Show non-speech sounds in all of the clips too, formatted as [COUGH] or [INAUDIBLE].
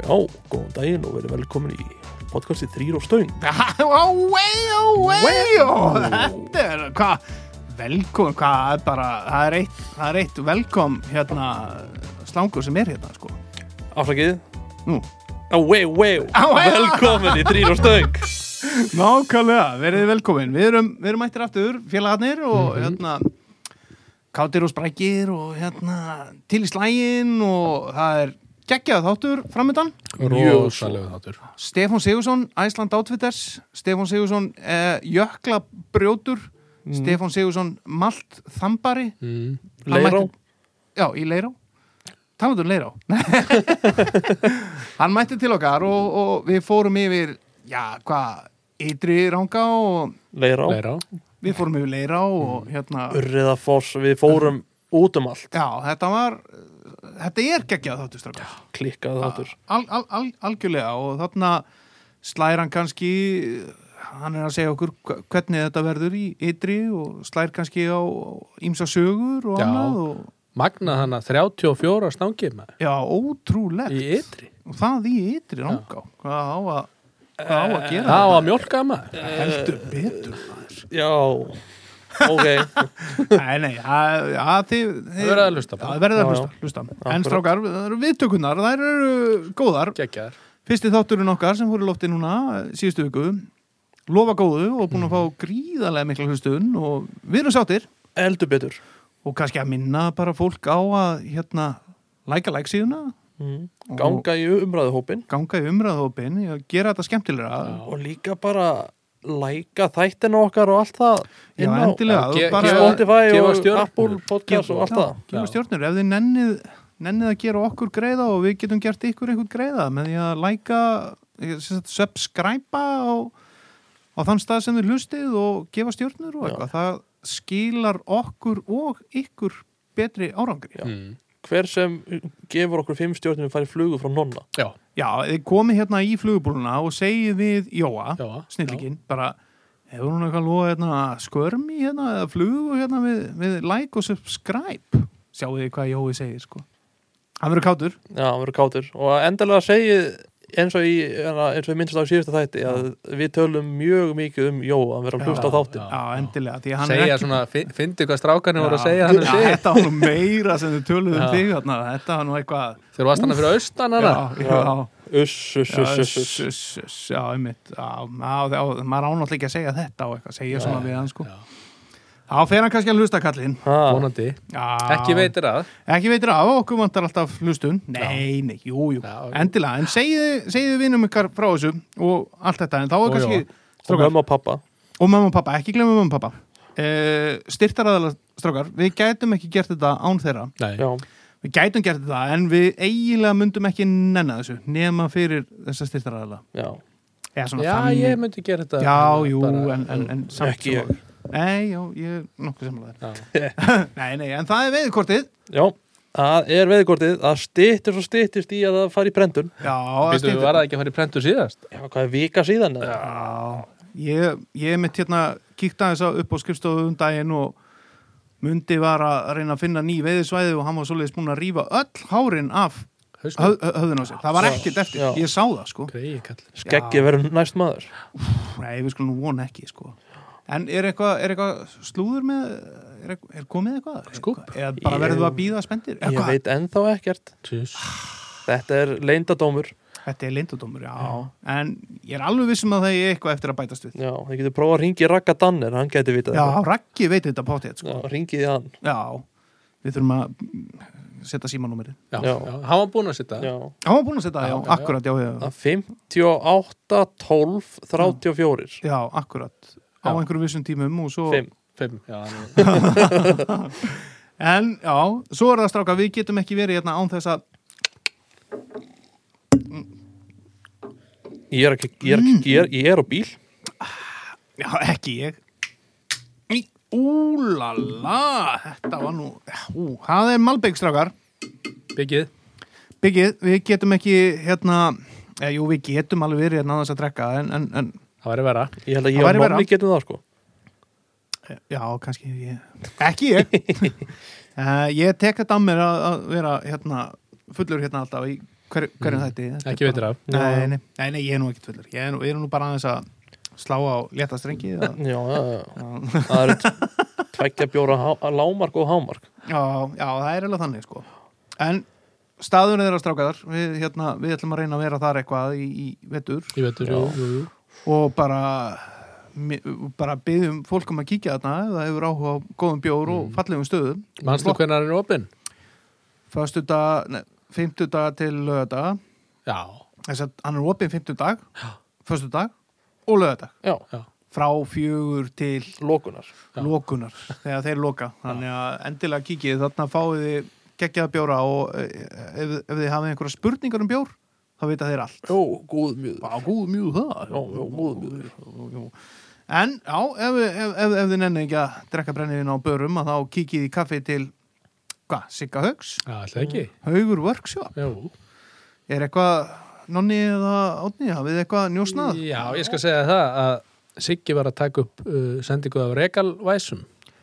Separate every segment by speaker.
Speaker 1: Já, góðan daginn og verið velkomin í podcasti Þrýr og Stöng
Speaker 2: [LAUGHS] Óvei, óvei, ó, þetta er hvað, velkom, hvað, það er bara, það er eitt, það er eitt velkom, hérna, slangur sem er hérna, sko.
Speaker 1: Afsakið
Speaker 2: Nú,
Speaker 1: Á, wei, wei,
Speaker 2: wei.
Speaker 1: velkomin í Þrýr og Stöng
Speaker 2: nákvæmlega, verið velkomin, við erum, við erum mættir aftur, félagarnir og, hérna, kátir og sprækir og, hérna, til í slægin og það er geggjað þáttur framöndan.
Speaker 3: Rósalegu þáttur
Speaker 2: Stefán Sigursson, Æsland Outfitters Stefán Sigursson, eh, Jökla Brjótur Stefán Sigursson, Malt Þambari
Speaker 3: mm.
Speaker 2: Hann
Speaker 1: Leirá.
Speaker 2: mætti- Já, í Leirá Talandi um Leirá [LAUGHS] Hann mætti til okkar og, og við fórum yfir Já, hvað, ytri ranga og
Speaker 1: Leirá,
Speaker 3: Leirá
Speaker 2: við fórum yfir Leirá og hérna
Speaker 1: Urriðafoss, við fórum út um allt
Speaker 2: Já, þetta var Þetta er geggjað þáttu strákar
Speaker 1: Klikkað þáttur
Speaker 2: al, al, al, Algjörlega og þarna slær hann kannski hann er að segja okkur hva- hvernig þetta verður í ytri og slær kannski á ímsa sögur og
Speaker 3: Já.
Speaker 2: annað og,
Speaker 3: Magna hana 34 stangir maður
Speaker 2: Já, ótrúlegt
Speaker 3: Í ytri
Speaker 2: og það í ytri rangá hvað á að, hvað á að gera
Speaker 3: Það var mjólka maður
Speaker 2: þetta heldur betur maður.
Speaker 1: Já, ok
Speaker 2: nei, nei, að, að þið, þið
Speaker 3: Það verður að hlusta
Speaker 2: það
Speaker 3: bara
Speaker 2: verður að
Speaker 1: Já, já.
Speaker 2: hlusta, hlusta. en strákar, það eru viðtökunar þær eru góðar
Speaker 3: Gekkjaðar
Speaker 2: fyrsti þátturinn okkar sem fór í lofti núna síðustu viku lofa góðu og búin að fá gríðarlega mikla hlustun og við erum sáttir
Speaker 1: Eldur betur
Speaker 2: og kannski að minna bara fólk á að hérna, læka læk síðuna
Speaker 1: mm. Ganga í umræðuhópin
Speaker 2: ganga í umræðhópin og gera þetta skemmtilega
Speaker 3: Já.
Speaker 1: Og líka bara læka þættina okkar og allt það
Speaker 2: Já,
Speaker 1: inn á
Speaker 2: endilega,
Speaker 3: Já,
Speaker 2: þú
Speaker 3: ge-
Speaker 2: bara
Speaker 3: gefa-
Speaker 1: Spotify
Speaker 3: gefa
Speaker 1: og
Speaker 3: stjörnur.
Speaker 1: Apple Podcast og allt það
Speaker 2: gefa
Speaker 3: Já.
Speaker 2: stjórnir, ef þið nennið, nennið að gera okkur greiða og við getum gert ykkur einhvern greiða með því að læka eh, sem sagt, subscribe á, á þann stað sem þið hlustið og gefa stjórnir og
Speaker 1: Já.
Speaker 2: eitthvað það skilar okkur og ykkur betri árangri
Speaker 1: Já.
Speaker 2: Já,
Speaker 3: mm.
Speaker 1: Hver sem gefur okkur fimm stjórnum færi flugu frá nonna
Speaker 3: Já,
Speaker 2: þið komið hérna í flugubúluna og segið við Jóa,
Speaker 3: já
Speaker 2: snillikinn, bara hefur hún eitthvað loða hérna, skörmi hérna, eða flugu hérna við, við like og subscribe sjáu þið hvað Jói segir sko hann verður kátur
Speaker 1: Já, hann verður kátur og endalega segið eins og, í, hérna, eins og ég minnst á síðustu þætti að við tölum mjög mikið um Jóa, hann verður að hlusta á
Speaker 2: Já,
Speaker 1: þáttin
Speaker 2: Já, endilega, því að
Speaker 3: já
Speaker 2: hann er
Speaker 3: Segja
Speaker 2: ekki
Speaker 3: svona, fin- fyndi hvað strákarnir voru
Speaker 2: Já,
Speaker 3: að segja hann um
Speaker 2: já,
Speaker 3: sig
Speaker 2: Þetta var nú meira sem þau töluðu um
Speaker 3: Já.
Speaker 2: þig þarna, þetta var nú eitthvað
Speaker 3: Þeir varst hana fyrir austan hana
Speaker 2: Já, já,
Speaker 1: Uss, uss,
Speaker 2: já,
Speaker 1: uss, uss,
Speaker 2: uss,
Speaker 1: uss
Speaker 2: uss, uss, já, einmitt já, á- á- maður ánátt ekki að segja þetta og eitthvað, segja svona við hann sko
Speaker 3: já.
Speaker 2: Þá fer hann kannski að hlusta kallinn
Speaker 1: Ha,
Speaker 3: Vonandi
Speaker 2: Já.
Speaker 3: Ekki veitir að
Speaker 2: Ekki veitir af, okkur vantar alltaf hlustun Nei, nei, jú, jú,
Speaker 3: Já, já.
Speaker 2: endilega En segiðu, segiðu vinum ykkar frá þessu og allt þetta, en þá er
Speaker 3: Og
Speaker 2: kannski
Speaker 3: Jóa.
Speaker 1: Og
Speaker 2: strákar,
Speaker 1: mömmu og pappa
Speaker 2: og mamma og pappa, ekki glemma mamma og pappa uh, Styrtaraðala strákar, við gætum ekki gert þetta án þeirra
Speaker 3: Nei,
Speaker 1: Já,
Speaker 2: Við gætum gert þetta en við eiginlega myndum ekki nenna þessu nema fyrir þessa styrtaræðala.
Speaker 1: já,
Speaker 2: Já,
Speaker 3: já ég myndi gera þetta
Speaker 2: Já, jú,
Speaker 3: bara-
Speaker 2: en, en, en samt
Speaker 1: Ekki
Speaker 2: sem
Speaker 1: ég.
Speaker 2: áður. Nei, já, ég er nokkuð samanlega
Speaker 3: Já.
Speaker 2: þér. [LAUGHS] nei, nei, en það er veiðkortið.
Speaker 1: já Það er veðikortið, það stýttir og stýttist í að það fari í brendun
Speaker 2: Já, að
Speaker 3: Býtum við
Speaker 2: stytta-
Speaker 3: var það ekki að fara í prentu síðast
Speaker 1: Já, hvað er vika síðan? eða?
Speaker 2: Já, ég, ég mitt hérna kíkta þess að upp á skrifstofu um daginn og Mundi var að reyna að finna ný veiðisvæði og hann var svoleiðis búin að rífa öll hárin af höf,
Speaker 3: Hausnum
Speaker 2: höfðun á sér. Það var ekkert eftir.
Speaker 1: Já.
Speaker 2: Ég sá það, sko.
Speaker 3: Greiði kallin
Speaker 1: Skeggi verður næst maður
Speaker 2: Nei, við skulum vona ekki, sko. En er eitthvað er eitthvað slúður með, er, eitthvað, er komið eitthvað?
Speaker 3: Skúbb?
Speaker 2: Eða bara
Speaker 1: Ég-
Speaker 2: verðum við að býða spendir?
Speaker 1: Ég veit ennþá ekkert
Speaker 3: Tjús
Speaker 1: Þetta er leyndadómur
Speaker 2: Þetta er lindadómur, já. En ég er alveg vissum að það er eitthvað eftir að bætast við.
Speaker 1: Já, þið getur prófað að ringi Ragga Danner, hann gæti vitað
Speaker 2: Já,
Speaker 1: þetta.
Speaker 2: Raggi veit þetta pátíð, sko.
Speaker 1: Já, ringið í hann
Speaker 2: Já. Við þurfum að mm, setja símanúmerið.
Speaker 3: Já,
Speaker 1: Já.
Speaker 3: já, hann var búinn að sitta
Speaker 1: Já,
Speaker 2: Já, hann var búin að setja, það, já,
Speaker 3: Já, já, já.
Speaker 2: akkurat, já, já.
Speaker 1: að 58, 12, 34
Speaker 2: Já, akkurat. Á
Speaker 3: Já.
Speaker 2: einhverjum vissum tímum og svo...
Speaker 1: 5
Speaker 3: Fimm, já, hann
Speaker 2: En, já, svo er það stráka, við getum ekki verið hérna án þess að...
Speaker 1: Ég er ekki, ég er ekki, ég er, ég er á bíl
Speaker 2: Já, ekki ég. Í, Úlala, þetta var nú, ú, það er Malbygg strákar.
Speaker 3: Byggið
Speaker 2: Byggið, við getum ekki hérna, eða, jú við getum alveg verið hérna á þess að drekka, en, en, en
Speaker 3: Það væri vera
Speaker 1: Ég held að
Speaker 2: Það
Speaker 1: ég
Speaker 2: væri
Speaker 1: og
Speaker 2: verra.
Speaker 1: Nonni getum það sko
Speaker 2: eh, já, kannski ég, ekki
Speaker 3: [LAUGHS]
Speaker 2: ég. Eh, uh, ég tek þetta á mér að, að vera hérna fullur hérna alltaf í hver, hverjum þetta er
Speaker 3: Mm, Ekki veitir af.
Speaker 2: nei, nei, nei, nei, ég er nú ekki tvöldur ég er nú, ég er nú bara aðeins að slá á létta strengi að,
Speaker 3: [LAUGHS]
Speaker 1: Já, já, já.
Speaker 2: að,
Speaker 1: það eru t- tveggja bjóra há- lágmark og hámark
Speaker 2: já, já, það er alveg þannig sko en staðurinn er að stráka þar við, hérna, við ætlum að reyna að vera þar eitthvað í, í vetur
Speaker 3: Ég veitur, jú, jú, jú.
Speaker 2: og bara mi- bara byggjum fólk um að kíkja þarna ef það hefur áhuga á góðum bjór og fallegum stöðum
Speaker 3: Manstu hvernig hann er opinn?
Speaker 2: Föstu dag, fymtu dag til lögadag
Speaker 3: Já.
Speaker 2: þess að hann er opinn fymtu dag föstu dag og lögadag
Speaker 1: Já,
Speaker 2: frá fjögur til
Speaker 1: lokunar
Speaker 3: Já.
Speaker 2: lokunar þegar þeir loka þannig að endilega kíkið þarna fáið þið geggjaða bjóra og eh, ef, ef þið hafið einhverja spurningar um bjór þá vita þeir allt
Speaker 1: Jó, góð mjög
Speaker 2: Vá, góð mjög það
Speaker 1: Já, já, góð mjög
Speaker 2: Jú, jú. En, já, ef, ef, ef, ef þið nenni ekki að drekka brenniðin á börum að þá kíkið í kaffi til, hvað, Sigga Haugs?
Speaker 3: Já, alltaf ekki.
Speaker 2: Haugur Workshop?
Speaker 3: Jú.
Speaker 2: Er eitthvað, nonni eða átni, hafið þið eitthvað njósnað?
Speaker 3: Já, ég skal segja það að Siggi var að taka upp uh, sendingu af regalvæsum.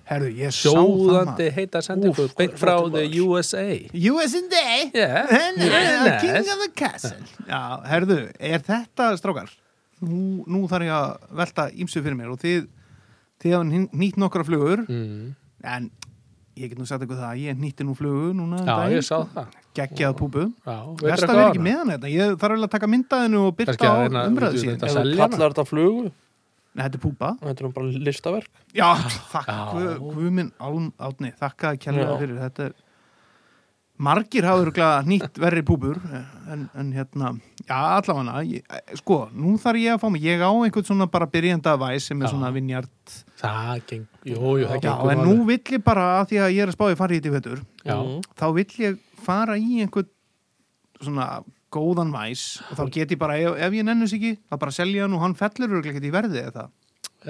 Speaker 2: Herðu, ég sá það maður.
Speaker 3: Sjóðandi heita sendingu
Speaker 1: Úff,
Speaker 3: beint frá
Speaker 1: hvað er
Speaker 3: the
Speaker 1: þetta maður?
Speaker 3: USA.
Speaker 2: US in day,
Speaker 3: Yeah.
Speaker 2: and
Speaker 3: Yeah,
Speaker 2: uh, king
Speaker 3: nice.
Speaker 2: of the castle. Já, herðu, er þetta, strákar? Nú, nú þarf ég að velta ímsu fyrir mér og þið, þið hafa nýtt nokkra flugur,
Speaker 3: Mm.
Speaker 2: en ég get nú sagt eitthvað það, að ég nýtti nú flugu núna. um
Speaker 3: Já,
Speaker 2: daginn,
Speaker 3: ég
Speaker 2: sko.
Speaker 3: sá það.
Speaker 2: geggjað púbu
Speaker 3: Já,
Speaker 2: Verst að
Speaker 3: eitthvað
Speaker 2: vera
Speaker 3: á
Speaker 2: ekki
Speaker 3: hana?
Speaker 2: meðan þetta Ég þarf alveg að taka myndaðinu og
Speaker 3: Kannski
Speaker 2: byrta
Speaker 3: að
Speaker 2: á
Speaker 3: reyna að
Speaker 2: umræðu
Speaker 3: útvíða
Speaker 2: síðan
Speaker 3: þetta.
Speaker 1: Ef þú
Speaker 3: Það selja hana.
Speaker 1: kallar þetta flugu,
Speaker 2: Nei, þetta er púpa
Speaker 1: þetta er nú bara listaverk
Speaker 2: Já, þakk,
Speaker 3: Já.
Speaker 2: guð- guðminn Álm Átni Þakka að kjærlega
Speaker 1: Já.
Speaker 2: fyrir þetta er... Margir hafa örgulega nýtt verri púbur en, en hérna, já allavega ég, sko, nú þarf ég að fá mig ég á einhvern svona bara byrjenda væs sem er
Speaker 3: Já.
Speaker 2: svona vinjart
Speaker 3: Það geng, jú, jú,
Speaker 2: já,
Speaker 3: það gengur
Speaker 2: en
Speaker 3: nú
Speaker 2: nú
Speaker 3: alveg.
Speaker 2: vill ég bara að því að ég er að spá ég farið í þetta í vettur
Speaker 3: Já,
Speaker 1: Mhm.
Speaker 2: þá vill ég fara í einhvern svona góðan væs og þá get ég bara, ef, ef ég nennis ekki þá bara selja hann og hann fellur örugglega ekkert í verði eða það.
Speaker 3: eh,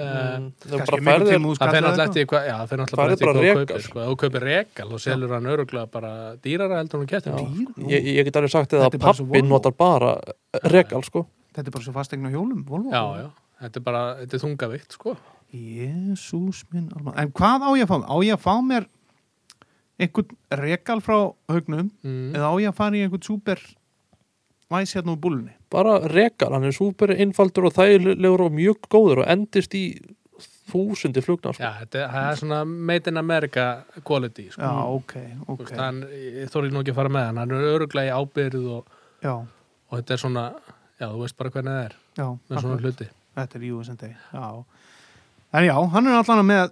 Speaker 1: Það er bara
Speaker 2: Kannski mikil
Speaker 1: ferðir
Speaker 2: tíma
Speaker 3: það fer
Speaker 2: útskallaði eitthvað.
Speaker 3: náttúrulega eftir hvað, já, það fer
Speaker 1: Mm. Það
Speaker 3: náttúrulega
Speaker 1: er
Speaker 3: eftir
Speaker 1: bara
Speaker 3: hvað þú
Speaker 1: regal.
Speaker 3: kaupir, sko. Ef Þú kaupir regal og selur hann öruglega bara dýrara heldur hann kettir.
Speaker 2: Dýr? Nú,
Speaker 1: ég, ég get alveg sagt þið
Speaker 2: Þetta
Speaker 1: að
Speaker 2: er bara svo
Speaker 1: pappi
Speaker 2: Volvo.
Speaker 1: notar bara regal sko
Speaker 2: Þetta er bara svo fastegna hjólum, Volvo
Speaker 3: Já, já, þetta er bara, þetta er þungavikt, sko.
Speaker 2: Jésús minn alma En hvað á ég að fá mér? Á ég að fá mér einhvern rekal frá haugnum
Speaker 3: Mm.
Speaker 2: eða á ég að fara í einhvern super væs hérna úr búlunni?
Speaker 1: bara regal, hann er súper innfaldur og þægilegur og mjög góður og endist í þúsundi flugna sko.
Speaker 3: Já, þetta er, það er svona made in America quality, sko.
Speaker 2: Já, ok,
Speaker 3: Þú
Speaker 2: ok
Speaker 3: veist, hann, ég þóri nú ekki að fara með hann, hann er öruglega í ábyrð og,
Speaker 2: Já,
Speaker 3: og þetta er svona, já, þú veist bara hvernig það er
Speaker 2: já,
Speaker 3: með
Speaker 2: akkurat.
Speaker 3: svona hluti.
Speaker 2: þetta er USND Já En já, hann er allan með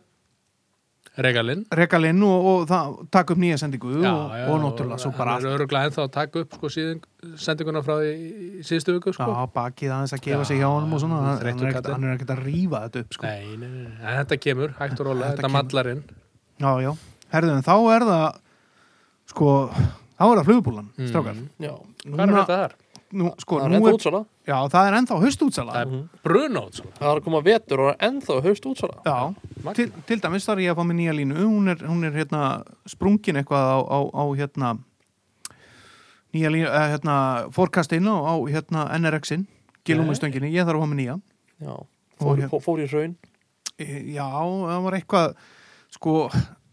Speaker 3: Regalinn.
Speaker 2: rekalinn og, og það, taka upp nýja sendingu
Speaker 3: Já,
Speaker 2: og,
Speaker 3: já,
Speaker 2: og náttúrulega svo bara
Speaker 3: Hann
Speaker 2: allt
Speaker 3: er öruglega ennþá að taka upp, sko, síðan, sendinguna frá í, í síðustu viku, sko.
Speaker 2: Já, bakið aðeins að gefa
Speaker 3: Já,
Speaker 2: sig hjá honum og svona
Speaker 3: já,
Speaker 2: hann, hann,
Speaker 3: þreyttur
Speaker 2: er ekkert,
Speaker 3: kallinn.
Speaker 2: hann er ekkert að rífa þetta upp sko.
Speaker 3: Nei, nei, nei, nei, en þetta kemur, hægt og rólega,
Speaker 2: Þetta
Speaker 3: þetta
Speaker 2: kemur.
Speaker 3: mallar inn.
Speaker 2: Já, já, herðum, þá er það sko, þá er það flugubúlan
Speaker 3: Mm.
Speaker 2: strákar,
Speaker 1: Já,
Speaker 3: Hvað er
Speaker 2: Núna-
Speaker 3: þetta þar?
Speaker 2: nú, sko,
Speaker 1: það er
Speaker 2: nú
Speaker 1: ennþá
Speaker 2: er,
Speaker 1: útsala
Speaker 2: já, það er ennþá haustútsala
Speaker 3: Það er brunót, svona.
Speaker 1: það er að koma vetur og það er ennþá haust útsala
Speaker 2: Já,
Speaker 3: sko. Magnað.
Speaker 2: til, til dæmis þar ég að fá mér nýja línu hún er, hún er hérna sprungin eitthvað á, á, á hérna nýja línu, eh, hérna fórkastinu á hérna NRX-in gilumustönginni, ég þarf að fá mér nýja
Speaker 1: Já,
Speaker 2: Og
Speaker 1: fór,
Speaker 2: hér-
Speaker 1: fó- fór í raun
Speaker 2: E, Já, það var eitthvað sko,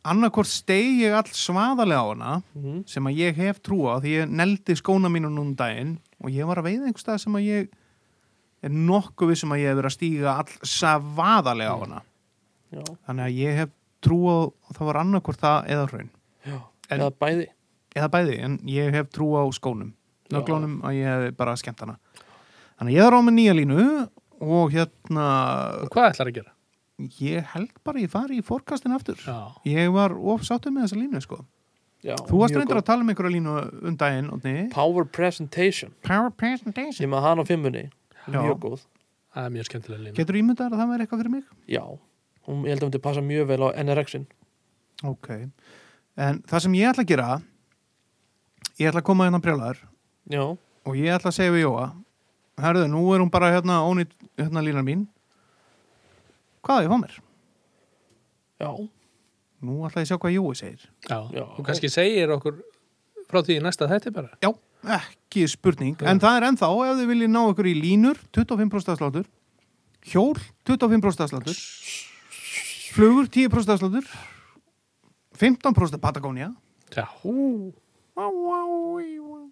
Speaker 2: annarkvort steig ég all svaðalega á hana
Speaker 1: Mhm.
Speaker 2: sem að ég hef trú á því ég neldi skóna mínu núna um daginn og ég var að veiða einhvers stað sem að ég er nokkuð við sem að ég hef verið að stíga all svaðalega á hana
Speaker 1: Já,
Speaker 2: þannig að ég hef trú á það var annarkvort það eða hraun
Speaker 1: já,
Speaker 2: En-
Speaker 1: eða bæði
Speaker 2: eða bæði, en ég hef trú á skónum
Speaker 1: Já.
Speaker 2: nöglónum að ég hef bara skemmt hana þannig að ég þarf á með nýja línu og hérna
Speaker 3: Og hvað ætlar að gera?
Speaker 2: ég held bara ég fari í fórkastin aftur
Speaker 3: Já,
Speaker 2: Ég var ofsáttu með þessa línu sko
Speaker 1: já,
Speaker 2: Þú varst
Speaker 1: mjög
Speaker 2: reyndar
Speaker 1: góð.
Speaker 2: að tala um einhverja línu um daginn Odni.
Speaker 1: Power Presentation,
Speaker 2: Power presentation
Speaker 1: ég með hann á fimmunni
Speaker 2: Já.
Speaker 1: mjög góð,
Speaker 3: það er mjög skemmtilega lína.
Speaker 2: Getur ímyndar að það væri eitthvað fyrir mig?
Speaker 1: já hún, ég held að hún til passa mjög vel á NRX-in
Speaker 2: Ok En það sem ég ætla að gera Ég ætla að koma hérna brjálæður
Speaker 1: Já,
Speaker 2: Og ég ætla að segja við Jóa Herðu, nú er hún bara hérna ónýtt hérna línan mín Hvað á ég að fá mér?
Speaker 1: já,
Speaker 2: Nú ætla ég að sjá hvað Jói segir
Speaker 3: Já,
Speaker 1: Já.
Speaker 3: og kannski segir okkur frá því í næsta þætti bara.
Speaker 2: Já, ekki spurning En það er ennþá, ef þið viljið ná ykkur í línur 25% afsláttur Hjól, 25% afsláttur Flugur, 10% afsláttur 15% Patagonia
Speaker 3: Já,
Speaker 2: Vá, vá, í, vá.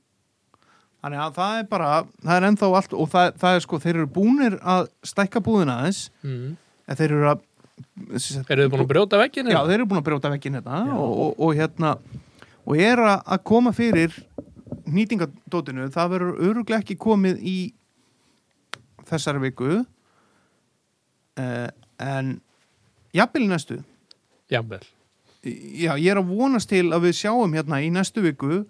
Speaker 2: Þannig að það er bara, það er ennþá allt og það, það er sko, þeir eru búnir að stækka búðina aðeins
Speaker 3: Mm.
Speaker 2: en þeir eru að sem sagt,
Speaker 3: Eru þið búin að brjóta vegginu?
Speaker 2: Já, þeir eru búin að brjóta vekkinn hérna
Speaker 3: Já.
Speaker 2: og, og, og hérna og er að að koma fyrir nýtingadótinu, það verður öruglega ekki komið í þessari viku uh, en jafnvel í næstu
Speaker 3: Jafnvel.
Speaker 2: já, ég er að vonast til að við sjáum hérna í næstu viku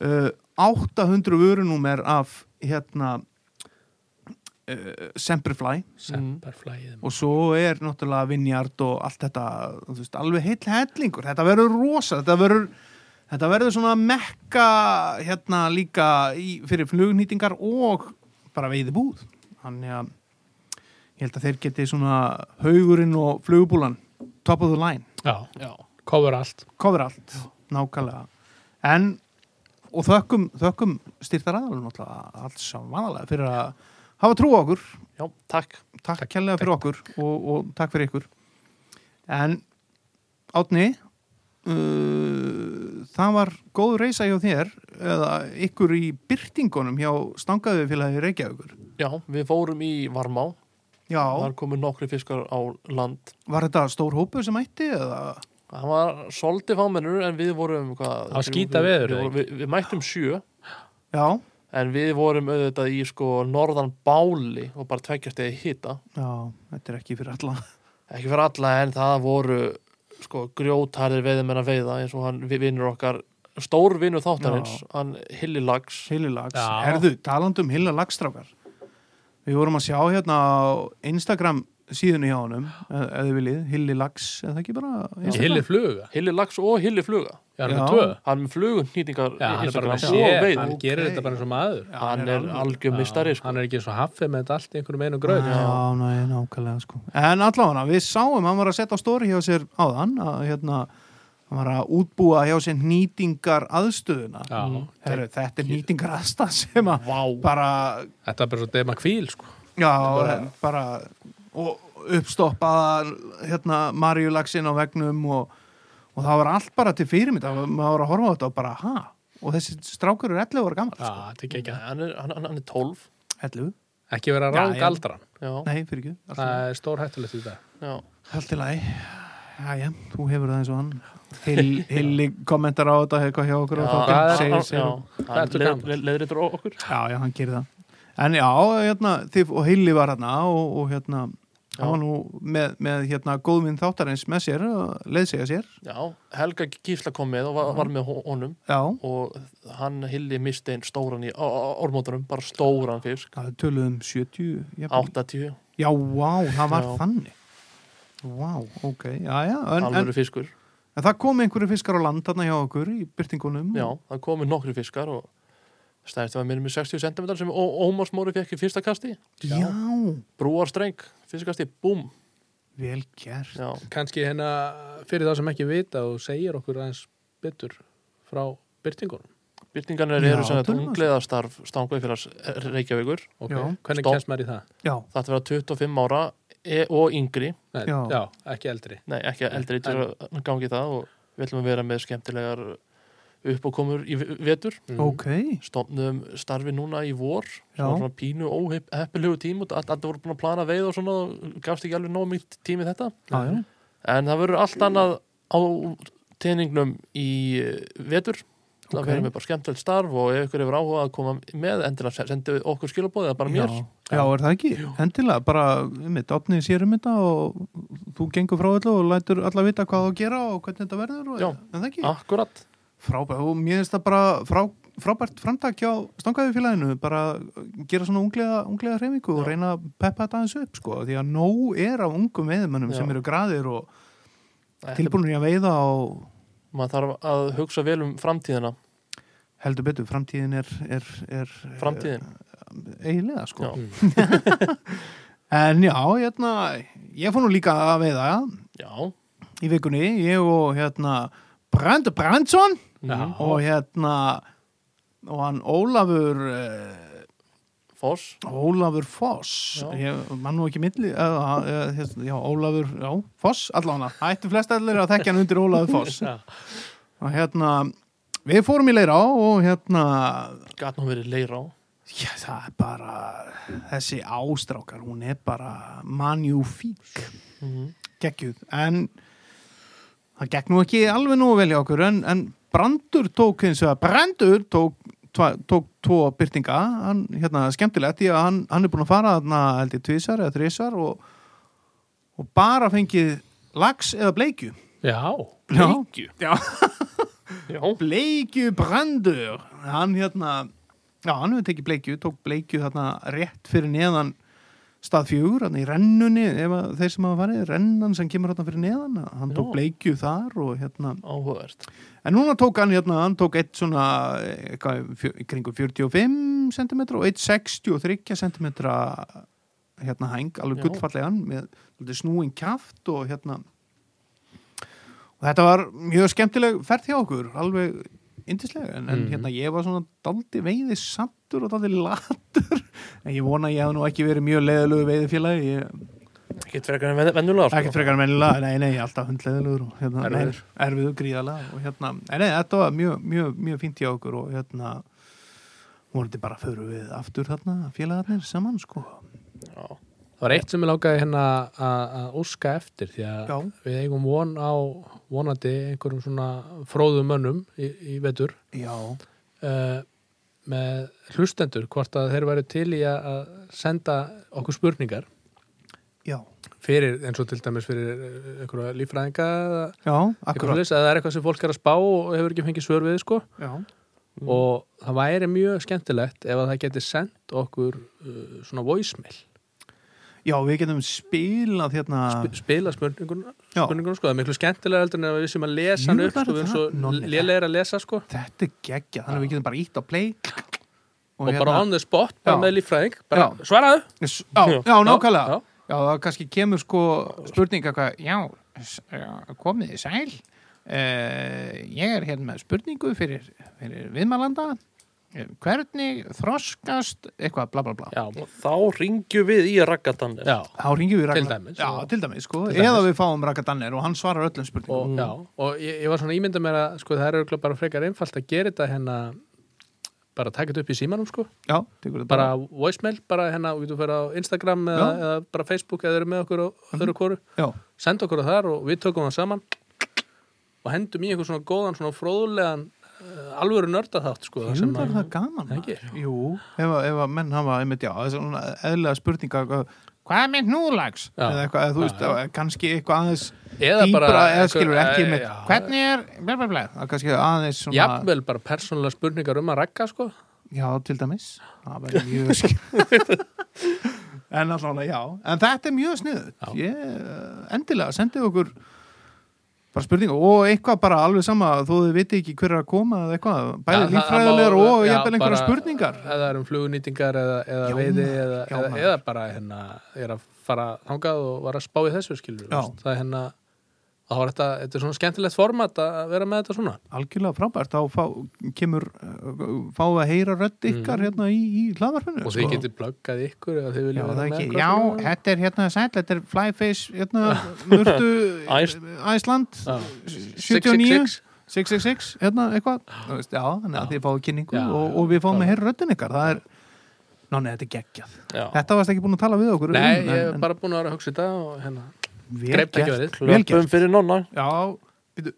Speaker 2: uh, 800 vörunúmer af hérna uh, Semperfly
Speaker 3: Semperflæðið.
Speaker 2: Mm. og svo er náttúrulega Vinjard og allt þetta þú veist, alveg heill hellingur þetta verður rosa, þetta verður þetta verður svona mekka hérna líka í, fyrir flugnýtingar og bara veiði búð þannig að ég held að þeir geti svona haugurinn og flugubúlan top of the line,
Speaker 3: Já,
Speaker 1: Já.
Speaker 3: cover allt.
Speaker 2: cover allt nákvæmlega, en og þökkum, þökkum styrtar aðalum náttúrulega allt sem vanalega fyrir að hafa trú á okkur
Speaker 1: Já, takk
Speaker 2: takk kærlega fyrir okkur og, og takk fyrir ykkur en Átni uh, það var góð reysa hjá þér eða ykkur í byrtingunum hjá stangaðu félagi Reykjavíkur
Speaker 1: Já, við fórum í Varmá
Speaker 2: já,
Speaker 1: Þar komu nokkri fiskar á land
Speaker 2: var þetta stór hópu sem ætti eða
Speaker 1: Það var svolítið fámennur en við vorum hvað,
Speaker 3: Það var
Speaker 1: þrjú-
Speaker 3: skítaveður,
Speaker 1: við,
Speaker 3: eða
Speaker 1: vorum- við, við mættum sjö
Speaker 2: já,
Speaker 1: en við vorum auðvitað í sko norðan báli og bara tveggjast eða hita
Speaker 2: já, þetta er ekki fyrir alla
Speaker 1: ekki fyrir alla en það voru sko grjótarðir veiðmenn að veiða eins og hann vi- vinur okkar stór vinur þáttarins, hann Hilli Lags
Speaker 2: Hillilags,
Speaker 3: Já.
Speaker 2: herðu, um talandum Hillilagsstrákar við vorum að sjá hérna á Instagram síðunni hjá honum eða eða þið viljið, Hillilags eða ekki bara
Speaker 3: Ég
Speaker 2: Instagram?
Speaker 3: hilið fluga.
Speaker 1: Hilli Lags og Hilli Fluga
Speaker 3: Já, hann
Speaker 2: Já.
Speaker 3: er tvö.
Speaker 1: hann er með flugunnýtingar
Speaker 3: Já, hann er bara með
Speaker 1: og
Speaker 3: sér.
Speaker 1: veiða
Speaker 3: Hann
Speaker 2: Ok.
Speaker 3: gerir þetta bara eins og maður.
Speaker 2: Já,
Speaker 1: hann er
Speaker 2: alveg-
Speaker 1: algjör mistari sko.
Speaker 3: Hann er ekki eins og haffið með þetta allt í einhverjum einu gröð.
Speaker 1: Já.
Speaker 2: Já, næ, nákvæmlega sko En allavega, við sáum, hann var að setja á stóri hjá sér áðan að hérna hann var að útbúa hjá sér nýtingar aðstöðuna
Speaker 3: Já.
Speaker 2: Heru, Þetta er nýtingar aðstæð sem að
Speaker 1: Vá.
Speaker 2: bara,
Speaker 3: Þetta er bara svo dema kvíl, sko.
Speaker 2: já, bara, og uppstoppaða hérna Marjulaxin á vegnum og, og það var allt bara til fyrirmynd það var- maður var að horfa á þetta og bara, ha og þessi strákur er 11 ára gammal
Speaker 3: Já, þetta er ekki ekki.
Speaker 1: hann er, hann, hann er 12
Speaker 2: 11?
Speaker 3: Ekki vera
Speaker 2: Já,
Speaker 3: rang
Speaker 2: já.
Speaker 3: aldran.
Speaker 1: já,
Speaker 2: Nei, fyrir ekki, allt í lagi.
Speaker 3: Það er stór hættulegt í dag.
Speaker 1: já.
Speaker 2: Allt í lagi. Jæja, þú hefur það eins og hann. Hill- Hilli kommentar á þetta eitthvað hjá okkur
Speaker 1: Já,
Speaker 2: og
Speaker 1: hann-
Speaker 2: þá
Speaker 3: er-
Speaker 2: segir
Speaker 1: hann-
Speaker 2: sér.
Speaker 1: já, hann
Speaker 3: ertu
Speaker 1: leið-
Speaker 3: gamall?
Speaker 1: leið- leiðréttir o- okkur
Speaker 2: Já, já, hann gerir það. En já, hérna, þið, og Hilli var hérna og, og hérna,
Speaker 1: Já.
Speaker 2: hann var nú með, með hérna góðminn þáttarins með sér, leðsega sér.
Speaker 1: já, Helga Gísla kom með og var, var með hon- honum
Speaker 2: Já,
Speaker 1: og hann Hilli misti einn stóran í ormótunum, bara stóran fisk
Speaker 2: það töluðum 70, jafnvel.
Speaker 1: 80,
Speaker 2: já, vá, það var
Speaker 1: Já.
Speaker 2: þannig. Vá, ok, já, já, en, en,
Speaker 1: alvöru fiskur
Speaker 2: en það kom einhverju fiskar á land þarna hjá okkur í byrtingunum.
Speaker 1: Já, það komu nokkri fiskar og stærsti var minni með 60 cm sem Ó- Ómar Smári fekk í fyrsta kasti
Speaker 2: Já,
Speaker 1: brúarstreng, fyrsta kasti, búm
Speaker 2: vel gert.
Speaker 1: Já,
Speaker 3: kannski hérna fyrir það sem ekki vita og segir okkur aðeins betur frá byrtingunum.
Speaker 1: byrtingarnir
Speaker 2: Já,
Speaker 1: eru sem þetta
Speaker 2: tölum aðeins.
Speaker 1: ungleðastarf stangveifélags eh, Reykjavíkur
Speaker 3: Okay.
Speaker 2: Já.
Speaker 3: Hvernig
Speaker 1: Stopp.
Speaker 3: kemst maður í það?
Speaker 2: Já,
Speaker 1: Það ætti að vera 25 ára e og yngri
Speaker 3: Nei, já.
Speaker 2: Já.
Speaker 3: ekki eldri.
Speaker 1: Nei, ekki eldri til að gangi það og við ætlum að vera með skemmtilegar uppákomur í ve- vetur
Speaker 3: Mm.
Speaker 2: ok,
Speaker 1: stofnum starfi núna í vor sem
Speaker 2: Já.
Speaker 1: var svona pínu óheppilegu tím og allt voru búin að plana veið og svona og gafst ekki alveg nóg mjög tími þetta
Speaker 2: já, já.
Speaker 1: en það verður allt annað á teiningnum í eh, vetur það
Speaker 2: Ok.
Speaker 1: verður með bara skemmtilegt starf og ef ykkur hefur áhuga að koma með endilega sendu okkur skilabóð eða bara mér
Speaker 2: Já, já er það ekki? Endilega, bara mitt, opnið sér um þetta og þú gengur frá öllu og lætur alla vita hvað þú gera og hvernig þetta verður og,
Speaker 1: Já.
Speaker 2: en það ekki?
Speaker 1: akkurat,
Speaker 2: Frábært, og mér finnst það bara frá, frábært framtak hjá stangaði félaginu, bara gera svona unglega, unglega hreifingu og
Speaker 1: Já.
Speaker 2: reyna að peppa þetta aðeins upp, sko, því að nóg er af ungum veiðmönnum
Speaker 1: Já.
Speaker 2: sem eru graðir og
Speaker 1: Þetta-
Speaker 2: tilbúinir í að veiða og
Speaker 1: maður þarf að hugsa vel um framtíðina
Speaker 2: heldur betur, framtíðin er, er, er
Speaker 1: framtíðin,
Speaker 2: eiginlega, sko.
Speaker 1: já,
Speaker 2: En já, hérna, ég fór nú líka að veiða,
Speaker 1: já.
Speaker 2: í vikunni, ég og hérna Brand Brandsson
Speaker 1: Mhm.
Speaker 2: og hérna og hann Ólafur uh,
Speaker 1: Foss,
Speaker 2: Ólafur Foss
Speaker 1: Já.
Speaker 2: ég mann nú ekki milli uh, uh, hérna, já, Ólafur, já, Foss allána ættu flest allir að þekkja hann undir Ólafur Foss
Speaker 3: Já.
Speaker 2: og hérna Við fórum í leira á og hérna
Speaker 1: Gat nú verið leir á
Speaker 2: já, það er bara þessi ástrákar, hún er bara manjúfík Mhm. geggjuð, en það gekk nú ekki alveg nú vel í okkur en, en Brandur tók hins vegar Brandur tók, tva, tók tvo byrtinga, hann hérna skemmtilegt því að hann, hann er búin að fara þarna held ég tvisar eða þrisar og, og bara fengið lax eða bleikju
Speaker 3: Já,
Speaker 2: bleikju? Já,
Speaker 1: Já,
Speaker 2: bleikju Brandur hann hérna já, hann hefur tekið bleikju, tók bleikju þarna rétt fyrir neðan stað fjögur, hann í rennunni ef að þeir sem hafa farið, rennan sem kemur hérna fyrir neðan hann tók
Speaker 1: Já.
Speaker 2: bleikju þar og hérna
Speaker 1: áhugavert
Speaker 2: En núna tók hann hérna, hann tók eitt svona, eitthvað, fjö- í kringum 45 cm og eitt 63 cm hérna hæng, alveg
Speaker 1: Já.
Speaker 2: gullfallegan með svolítið snúin kjaft og hérna og þetta var mjög skemmtileg ferð hjá okkur, alveg yndislega, en, en
Speaker 3: Mhm.
Speaker 2: hérna ég var svona daldi veiði sattur og daldi latur [LAUGHS] en ég vona að ég hef nú ekki verið mjög leiðilegu veiðifélagi, ég
Speaker 1: Ekkert frekar en sko. vennulega
Speaker 2: ekkert frekar mennilega, nei, nei, alltaf hundleðilegur og hérna,
Speaker 3: Erfiður.
Speaker 2: nei, erfiður gríðalega og hérna, nei, nei, þetta var mjög, mjög, mjög fínt í okkur og hérna voruði bara að föru við aftur þarna félagarnir saman, sko
Speaker 1: frekar
Speaker 3: það var eitt sem ég lákaði hérna að að óska eftir því að
Speaker 2: Já,
Speaker 3: við eigum von á vonandi einhverjum svona fróðum mönnum í, í vetur
Speaker 2: já,
Speaker 3: uh, með hlustendur hvort að þeir væri til í að að senda okkur spurningar
Speaker 2: já
Speaker 3: fyrir, eins og til dæmis fyrir eh, einhverja líffræðinga eða
Speaker 2: Já,
Speaker 3: eitthvað
Speaker 2: akkurat
Speaker 3: svoleiðis, að það er eitthvað sem fólk er að spá og hefur ekki fengið svör við sko
Speaker 2: Já, Mm.
Speaker 3: og það væri mjög skemmtilegt ef að það geti sendt okkur uh, svona voicemail
Speaker 2: já við getum spilað hérna
Speaker 3: Sp spila spurninguna,
Speaker 2: Já.
Speaker 3: spurninguna sko, það er miklu skemmtilega heldur en að við sem að lesa hann
Speaker 2: Jú,
Speaker 3: upp sko,
Speaker 2: verður
Speaker 3: við erum
Speaker 2: það?
Speaker 3: svo
Speaker 2: Nonni,
Speaker 3: lélegir að lesa sko
Speaker 2: Þetta er geggja, þannig að við getum bara ítt á play
Speaker 3: og, bara on the spot,
Speaker 2: hérna- Já.
Speaker 3: bara með líffræðing bara
Speaker 2: Já.
Speaker 3: svaraðu
Speaker 2: S- Já, já, nákvæmlega
Speaker 3: Já.
Speaker 2: Já, það kannski kemur sko spurning eitthvað, já, s- já, komið í sæl uh, ég er hérna með spurningu fyrir, fyrir viðmælanda Eh, hvernig þroskast eitthvað bla bla bla
Speaker 3: Já,
Speaker 1: Og þá ringjum við í Raggatannes
Speaker 3: já,
Speaker 2: Þá ringjum við
Speaker 3: Til
Speaker 2: Ragnar-
Speaker 3: dæmis.
Speaker 2: Já, til dæmis sko,
Speaker 3: Til dæmis.
Speaker 2: eða við fáum Raka Danner og hann svarar öllum
Speaker 3: og,
Speaker 2: spurningum
Speaker 3: já, og ég, ég var svona ímynda mér að sko, það er örugglega bara frekar einfalt að gera þetta hérna bara taka þetta upp í símanum sko
Speaker 2: Já, tekur þetta
Speaker 3: bara voicemail, bara hérna við þú fyrir á Instagram eða,
Speaker 2: Já. Mhm.
Speaker 3: eða bara Facebook eða þau eru með okkur og öðru kóru
Speaker 2: Já,
Speaker 3: senda okkur á þar og við tökum það saman og hendum í einhver svona góðan svona fróðulegan uh, alvöru nörda þátt sko
Speaker 2: Jú, það er það gaman maður.
Speaker 3: Ekki?
Speaker 2: Jú, ef, að- ef að menn hafa einmitt, já, þessi svona eðlilega spurninga hvað er mynd núlags?
Speaker 3: Já.
Speaker 2: Eða eitthvað, eða, þú
Speaker 3: Já,
Speaker 2: veist, kannski eitthvað aðeins
Speaker 3: Eða
Speaker 2: dýbra,
Speaker 3: bara
Speaker 2: eða
Speaker 3: eitthvað-
Speaker 2: skilur ekki
Speaker 3: eh,
Speaker 2: með
Speaker 3: já.
Speaker 2: hvernig er, bla bla bla, það er kannski aðeins svona,
Speaker 3: jafnvel bara persónulega spurningar um að rakka sko
Speaker 2: já, til dæmis það verður mjög skil
Speaker 3: [LAUGHS]
Speaker 2: en allavega, já, en þetta er mjög
Speaker 3: Já.
Speaker 2: sniðut ég, eh, endilega, sendið okkur bara spurninga og eitthvað bara alveg sama þó þið viti ekki hver er að koma eða eitthvað, bæði
Speaker 3: Já, það-
Speaker 2: líffræðilegar
Speaker 3: það má-
Speaker 2: og
Speaker 3: já,
Speaker 2: jafnvel einhverja
Speaker 3: bara-
Speaker 2: spurningar
Speaker 3: eða er um flugunýtingar eða, eða
Speaker 2: Já,
Speaker 3: veiði
Speaker 2: maður,
Speaker 3: eða,
Speaker 2: já,
Speaker 3: eða,
Speaker 2: maður.
Speaker 3: eða bara hérna, er að fara þangað og var að spá í þessu skilur
Speaker 2: Já.
Speaker 3: það er hérna þá var þetta, þetta er svona skemmtilegt format að vera með þetta svona
Speaker 2: algjörlega frábært, þá fá, kemur uh, fá að heyra rödd ykkar hérna í, í hlaðvarpinu
Speaker 3: Mhm.
Speaker 2: sko.
Speaker 3: og þið getið blöggað ykkur eða þið
Speaker 2: Já,
Speaker 3: viljið
Speaker 2: það
Speaker 3: vera með
Speaker 2: ekki.
Speaker 3: eitthvað
Speaker 2: Já,
Speaker 3: svona.
Speaker 2: þetta er hérna sæll, þetta er Flyface, hérna, Mörtu,
Speaker 3: [LAUGHS]
Speaker 1: Æs-
Speaker 2: Æsland,
Speaker 3: Já.
Speaker 2: 79, 666, hérna, eitthvað. Þú veist, já, þannig að þið fáið kynningu
Speaker 3: Já,
Speaker 2: og,
Speaker 3: já,
Speaker 2: og við fáum
Speaker 3: bara-
Speaker 2: að heyra röddin ykkar. Það er, náni, þetta er geggjað.
Speaker 1: Já.
Speaker 2: Þetta varst ekki búin að tala við okkur.
Speaker 3: Nei,
Speaker 2: um,
Speaker 3: ég
Speaker 2: en-
Speaker 3: hef bara búin að vera að hugsa þetta og hérna,
Speaker 2: en vel
Speaker 3: greip
Speaker 2: gert.
Speaker 3: um tækifærið.
Speaker 2: Vel
Speaker 1: Klöpum
Speaker 2: gert.
Speaker 1: fyrir nonna
Speaker 2: Já, býtu,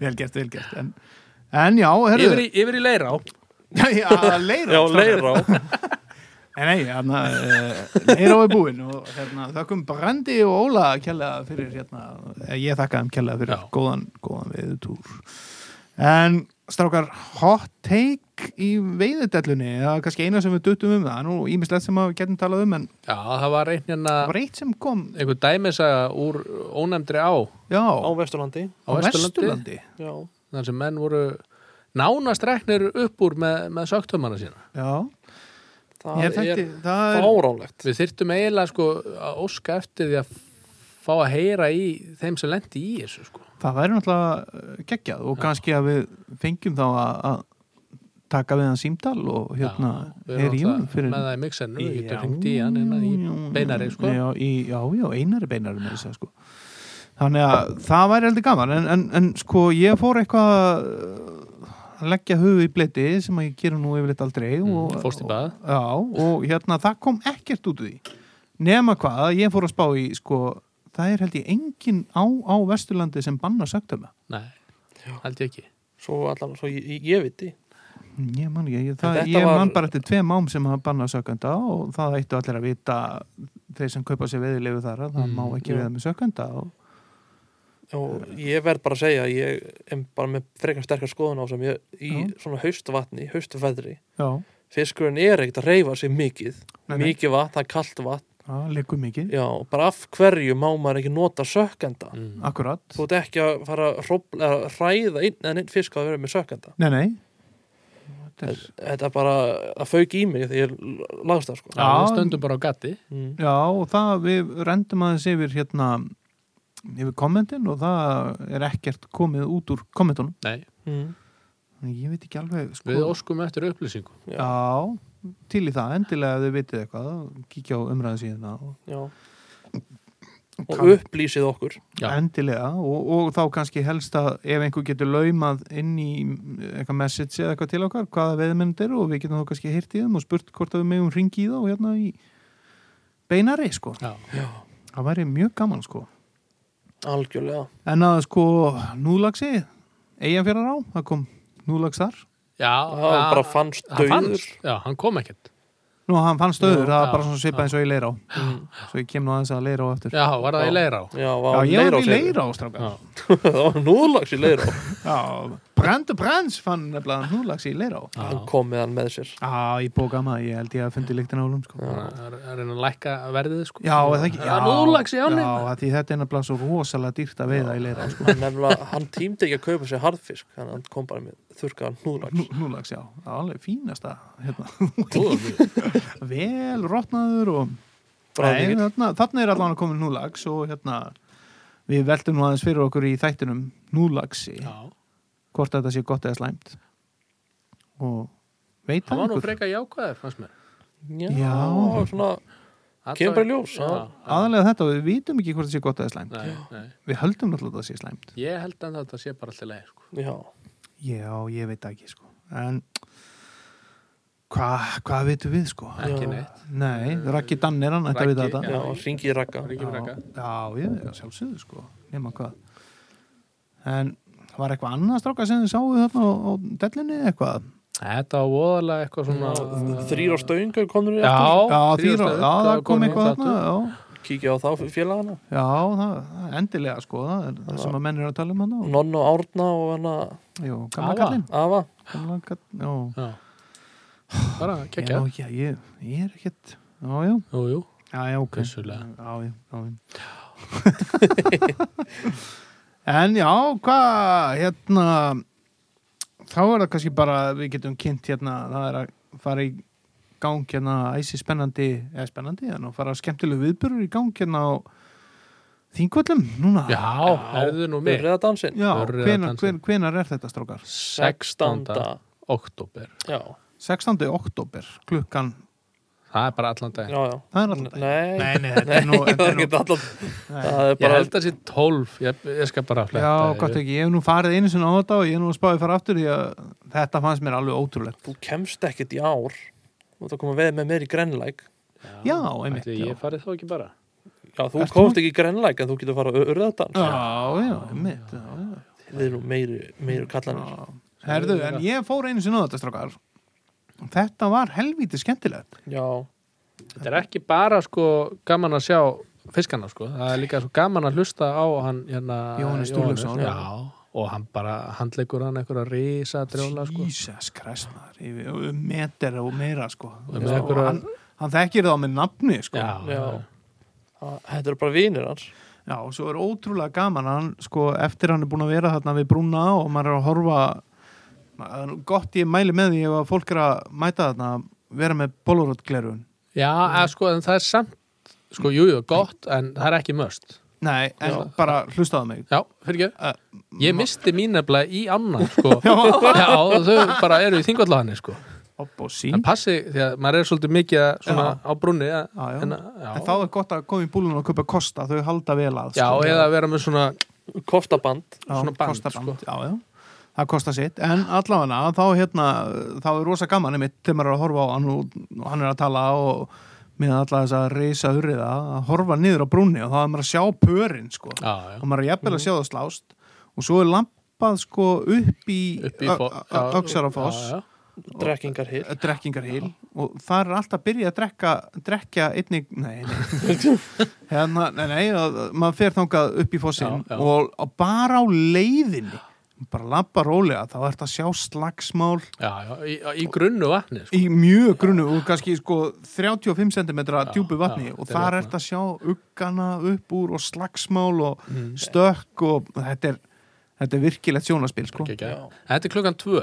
Speaker 2: vel gert, vel gert. En, en já, herðu.
Speaker 3: yfir, í, yfir í leirá
Speaker 2: [LAUGHS] Já, já, leira.
Speaker 1: Já, leirá
Speaker 2: Nei, nei, hérna, uh, Leirá er búinn og hérna, þakkum Brandi og Óla kjærlega fyrir, hérna, eh, ég þakka þeim kjærlega fyrir
Speaker 3: Já.
Speaker 2: góðan, góðan veiðutúr. En, strákar, hot take í veiðudellunni, það er kannski eina sem við duttum um það, er nú ímislegt sem að við getum talað um, en
Speaker 3: Já, það var einn hérna
Speaker 2: það var eitt sem kom,
Speaker 3: einhver dæmisaga úr ónefndri á á
Speaker 2: já,
Speaker 1: á
Speaker 2: á,
Speaker 1: Vesturlandi
Speaker 3: Vesturlandi
Speaker 2: Vesturlandi.
Speaker 1: Já,
Speaker 3: þar sem menn voru nánast reknir upp úr með, með sögtömmana sína
Speaker 2: Já,
Speaker 1: það
Speaker 2: ég þekkti, það
Speaker 1: er
Speaker 2: er,
Speaker 1: fáránlegt
Speaker 3: við þyrftum eiginlega sko að óska eftir því að fá að heyra í þeim sem lendi í þessu sko
Speaker 2: það væri náttúrulega eh, geggjað og kannski að við fengjum þá að, að taka við hann símdal og hérna,
Speaker 3: við
Speaker 2: heyra
Speaker 3: erum
Speaker 2: í honum
Speaker 3: náttúrulega
Speaker 2: fyrir
Speaker 3: með það í mixernu, við
Speaker 2: Já,
Speaker 3: getum hringt í hann innan í
Speaker 2: já,
Speaker 3: beinari sko
Speaker 2: já, í, já, já, einari beinari með þess að segja, sko þannig að það væri heldur gaman en, en, en sko ég fór eitthvað að leggja hugu í bleiti sem að ég gera nú yfirleitt aldrei og,
Speaker 3: fórst Mm, í bað.
Speaker 2: og, já, og hérna það kom ekkert út úr því nema hvað, að ég fór að spá í sko, það er held ég engin á, á Vesturlandi sem banna sögdöma
Speaker 3: Nei, held ég ekki
Speaker 1: svo allan, svo ég, ég- ég viti
Speaker 2: ég man ekki,
Speaker 1: En
Speaker 2: ég, það,
Speaker 1: þetta
Speaker 2: ég
Speaker 1: var-
Speaker 2: man bara eftir tveim ám sem hafa bannað sögenda og það eittu allir að vita þeir sem kaupa sér veðilegu þar að það
Speaker 3: Mm,
Speaker 2: má ekki
Speaker 1: já.
Speaker 2: veða með sögenda og
Speaker 1: og ég verð bara að segja að ég er bara með frekar sterkar skoðun á sem ég í
Speaker 2: Já.
Speaker 1: svona haustvatni, haustveðri
Speaker 2: já,
Speaker 1: fiskurinn er ekkert að reyfa sig mikið
Speaker 2: Nei, nei.
Speaker 1: mikið vatn, það er kalt vatn
Speaker 2: það liggur mikið
Speaker 1: já, og bara af hverju má maður ekki nota sökkenda
Speaker 3: mm.
Speaker 2: akkurat,
Speaker 1: þú ert ekki að fara að hrófla- að hræða einn eða einn fisk að vera með sökkenda
Speaker 2: nei nei þetta er
Speaker 1: þetta er bara að fauk í mig þegar ég lagst það sko
Speaker 2: Já.
Speaker 3: Já, við stöndum bara á gatti
Speaker 1: mm.
Speaker 2: Já, og það við rendum aðeins yfir hérna yfir kommentin og það er ekkert komið út úr kommentunum.
Speaker 3: Nei,
Speaker 1: Mm.
Speaker 2: Þannig Ég veit ekki alveg, sko.
Speaker 3: við óskum eftir upplýsingu
Speaker 2: Já, til í það, endilega ef þið vitið eitthvað, kíkja á umræðu síðan og
Speaker 1: Já. og
Speaker 2: Kann-
Speaker 1: upplýsið okkur
Speaker 3: Já.
Speaker 2: endilega og, og þá kannski helst að ef einhver getur laumað inn í eitthvað message eða eitthvað til okkar, hvaða veðmynd eru og við getum þá kannski heyrt í þeim og spurt hvort að við megum ringi í þá hérna í beinari, sko.
Speaker 3: Já,
Speaker 2: Það væri mjög gaman, sko.
Speaker 1: algjörlega
Speaker 2: En að sko núlagsi Eyjafjörðar á, það kom núlags þar
Speaker 3: já
Speaker 1: það bara fannst
Speaker 3: hann
Speaker 1: döður
Speaker 3: fannst, Já, hann kom ekkert
Speaker 2: Nú, hann fannst
Speaker 3: Já,
Speaker 2: öður, það
Speaker 3: já,
Speaker 2: var bara svona svipað eins og ég leir á
Speaker 1: Mm.
Speaker 2: Svo ég kem nú aðeins að leir á eftir
Speaker 3: Já, var það
Speaker 1: Já.
Speaker 3: í leira á
Speaker 1: já,
Speaker 2: Já,
Speaker 1: var
Speaker 2: ég var í
Speaker 1: leir
Speaker 2: leir á, strákar
Speaker 3: Já,
Speaker 1: [LAUGHS] það var núðlags í leir
Speaker 2: Já, Brandur Brands fann nefnilega núlags í leir á
Speaker 3: já.
Speaker 1: hann kom með hann með sér
Speaker 2: Já, ég bóka maður, ég held ég að fundi líktin á hólum sko.
Speaker 1: Já.
Speaker 3: Það er að reyna að lækka verðið sko
Speaker 2: Já, eða ekki
Speaker 3: Það er núlags í ánni
Speaker 2: Já, af því þetta er nefnilega svo rosalega dýrt að veiða í leir á sko.
Speaker 1: hann, nefnilega, hann tímdi ekki að kaupa sér harðfisk þannig að hann kom bara með þurkaðan
Speaker 2: Nú,
Speaker 1: núðlags
Speaker 2: Núlags, já, það var alveg fínasta hérna.
Speaker 3: Góður.
Speaker 2: [LAUGHS] Vel rotnaður og Nei,
Speaker 1: bráðingir
Speaker 2: þarna, þarna er allan að koma núlags og hérna við veltum nú aðeins fyrir okkur í þættinum núlagsi,
Speaker 3: Já,
Speaker 2: hvort þetta sé gott eða slæmt og veit
Speaker 3: hann var nú
Speaker 2: einhver?
Speaker 3: freka jákvæður, fannst mér
Speaker 1: já,
Speaker 2: Já.
Speaker 1: svona
Speaker 3: Alla-
Speaker 1: Kemur bara í ljós,
Speaker 3: Já,
Speaker 1: já.
Speaker 2: aðalega þetta, við vitum ekki hvort þetta sé gott eða slæmt
Speaker 3: Nei, nei.
Speaker 2: við höldum náttúrulega að þetta sé slæmt
Speaker 3: Ég held að þetta sé bara alltaf leið sko.
Speaker 1: já,
Speaker 2: já, ég veit það ekki sko en hvað hva vitum við sko
Speaker 3: Ekki
Speaker 1: Já.
Speaker 3: neitt
Speaker 2: nei, Raggi Dann er hann, þetta
Speaker 3: Raggi,
Speaker 2: við þetta
Speaker 1: já, ringið rakka
Speaker 3: Ringi
Speaker 2: Já,
Speaker 3: mér ekka
Speaker 2: já, ég er sjálfsögðu sko nema hvað en var eitthvað annað stráka sem þið sáu þarna á, á dellinni eitthvað
Speaker 3: Þetta var voðalega eitthvað svona
Speaker 1: þrýr á stöðingu komur við
Speaker 3: Já,
Speaker 2: já, því, já,
Speaker 3: þrýr á stöðum,
Speaker 2: það kom eitthvað
Speaker 3: þáttur.
Speaker 2: þarna já,
Speaker 1: kíkja á þá félagana
Speaker 2: já það, það- endilega sko það er það sem að menn eru að tala um hann og,
Speaker 1: nonn og árna og hann að
Speaker 2: jú, gamla
Speaker 3: Afa.
Speaker 2: kallinn
Speaker 1: afa
Speaker 2: gamla kallinn, já,
Speaker 3: Já. Bara
Speaker 2: já,
Speaker 3: kekja
Speaker 2: já, ég, ég er ekkert já, já,
Speaker 3: Jú, jú
Speaker 2: já, já, ok
Speaker 3: Vissulega.
Speaker 2: já, já, já, já. [LAUGHS] en já, hvað hérna þá er það kannski bara við getum kynnt hérna, það er að fara í gang hérna æsi spennandi eða spennandi, þannig að fara skemmtilegu viðbörur í gang hérna á þingvöllum núna
Speaker 3: Já, herðu nú mig
Speaker 1: byrjaða dansinn
Speaker 2: Já,
Speaker 3: Örriða
Speaker 2: hvenar, hver,
Speaker 3: dansinn.
Speaker 2: hvenar er þetta strókar?
Speaker 1: 16.
Speaker 3: oktober
Speaker 1: já,
Speaker 2: 16. oktober klukkan
Speaker 3: Það er bara allan dag
Speaker 1: já, já
Speaker 2: Það er alltaf
Speaker 1: nei,
Speaker 2: Nei, nei, [LAUGHS] þetta er
Speaker 1: [LAUGHS]
Speaker 2: nú,
Speaker 1: það er
Speaker 2: þetta er nú
Speaker 1: ekki allan
Speaker 2: nei.
Speaker 1: það er
Speaker 3: Ég
Speaker 1: bara
Speaker 3: held að sé 12 Ég, ég skal bara fletta
Speaker 2: Já, gott
Speaker 3: yfir.
Speaker 2: ekki, ég hef nú farið einu sinna á þetta og ég hef nú spáðið fara aftur því að þetta fannst mér alveg ótrúlegt
Speaker 1: þú kemst ekkert í ár þú ert að koma veið með mér í Grenlæk
Speaker 2: Já, einmitt,
Speaker 3: Ætli
Speaker 2: já.
Speaker 3: Ég farið þá ekki bara
Speaker 1: já, þú
Speaker 2: Ertu
Speaker 1: komst ekki í Grenlæk en þú getur að fara að urðadans
Speaker 2: Já, já, mitt já, já.
Speaker 1: þið eru meiri, meiri kallanir
Speaker 2: Já. Herðu, en ég fór einu sinna á þetta strákar Þetta var helvítið skemmtilegt
Speaker 1: já,
Speaker 3: Þetta er ekki bara sko gaman að sjá fiskana sko, það er líka svo gaman að hlusta á hann hérna
Speaker 2: Jóhannes Sturluson.
Speaker 3: Jóhannes, Já, og hann bara handleikur hann einhverja risa drjóla sko
Speaker 2: Jesus Christ, maður yfir- um Meter og meira, sko
Speaker 3: með
Speaker 2: Já,
Speaker 3: einhverja-
Speaker 2: hann, hann þekkir þá með nafni, sko
Speaker 3: Um Já,
Speaker 1: já Þa- þetta eru bara vinir hans
Speaker 2: Já, og svo er ótrúlega gaman að hann, sko, eftir hann er búin að vera þarna við brúna og maður er að horfa það er nú gott ég mæli með því ef að fólk er að mæta þarna að vera með bóluróttglerun
Speaker 3: Já, eða, sko, en það er samt sko, jújú, jú, gott, en það er ekki möst
Speaker 2: Nei, en
Speaker 1: Já.
Speaker 2: bara hlustaðu mig
Speaker 3: Já, fyrir ekki
Speaker 2: Eh, [LAUGHS]
Speaker 3: Ég misti mín nefnilega í annan sko Já, þau bara eru í þingvallahanni sko
Speaker 2: Hopp og sí
Speaker 3: en passi því að maður er svolítið mikið að svona
Speaker 2: Já.
Speaker 3: á brunni að,
Speaker 2: Já, já.
Speaker 3: En, að, já.
Speaker 2: En þá er gott að koma í búlun og köpa kosta þau halda vel að
Speaker 3: já,
Speaker 2: sko.
Speaker 3: eða að vera með svona
Speaker 1: koftaband
Speaker 2: Já,
Speaker 3: svona band, sko.
Speaker 2: kostaband, já, já. það kostar sitt en allavega þá, hérna, þá er rosa gaman einmitt þegar maður er að horfa á hann og, og hann er að tala og með alla þess að reysa urriða að horfa niður á brúnni og þá er maður að sjá pörin sko.
Speaker 3: já, já. Mhm.
Speaker 2: og maður er jafnvel að sjá það slást og svo er lampað sko, upp í,
Speaker 3: upp í fó- já,
Speaker 2: Öxarafoss
Speaker 3: já, já.
Speaker 1: drekkingar hér
Speaker 2: drekkingarhýl og það er alltaf byrjað að drekka, drekja einnig, nei,
Speaker 3: [LAUGHS]
Speaker 2: nei hérna, nei, nei, að- maður fer þangað upp í fósinn
Speaker 3: Já, já.
Speaker 2: og og bara á leiðinni bara labba rólega, þá ert að sjá slagsmál
Speaker 3: Já, já, í, í grunnu vatni sko.
Speaker 2: í mjög grunu og kannski sko 35 cm
Speaker 3: Já,
Speaker 2: djúpu vatni
Speaker 3: já,
Speaker 2: og
Speaker 3: þetta er
Speaker 2: þar
Speaker 3: þarna.
Speaker 2: ert að sjá uggana upp úr og slagsmál og
Speaker 3: Mm.
Speaker 2: stökk og þetta er, þetta er virkilegt sjónaspil sko.
Speaker 3: Ekki, ekki. Þetta er klukkan tvö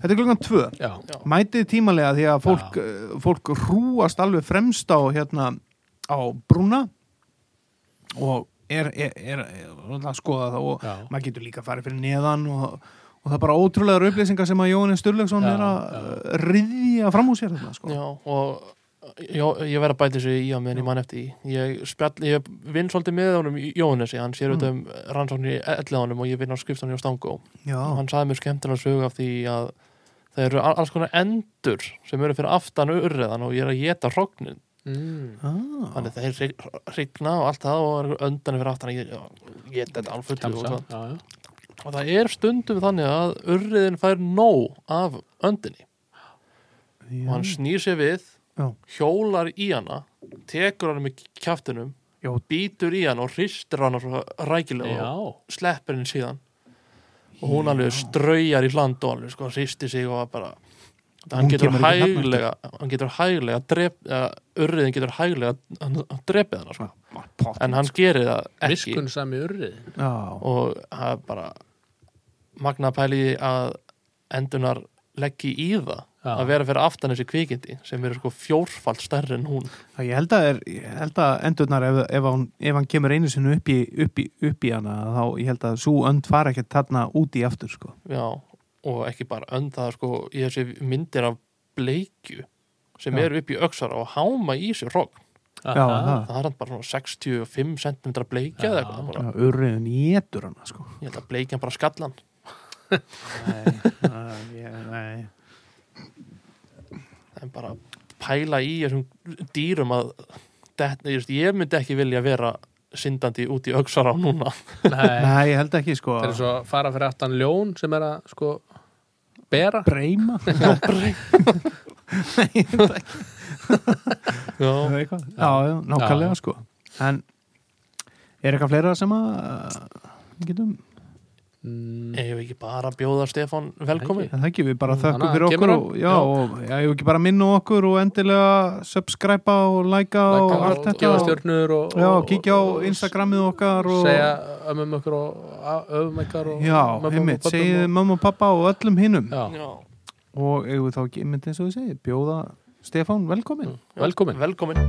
Speaker 2: Þetta er klukkan tvö
Speaker 3: Já,
Speaker 2: mætið tímalega því að fólk, eh, fólk rúast alveg fremst á hérna á brúna og er, er, er, er að skoða það og
Speaker 3: Já.
Speaker 2: maður getur líka að fara fyrir neðan og, og það er bara ótrúlega upplýsingar sem að Jóhannes Sturlaugsson
Speaker 3: Já,
Speaker 2: er að riðja fram úr sér þarna sko.
Speaker 1: Já, og já, ég verð að bæta þessu í á meðan ég man eftir í ég, spjall, ég vinn svolítið með honum í Jóhannessi, hann sér auðvitað um rannsóknir í elliðanum og ég vinn á skrifstanum hjá Stangó
Speaker 2: Já.
Speaker 1: og hann saði mér skemmtilega sögu af því að það eru al- alls konar endur sem eru fyrir aftan urriðan og ég er að geta hrognin
Speaker 3: mm.
Speaker 2: Ah.
Speaker 1: þannig að þeir hrigna og allt það og öndan fyrir aftan að ég ég geta þetta alveg fullu og,
Speaker 3: Tamsa,
Speaker 1: svona.
Speaker 3: já, já.
Speaker 1: og það er stundum þannig að urriðin fær nóg af öndinni og hann snýr sér við
Speaker 2: Já.
Speaker 1: hjólar í hana tekur hana með kjaftinum
Speaker 2: Já.
Speaker 1: býtur í hana og hristir hana svo rækilega
Speaker 3: já.
Speaker 1: og sleppir henni síðan og hún alveg straujar í land og alveg sko hristir sig og bara hann
Speaker 2: Hún
Speaker 1: getur
Speaker 2: kemur ekki þarna aftur.
Speaker 1: hæglega hann getur hæglega drep, eða, urriðin getur hæglega hann, hann drepið hana sko.
Speaker 2: Pott.
Speaker 1: en hann gerir það ekki
Speaker 3: Miskun sami urrið
Speaker 2: Já.
Speaker 1: og það er bara magna pæli að endunar leggji í það
Speaker 3: Já.
Speaker 1: að vera fyrir aftan þessi kvikindi sem eru sko fjórfald stærri en hún
Speaker 2: Já, Ég held að, er, ég held að endurnar ef, ef, hann, ef hann kemur einu sinni upp í, upp í, upp í hana þá ég held að svo önd fara ekkert þarna út í aftur sko.
Speaker 1: já, og ekki bara önd það er sko í þessi myndir af bleikju sem
Speaker 2: Já.
Speaker 1: eru upp í öxara og háma í sér hrogn
Speaker 2: Já, það.
Speaker 1: það er hann bara svona 65 cm bleikja eða
Speaker 3: Já.
Speaker 1: eitthvað bara,
Speaker 2: Já, urriðin étur hana sko
Speaker 1: ég held að bleikjan bara skallan
Speaker 2: Nei, nei, nei.
Speaker 1: það er bara pæla í þessum dýrum að þetta, ég veist, ég myndi ekki vilja vera syndandi út í öxara núna
Speaker 3: Nei,
Speaker 2: [LAUGHS] nei, ég held ekki sko
Speaker 3: það er svo að fara fyrir aftan ljón sem er að sko bera [LAUGHS]
Speaker 2: Breima Já, breima Nei,
Speaker 1: já
Speaker 2: það er eitthvað Já, já,
Speaker 3: Já, já.
Speaker 2: nákvæmlega sko En er eitthvað fleira sem að uh, getum,
Speaker 3: mm.
Speaker 1: Ég hef ekki bara að bjóða Stefán velkomin
Speaker 3: Ekki.
Speaker 2: það ekki, við bara
Speaker 3: Mm,
Speaker 2: þökkum
Speaker 3: hana,
Speaker 2: fyrir okkur
Speaker 3: kemur hann?
Speaker 2: og, já,
Speaker 3: Já.
Speaker 2: og já, ég hef ekki bara minna á okkur og endilega subscribe og likea og allt þetta
Speaker 3: gefa
Speaker 2: og-
Speaker 3: stjörnur og,
Speaker 2: Já,
Speaker 3: og-
Speaker 2: kíkja á
Speaker 3: og-
Speaker 2: Instagramið okkar og
Speaker 3: segja ömmum okkur og öfum okkar og
Speaker 2: Já,
Speaker 3: mömmum og
Speaker 2: einmitt,
Speaker 3: pöbbum
Speaker 2: segið um-
Speaker 3: og-
Speaker 2: mamma og pappa og öllum hinnum
Speaker 3: Já,
Speaker 1: Já,
Speaker 2: og eigum við þá ekki, einmitt eins og við segið bjóða Stefán velkomin
Speaker 3: velkomin
Speaker 1: velkomin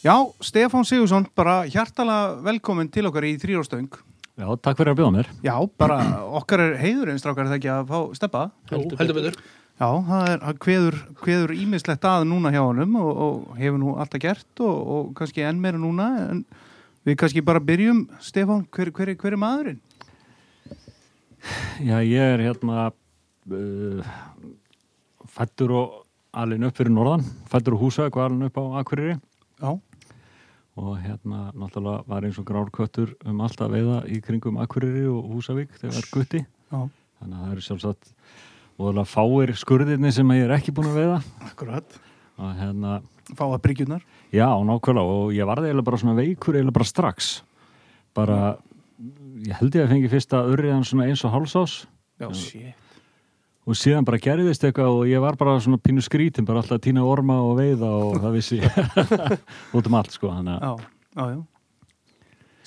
Speaker 2: Já, Stefán Sigursson, bara hjartala velkomin til okkar í þrýróstöng.
Speaker 4: Já, takk fyrir að bjóða mér.
Speaker 2: Já, bara okkar er heiðurinn, strákar, er það ekki að fá steppa.
Speaker 3: Jú,
Speaker 1: Heldur
Speaker 3: heldur betur
Speaker 2: Já, það er hann kveður, kveður ímislegt að núna hjá honum og, og hefur nú alltaf gert og, og kannski enn meira núna. En við kannski bara byrjum, Stefán, hver, hver, er- hver er maðurinn?
Speaker 4: Já, ég er hérna uh, fættur og alin upp fyrir norðan, fættur og húsauk og alin upp á Akureyri
Speaker 2: Já,
Speaker 4: og hérna náttúrulega var eins og grárköttur um allt að veiða í kringum Akureyri og Húsavík þegar var gutti.
Speaker 2: já,
Speaker 4: Þannig að það eru sjálfsagt voðalega fáir skurðirni sem ég er ekki búin að veiða
Speaker 2: akkurat.
Speaker 4: og hérna,
Speaker 2: Fá að bryggjurnar.
Speaker 4: já, nákvæmlega og ég varði eiginlega bara svona veikur eiginlega bara strax. Bara, ég held ég að fengi fyrsta urriðan svona eins og hálsás
Speaker 2: Já, sé.
Speaker 4: og síðan bara gerðist eitthvað og ég var bara svona pínu skrítin bara alltaf að týna orma og veiða og það vissi ég [LAUGHS] út um allt sko þannig
Speaker 2: Já, já, já.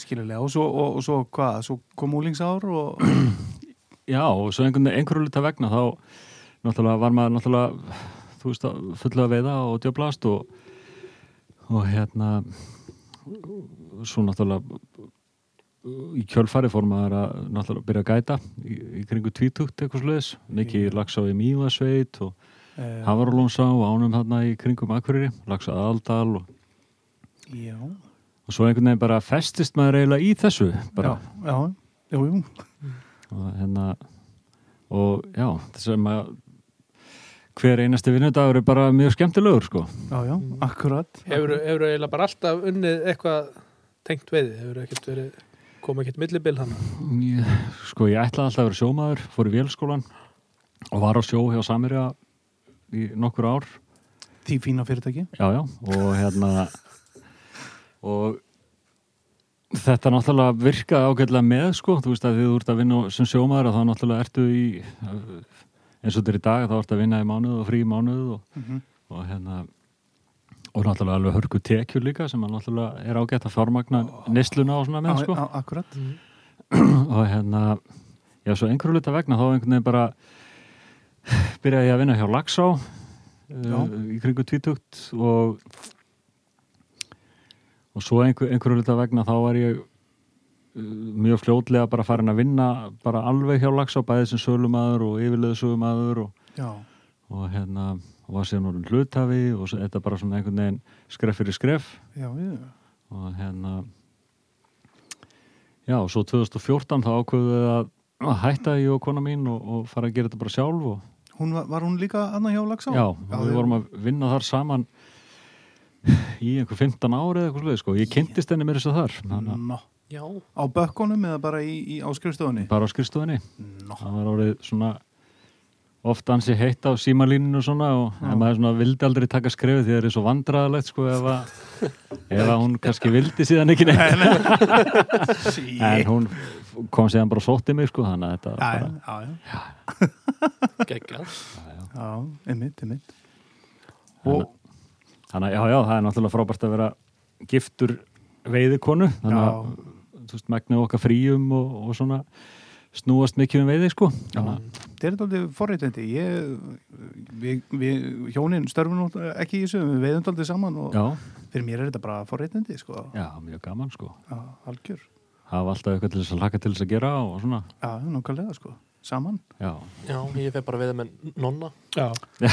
Speaker 2: Skilulega, og svo, og, og svo hvað, svo kom úlingsár
Speaker 4: [CLEARS THROAT]
Speaker 2: og...
Speaker 4: að já og svo einhvern einhverju luta vegna þá náttúrulega var maður náttúrulega þú veist að fulla að veiða og djöblast og og hérna svo náttúrulega í kjölfari fór maður að náttúrulega byrja að gæta í, í kringu tvítugt eitthvað sluðis mikið yeah. lagsa í Mývasveit og
Speaker 2: Eh,
Speaker 4: Havarlónsá og ánum þarna í kringum Akureyri, lagsa aðaldal og,
Speaker 2: já,
Speaker 4: og svo einhvern veginn bara festist maður eiginlega í þessu
Speaker 2: já,
Speaker 4: bara,
Speaker 2: já, jú, jú.
Speaker 4: og hérna og já, þess að maður hver einasti vinnudagur er bara mjög skemmtilegur sko
Speaker 2: Já, já, akkurat.
Speaker 3: Hefur þú eiginlega bara alltaf unnið eitthvað tengt veiði? Hefur þú ekkert verið koma ekkert millibil hann?
Speaker 4: Ég- Sko ég ætlaði alltaf að vera sjómaður, fór í vélskólan og var á sjó hjá Samirja í nokkur ár.
Speaker 2: Því fína fyrirtæki.
Speaker 4: Já, já, og hérna, og þetta náttúrulega virkaði ágætlega með, sko, þú veist að þið úrt að vinna sem sjómaður að þá náttúrulega ertu í, eins og þetta er í dag, þá ertu að vinna í mánuð og frí í mánuð og,
Speaker 2: Mm -hmm.
Speaker 4: og hérna, og náttúrulega alveg hörku tekjur líka sem að náttúrulega er ágætt að fjármagna nesluna og svona með, sko.
Speaker 2: akkurat.
Speaker 4: og hérna já, svo einhverju luta vegna þá einhvern veginn bara byrjaði ég að vinna hjá Laxá uh,
Speaker 2: Já.
Speaker 4: í kringu tvítugt og og svo einhver, einhverju luta vegna þá var ég uh, mjög fljótlega bara farin að vinna bara alveg hjá Laxá, bæði sem sölumæður og yfirleðsölumæður og,
Speaker 2: Já,
Speaker 4: og hérna og var síðan orðin hlutafi og svo, þetta bara svona einhvern veginn skref fyrir skref
Speaker 2: já, já.
Speaker 4: og hérna já og svo 2014 þá ákveðu við að að hætta ég og kona mín og, og fara að gera þetta bara sjálf og,
Speaker 2: Hún var, var hún líka annað hjá Lagsá?
Speaker 4: já, og við vorum að vinna þar saman í einhver 15 ári eða eitthvað sluði sko, ég kynntist henni mér þess að þar þannig
Speaker 2: Nó.
Speaker 1: Já,
Speaker 2: Á bökkunum eða bara í, í áskrifstofunni?
Speaker 4: að bara á skrifstofinni
Speaker 2: Nó.
Speaker 4: það var orðið svona oft ansi heitt á símalíninu og svona og
Speaker 2: Já.
Speaker 4: en maður svona vildi aldrei taka skrefið því það er svo vandræðalegt sko ef að, ef að hún kannski vildi síðan
Speaker 2: [LAUGHS]
Speaker 4: ekki neitt
Speaker 2: Sí.
Speaker 4: en
Speaker 2: Já,
Speaker 4: hún kom síðan bara og sótti mig sko þannig að þetta var
Speaker 2: já,
Speaker 4: bara
Speaker 2: já.
Speaker 1: geggja
Speaker 2: Já, einmitt, einmitt. Og,
Speaker 4: Þannig að já, já, það er náttúrulega frábært að vera giftur veiðikonu þannig að
Speaker 2: já,
Speaker 4: þú veist, megnið okkar fríum og, og svona snúast mikið um veiði sko þannig að
Speaker 2: þetta er aldrei forréttindi. Ég, við, við, hjónin störfum nú ekki í þessu, við veiðum aldrei saman og
Speaker 4: já,
Speaker 2: fyrir mér er þetta bara forréttindi, sko.
Speaker 4: já, mjög gaman sko
Speaker 2: Já, algjör.
Speaker 4: hafa alltaf eitthvað til þess að laka til þess að gera og svona,
Speaker 2: Já, nákvæmlega, sko. Saman.
Speaker 4: já,
Speaker 1: Já, ég fer bara að veiða með nonna
Speaker 3: Já, [LAUGHS]
Speaker 2: Já.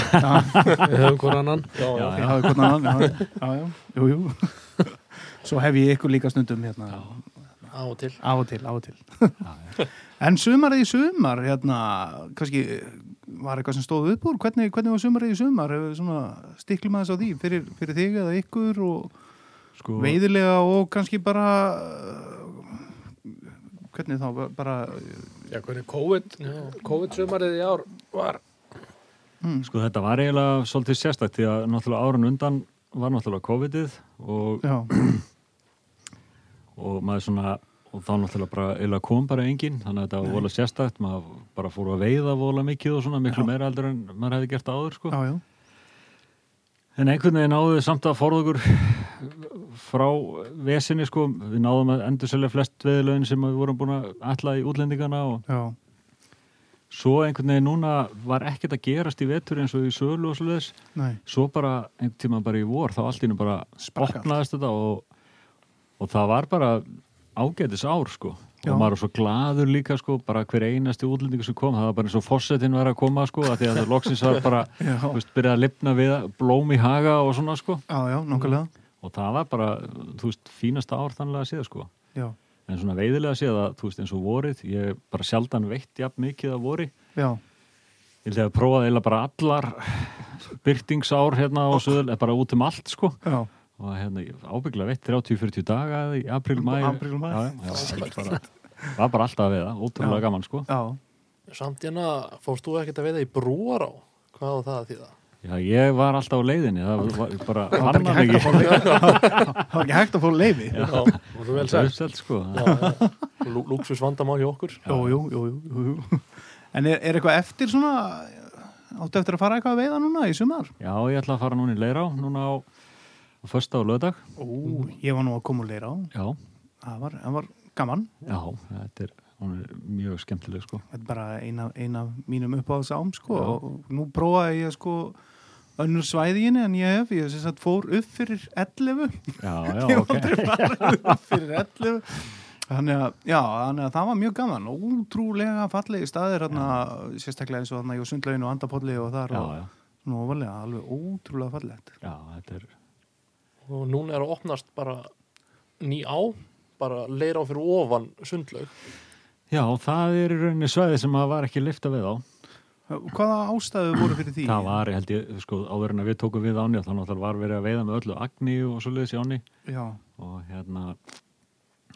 Speaker 3: við höfum hvort annan.
Speaker 4: já,
Speaker 2: Já, já,
Speaker 4: já,
Speaker 2: hvernig annan,
Speaker 4: [LAUGHS]
Speaker 2: já, já, já, jú, jú. [LAUGHS] Svo hef ég ykkur líka stundum hérna,
Speaker 1: á og til
Speaker 2: á og til, á og til. [LAUGHS] En sumarið í sumar, hérna, kannski var eitthvað sem stóð upp úr, hvernig, hvernig var sumarið í sumar, hefur svona stiklum aðeins á því fyrir, fyrir þig eða ykkur og
Speaker 4: sko
Speaker 2: veiðilega og kannski bara, uh, hvernig þá, bara,
Speaker 3: Já, hvernig COVID, COVID-sumarið í ár var
Speaker 2: mm,
Speaker 4: sko þetta var eiginlega svolítið sérstakt því að náttúrulega árun undan var náttúrulega COVID-ið og,
Speaker 2: já,
Speaker 4: og maður svona og þá náttúrulega bara eiginlega kom bara engin þannig að þetta var vola sérstakt, maður bara fór að veiða vola mikið og svona miklu meira eldur en maður hefði gert áður sko
Speaker 2: já, já,
Speaker 4: En einhvern veginn náðu við samt að forða okkur frá vesinni sko, við náðum að endur selja flest veðilögin sem við vorum búin að ætla í útlendingana og
Speaker 2: já,
Speaker 4: svo einhvern veginn núna var ekkert að gerast í vetur eins og í sölu og svoleiðis,
Speaker 2: nei,
Speaker 4: svo bara einhvern tíma bara í vor þá allt í einu bara
Speaker 2: Sparkað.
Speaker 4: opnaðist þetta og, og það var bara ágætis ár sko
Speaker 2: Já.
Speaker 4: og maður var svo gladur líka sko, bara hver einasti útlendingu sem kom, það var bara eins og fossetin var að koma sko, að
Speaker 2: [LAUGHS]
Speaker 4: því að það loksins var bara,
Speaker 2: Já.
Speaker 4: þú veist, byrjað að lifna við blóm í haga og svona sko
Speaker 2: já, já, nákvæmlega,
Speaker 4: og það var bara, þú veist, fínasta ár þannlega að séð sko,
Speaker 2: já,
Speaker 4: en svona veiðilega að séð að, þú veist, eins og vorið, ég bara sjaldan veitt jafn mikið að vori,
Speaker 2: já,
Speaker 4: ég held ég að prófaði eiginlega bara
Speaker 2: [LAUGHS]
Speaker 4: allar byrtingsár hérna og svo, bara út um allt sko,
Speaker 2: já,
Speaker 4: og hérna, ég ábygglega veitt 30-40 daga eða í april, mæ,
Speaker 2: Apríl, maí.
Speaker 4: já, já, já, ég bara, var bara alltaf við það, ótrúlega
Speaker 2: Já.
Speaker 4: gaman sko,
Speaker 2: já,
Speaker 1: Samt hérna, fórst þú ekkert að veiða í brúar á? Hvað á það að þýða?
Speaker 4: já, ég var alltaf á leiðinni, það var ég bara,
Speaker 2: Það var
Speaker 4: fann
Speaker 2: ekki
Speaker 4: hann
Speaker 2: hægt að
Speaker 4: ekki,
Speaker 2: fá leifi. Það var ekki hægt að fá leifi.
Speaker 3: Já, og þú vel
Speaker 4: Það er
Speaker 3: sagt
Speaker 4: uppselt sko,
Speaker 1: Lúksus vandamál hjá okkur
Speaker 2: Jú, jú, jú, jú, jú. En er, er eitthvað eftir svona, áttu eftir að fara eitthvað að veiða núna í sumar?
Speaker 4: já, ég ætla að fara núna í leirá, núna á, á fösta og lögdag,
Speaker 2: Ó, ég var nú að koma úr leira á.
Speaker 4: já,
Speaker 2: Það var, það var gaman.
Speaker 4: Já, þetta er, hún er mjög skemmtileg sko.
Speaker 2: Þetta er bara eina, eina mínum uppáðsám, sko.
Speaker 4: Já.
Speaker 2: Og nú prófaði ég, sko, önnur svæðinni en ég hef. Ég sem sagt fór upp fyrir 11.
Speaker 4: Já, já,
Speaker 2: [LAUGHS] Ég hef
Speaker 4: ok.
Speaker 2: aldrei farið upp fyrir 11. Þannig að, já, þannig að það var mjög gaman ótrúlega fallegi staðir þarna, sérstaklega eins og þarna í sundlauginu og andapolli og þar
Speaker 4: já,
Speaker 2: og
Speaker 4: já,
Speaker 2: nú varlega alveg ótrúlega fallegt
Speaker 4: já, þetta er
Speaker 1: og núna er að opnast bara ný á bara leira á fyrir ofan sundlaug
Speaker 4: Já, það er í rauninni svæði sem að var ekki lifta við á.
Speaker 2: Hvaða ástæðu voru fyrir því?
Speaker 4: Það var, ég held ég, sko, áður en að við tókum við áni og þá náttúrulega var verið að veiða með öllu agni og svoleiðis í áni
Speaker 2: Já,
Speaker 4: og hérna,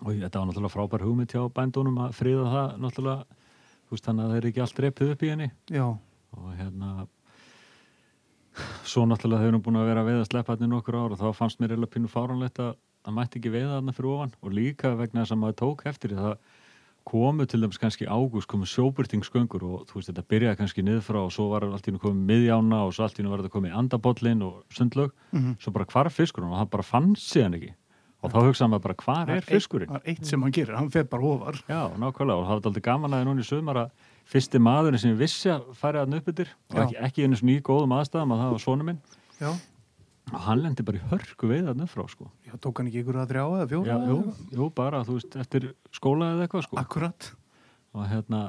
Speaker 4: og þetta var náttúrulega frábær hugmynd hjá bændunum að friða það náttúrulega, þú veist, þannig að það er ekki allt repið upp í henni
Speaker 2: já,
Speaker 4: og hérna, svo náttúrulega þau eru búin að vera að veiða slepparni nokkur ár og þá fannst mér eða pínu fáranlegt að það mætti ekki veiða þarna fyrir ofan og líka vegna þess að maður tók eftir því að það komu til dæmis kannski í ágúst komu sjóbyrtingsgöngur og þú veist þetta byrjaði kannski niður frá og svo var allt í hennu komið miðjána og svo allt í hennu var þetta komið andabollin og sundlög
Speaker 2: Mhm.
Speaker 4: svo bara hvar er fiskurinn og það bara fann síðan ekki og þá hugsaði maður bara hvar er fiskurinn
Speaker 2: Það er eitt sem hann gerir, hann fer bara ofar
Speaker 4: Já, nákvæmlega og það var aldrei gaman að því núna í sömur að fyrsti maðurinn sem ég vissi að færi hann upp yfir og
Speaker 2: Já.
Speaker 4: ekki, ekki einu svona í góðum aðstæðum að það var sonu minn
Speaker 2: Já,
Speaker 4: og hann lendi bara í hörku veið hann upp frá sko.
Speaker 2: já tók hann ekki ykkur að þrjá eða
Speaker 4: Já,
Speaker 2: fjóra?
Speaker 4: jú, jú, bara þú veist eftir skóla eða eitthvað sko.
Speaker 2: Akkurat,
Speaker 4: og hérna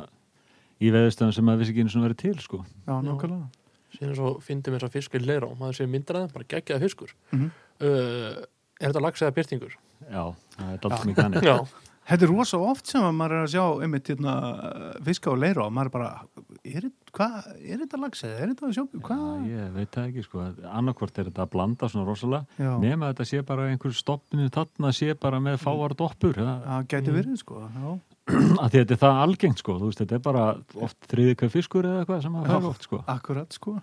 Speaker 4: í veðustöðum sem maður vissi ekki einu svona verið til sko.
Speaker 2: já, nákvæmlega
Speaker 1: síðan svo fyndum þess að fiskur leira og maður sé myndir að það, bara geggjaða fiskur
Speaker 2: Mhm.
Speaker 1: uh, er þetta lags eða byrtingur?
Speaker 4: Já, það er alltaf mikið
Speaker 1: [LAUGHS]
Speaker 4: þannig
Speaker 1: Já,
Speaker 2: Þetta er rosa oft sem að maður er að sjá einmitt hérna, fiska og leira og maður bara, er, hva, er þetta lagsið, er þetta sjóbjörn, hvað?
Speaker 4: Já, Ég veit það ekki sko, annarkvort er þetta að blanda svona rosalega,
Speaker 2: Já.
Speaker 4: nema þetta sé bara einhver stoppinu þarna sé bara með fáar doppur, það,
Speaker 2: Það gæti verið sko, já.
Speaker 4: að því þetta er það algengt sko, þú veist, þetta er bara oft þriðika fiskur eða eitthvað sem að fara oft sko.
Speaker 2: Akkurat sko.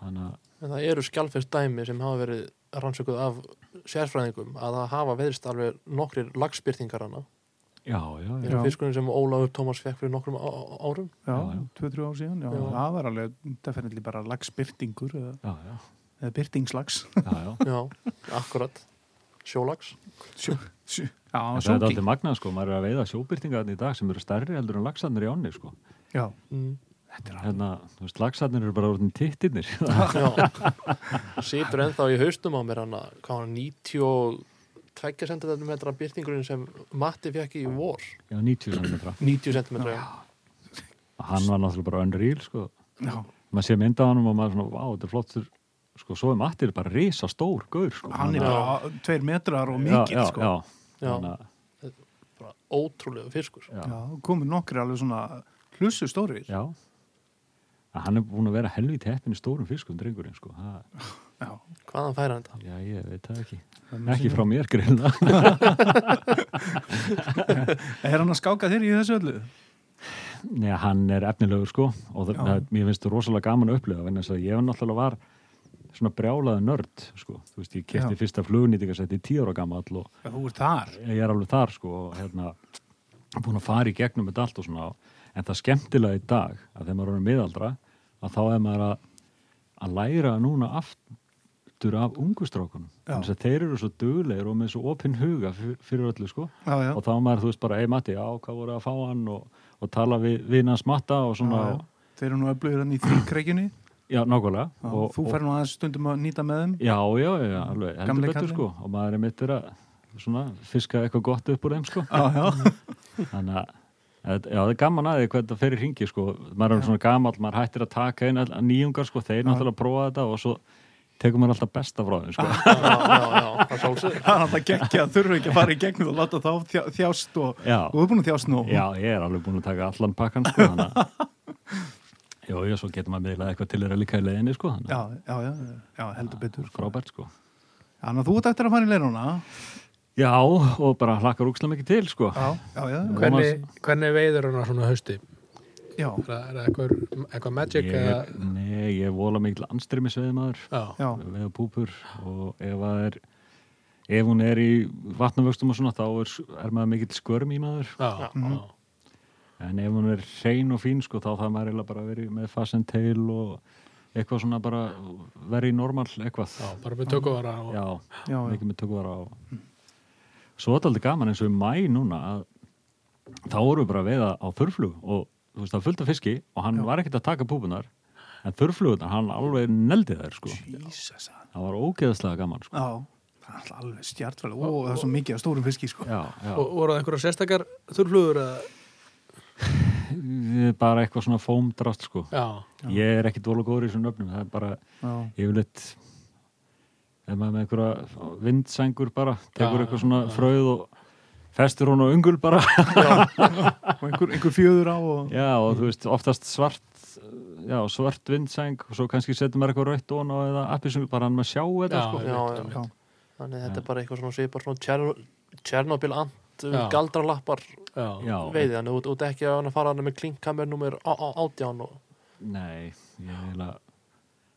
Speaker 4: Þannig að,
Speaker 1: en það eru skjálfest dæmi sem hafa verið rannsökuð af sérfræðingum að það hafa veðist alveg nokkrir lagsbyrtingar hana
Speaker 4: já, já, já,
Speaker 1: eru fiskurinn sem Ólafur Tómas fekk fyrir nokkrum á- á- árum
Speaker 2: Já,
Speaker 4: Já, já.
Speaker 2: tvö, þrjú ár síðan, já.
Speaker 1: Já.
Speaker 2: Það var alveg, þetta fyrir allir bara lagsbyrtingur eða,
Speaker 4: já, já,
Speaker 2: eða
Speaker 4: [LAUGHS]
Speaker 2: byrtingslags.
Speaker 4: já,
Speaker 2: [LAUGHS]
Speaker 4: já.
Speaker 1: já, akkurat, sjólags
Speaker 2: Sjó, sjó, já,
Speaker 4: Þetta er
Speaker 2: sjóking.
Speaker 4: alltaf magnað sko, maður er að veiða sjóbyrtingarnir í dag sem eru stærri heldur en laxarnir í ánni sko.
Speaker 2: Já,
Speaker 1: mm.
Speaker 2: þetta er alveg.
Speaker 4: Hérna, þú veist, laxarnir eru bara orðin tittirnir. sko. [LAUGHS]
Speaker 1: Já, situr ennþá í haustum á mér hann að hvað hann 92 cm byrtingurinn sem Matti fekk í vor
Speaker 4: já, 90 cm.
Speaker 1: 90 cm já.
Speaker 4: Hann var náttúrulega bara unreal sko.
Speaker 2: Já,
Speaker 4: Maður sé mynda á hann og maður er svona, vá, þetta er flottur. Sko, svo er Matti bara risa stór gaur sko.
Speaker 2: hann er
Speaker 1: Já.
Speaker 2: bara tveir metrar og
Speaker 4: Já,
Speaker 2: mikill
Speaker 4: já,
Speaker 2: sko.
Speaker 4: Já,
Speaker 1: Já.
Speaker 4: Þannig að-
Speaker 1: bara ótrúlega fiskur
Speaker 4: já.
Speaker 2: Já, komið nokkri alveg svona hlussu stórir.
Speaker 4: Já. Að Hann er búin að vera helvítið heppin í stórum fiskum, drengurinn, sko. Það,
Speaker 2: Já,
Speaker 1: hvaðan fær hann þetta?
Speaker 4: já, ég veit það ekki.
Speaker 2: Það er
Speaker 4: Ekki frá mér, grilla.
Speaker 2: er hann að skáka þér í þessu öllu?
Speaker 4: Nei, hann er efnilegur, sko. Og það,
Speaker 2: Já.
Speaker 4: það, mér finnst það rosalega gaman að upplifa, vegna þess að ég náttúrulega var svona brjálaði nörd, sko. Þú veist, ég
Speaker 2: Já.
Speaker 4: kefti fyrsta flugnýtingasætti tíu ára gamall og
Speaker 2: Já, þú ert þar.
Speaker 4: ég er alveg þar, sko, og hérna, búin að fara í gegnum þetta allt og svona. En það skemmtilega í dag, að þegar maður er orðinn miðaldra, að þá er maður að, að læra núna aftur af ungustrákunum.
Speaker 2: Já.
Speaker 4: Þannig að þeir eru svo duglegir og með svo opinn huga fyr- fyrir öllu, sko.
Speaker 2: Já, já.
Speaker 4: og þá var maður, þú veist, bara, ei Matti, já, hvað voru að fá hann og, og tala við vinnans matta og svona,
Speaker 2: Já, já. Þeir eru nú öflugir hann í þrýkreikjunni
Speaker 4: já, nákvæmlega.
Speaker 2: og
Speaker 4: og,
Speaker 2: þú fær nú aðeins stundum að nýta með þeim.
Speaker 4: Já, já, já, já, alveg, heldur
Speaker 2: Gamli
Speaker 4: betur,
Speaker 2: kallinn.
Speaker 4: sko, og maður er mittir að, svona, fiska eitthvað gott upp úr þeim, sko.
Speaker 2: Já, já.
Speaker 4: Þannig að, þetta- já, það er gaman aðeins hvað þetta fer í ringi, sko, maður er svona gamall, maður hættir að taka einn nýjungar, sko, þeir náttúrulega prófa þetta og svo tekur maður alltaf besta frá þeim, sko.
Speaker 2: [LAUGHS]
Speaker 1: já, já, já, það sjálfsög
Speaker 2: Það er alltaf gekkja, þurfa ekki að fara í gegnum og láta þá þjá, þjást og
Speaker 4: Já.
Speaker 2: og þú er búin að þjást nú.
Speaker 4: Já, ég er alveg búin að taka allan pakkan, sko, þannig að,
Speaker 2: [LAUGHS]
Speaker 4: já, já, svo getur maður miðlað eitthvað til þeirra líka í leiðinni, sko, þannig
Speaker 2: já, já, já, já, heldur betur.
Speaker 4: að, frábært, sko.
Speaker 2: Þannig að þú ert eftir að fara í leiruna.
Speaker 4: Já, og bara hlakkar úkslega mikið til, sko.
Speaker 2: Já, já, já.
Speaker 4: Thomas-
Speaker 3: Hvernig, hvernig veiður hann svona hausti?
Speaker 2: Já,
Speaker 3: Er það- er það eitthvað, eitthvað magic?
Speaker 4: Ég,
Speaker 3: eða-
Speaker 4: nei, ég er vola mikil anstrimi sveiðmaður,
Speaker 3: Já,
Speaker 2: já,
Speaker 4: veða púpur og ef það er, ef hún er í vatnavöxtum og svona, þá er, er maður mikill skörm í maður.
Speaker 3: já, já.
Speaker 4: En ef hún er hrein og fín, sko, þá það maður eiginlega bara verið með fasentail og eitthvað svona bara verið normal eitthvað.
Speaker 3: Já, bara með tökuvara og
Speaker 4: Já,
Speaker 2: já, já.
Speaker 4: mikið með tökvara á svo er þetta aldrei gaman eins og í mæ núna að þá vorum við bara að veiða á þurflug og þú veist það var fullt af fiski og hann var ekkert að taka púpunar en þurflugunar hann alveg neldi þær sko
Speaker 2: Jesus.
Speaker 4: það var ógeðslega gaman sko
Speaker 2: Já, það er alltaf alveg stjartfæli og það er svo mikið af stórum fiski sko.
Speaker 4: já, já.
Speaker 3: Og voru það einhverja sérstakar þurrflugur að...
Speaker 4: bara eitthvað svona fómdrast sko
Speaker 3: Já.
Speaker 4: ég er ekki dóla góður í þessum nöfnum það er bara
Speaker 2: Já.
Speaker 4: yfirleitt ef maður er með einhverja vindsængur bara tekur eitthvað svona fröð og festur hún á ungul
Speaker 3: [LAUGHS]
Speaker 4: bara
Speaker 2: og einhver, einhver fjöður á og...
Speaker 4: já og þú veist oftast svart já svart vindsæng og svo kannski setur maður eitthvað rautt ón á eða appisungul bara hann maður sjá þetta
Speaker 3: Já,
Speaker 4: sko
Speaker 1: já,
Speaker 3: einmitt,
Speaker 1: já.
Speaker 3: einmitt.
Speaker 2: Já.
Speaker 1: þannig að þetta er bara eitthvað svona svipar svona Tjer- Tjernobyl ant um
Speaker 3: Já.
Speaker 1: galdralappar
Speaker 3: Já.
Speaker 4: já,
Speaker 1: veiði hann, þú ert ekki að fara hann með klinkkamer nummer átján og
Speaker 4: nei ég er eiginlega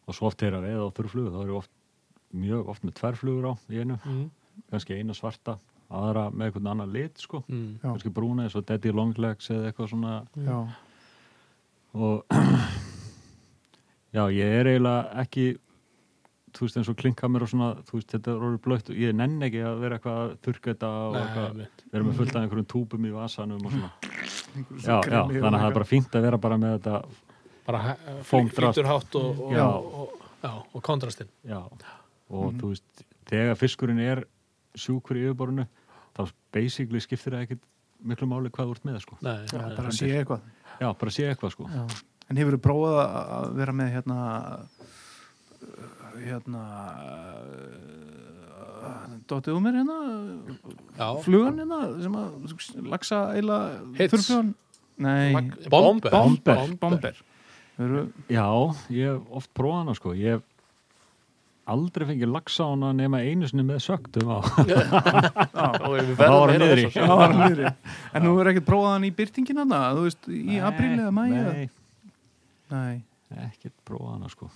Speaker 4: og svo oft er að veiða á þurrflugu þá er ég oft mjög oft með tværflugur á í einu
Speaker 3: Mm.
Speaker 4: kannski eina svarta aðra með einhvern annan lit sko
Speaker 3: Mm.
Speaker 2: Já.
Speaker 4: kannski brúna eins og Daddy Longlegs eða eitthvað svona
Speaker 2: Já.
Speaker 4: og [CLEARS THROAT] já, ég er eiginlega ekki þú veist eins og klinka mér og svona þú veist þetta er orðið blöitt og ég nenn ekki að vera eitthvað að þurrka þetta og
Speaker 3: Nei,
Speaker 4: eitthvað,
Speaker 3: einmitt.
Speaker 4: vera með fullt af einhverjum túpum í vasanum og svona
Speaker 2: Einhver
Speaker 4: já, já,
Speaker 2: grimmi og
Speaker 4: þannig að það
Speaker 2: eitthvað.
Speaker 4: er bara fínt að vera bara með þetta
Speaker 3: bara
Speaker 4: Fómdrast.
Speaker 3: flýtur hátt og, og,
Speaker 4: Já.
Speaker 3: og, já, og kontrastinn
Speaker 4: já, og þú veist þegar fiskurinn er sjúkur í yfirborinu þá basically skiptir það ekkit miklu máli hvað þú ert með sko.
Speaker 3: Nei,
Speaker 2: Já,
Speaker 3: nei,
Speaker 2: bara
Speaker 3: nei.
Speaker 2: að sé eitthvað
Speaker 4: já, bara sé eitthvað sko.
Speaker 2: En hefur þú prófað að- að vera með hérna hérna dóttið um mér hérna
Speaker 3: já.
Speaker 2: flugan hérna sem að laxa eila
Speaker 3: Hits.
Speaker 2: þurrflugan Nei,
Speaker 1: Lag-
Speaker 3: Bomber.
Speaker 2: bomber,
Speaker 3: Bomber.
Speaker 2: bomber. Eru,
Speaker 4: [LAUGHS] Já, ég hef oft prófað hana sko Ég hef aldrei fengið lagsa á hana nema einu sinni með sögtum á
Speaker 1: þá erum við verðum
Speaker 4: Þá var hann niðri.
Speaker 2: já, var hann niðri. en nú er ekkert prófað hann í byrtingin hana þú veist, [LAUGHS] í apríl eða mæ
Speaker 4: Nei,
Speaker 2: nei,
Speaker 4: ekkert prófað hana sko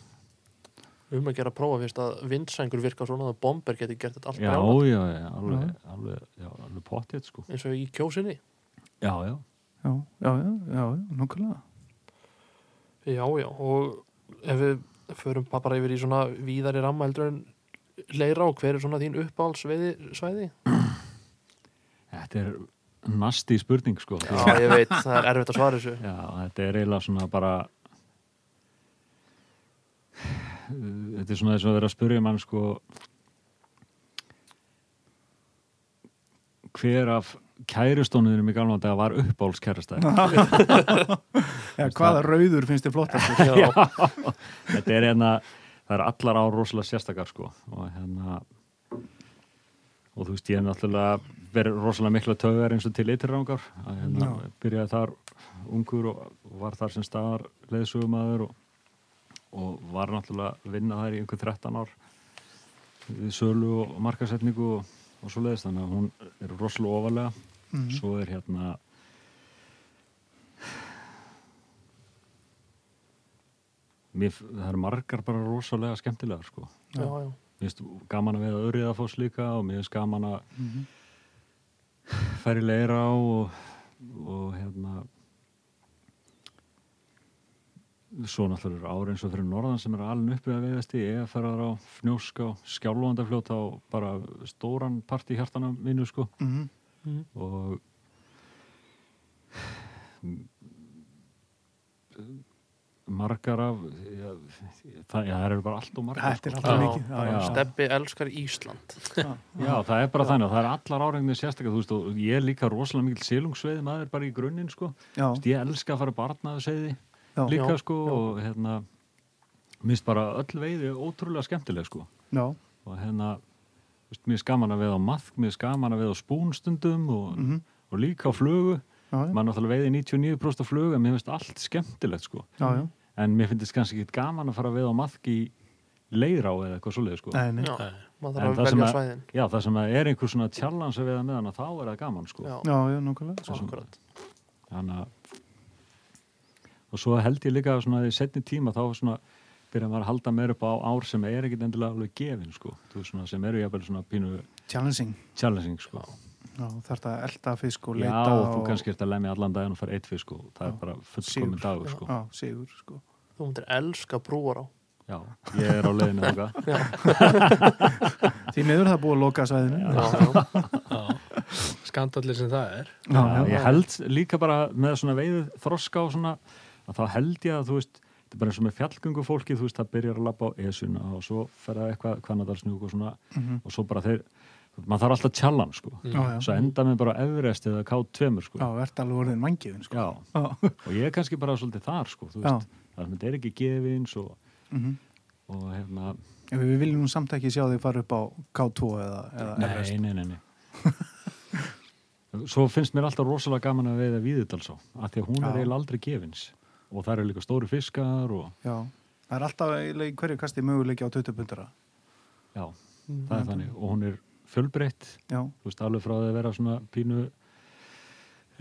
Speaker 1: um að gera prófa fyrst að vindsængur virka svona að bomber geti gert þetta allt
Speaker 4: Já,
Speaker 1: brjálað.
Speaker 4: já, já, alveg, alveg, já, alveg pottið sko
Speaker 1: eins og í kjósinni
Speaker 4: Já, já,
Speaker 2: já, já, já, já nokkulega
Speaker 1: já, já, og ef við förum bara bara yfir í svona víðari ramma heldur en leira og hver er svona þín uppáhaldsveiði svæði?
Speaker 4: þetta er nasti spurning sko
Speaker 1: Já,
Speaker 2: [LAUGHS]
Speaker 1: ég veit, það er erfitt að svara þessu
Speaker 4: Já, þetta er eiginlega svona bara Þetta er svona þess að vera að spyrja mann sko hver af kærustónuðinum í gamla dag var uppbólskærastæð
Speaker 2: já, hvaða rauður finnst þið flottast [LAUGHS]
Speaker 4: [LAUGHS]
Speaker 1: Já,
Speaker 4: Þetta er hérna, það er allar á rosalega sérstakar sko og hérna og þú veist ég er náttúrulega verið rosalega mikla tögar eins og til ytirrangar að hérna byrjaði þar ungur og var þar sem staðar leðsögumadur og, og var náttúrulega að vinna þar í einhver 13 ár við sölu og markasetningu og, og svo leiðist þannig að hún er rosalega ofalega
Speaker 2: Mhm.
Speaker 4: svo er hérna Mér, f- það eru margar bara rosalega skemmtilegar sko.
Speaker 1: já, já
Speaker 4: Mér finnst gaman að veða öryðafoss líka og mér finnst gaman að
Speaker 2: mhm,
Speaker 4: fara í leira á og, og hérna svo náttúrulega ári eins og fyrir norðan sem er alveg uppið að veiðast í eða fara á fnjóska og skjálfandafljóta og bara stóran part í hjartana mínu sko
Speaker 2: mhm.
Speaker 4: og margar af já, það, já, það eru bara allt og margar
Speaker 2: þetta er
Speaker 4: sko.
Speaker 2: alltaf
Speaker 1: Já.
Speaker 2: mikið já, já,
Speaker 4: Já.
Speaker 1: Steppi elskar Ísland
Speaker 4: Já, það er bara þannig, að það er allar áregnir sérstaklega, þú veist, og ég er líka rosalega mikil silungsveiði maður bara í grunninn, sko
Speaker 2: já,
Speaker 4: Vist, ég elska að fara barnaðu segði
Speaker 2: já, já,
Speaker 4: líka,
Speaker 1: Já,
Speaker 4: sko, og hérna minnst bara öll veiði ótrúlega skemmtileg, sko
Speaker 2: já.
Speaker 4: og hérna, þú veist, mér er skaman að veða á maðk, mér er skaman að veða á spúnstundum og,
Speaker 2: Mhm.
Speaker 4: og líka á flugu
Speaker 2: Já, já.
Speaker 4: maður náttúrulega veiði 99% á flugu en mér finnst allt skemmtilegt, sko
Speaker 2: já, já.
Speaker 4: en mér finnst kannski ekki gaman að fara að veða á maðk í leirá eða eitthvað svoleið, sko
Speaker 2: Nei, nei.
Speaker 1: Já,
Speaker 3: Nei.
Speaker 1: maður
Speaker 4: En
Speaker 1: þarf
Speaker 4: það
Speaker 1: að
Speaker 4: sem
Speaker 1: velja
Speaker 4: að-
Speaker 1: svæðin
Speaker 4: Já, það sem að er einhver svona challenge að veiða með hana, þá er það gaman sko.
Speaker 1: Já,
Speaker 2: já, já, nokkulega
Speaker 1: akkurat
Speaker 4: Þannig að og svo held ég líka að svona í setni tíma þá svona byrja maður að halda meir upp á ár sem er ekkit endilega alveg gefin sko. Þú veist svona sem eru jafnvel svona pínu
Speaker 2: challenging,
Speaker 4: challenging sko.
Speaker 2: já, þarf að elda fisk og
Speaker 4: Já,
Speaker 2: leita
Speaker 4: og þú kannski ert að lemja allan daginn og fara eitt fisk og það er bara fullkomin
Speaker 2: Sigur.
Speaker 4: dagur sko.
Speaker 2: já, sigur, sko
Speaker 1: Þú myndir elska brúar á
Speaker 4: Já, ég er á leiðinu þangað.
Speaker 2: Því miður það er búið að loka sæðinu. Já,
Speaker 1: já,
Speaker 3: skandallir sem það er
Speaker 2: já,
Speaker 4: Já, ég held líka bara með svona veiðu þroska og svona að þá held ég að þú veist þetta er bara eins og með fjallgöngu fólki þú veist, það byrjar að labba á esuna og svo fer það eitthvað kannadalsnjúk og svona og svo bara þeir, maður þarf alltaf tjallan sko,
Speaker 2: Mhm. Já, Mm, já.
Speaker 4: svo enda með bara Everest eða K2 sko
Speaker 2: Já, verðt alveg orðin mangiðin, sko.
Speaker 4: Já,
Speaker 2: Já.
Speaker 4: og ég er kannski bara svolítið þar sko, þú
Speaker 2: Já.
Speaker 4: veist, það sem þetta er ekki gefins og,
Speaker 2: Mhm.
Speaker 4: og hérna
Speaker 2: En Við viljum nú samt ekki sjá þig fara upp á K2 eða, eða Everest.
Speaker 4: Nei, nei, nei, nei. Svo finnst mér alltaf rosalega gaman að veiða Víðidalsá, af því að hún er
Speaker 2: Já.
Speaker 4: eiginlega aldrei gefins og það eru líka stóri fiskar og
Speaker 2: Já. Það er alltaf eiginlega í hverju kasti möguleiki á 20 pundara.
Speaker 4: já, [LAUGHS]
Speaker 1: Mm.
Speaker 4: það er þannig og hún er fjölbreytt,
Speaker 2: Já,
Speaker 4: þú veist, alveg frá því að vera svona pínu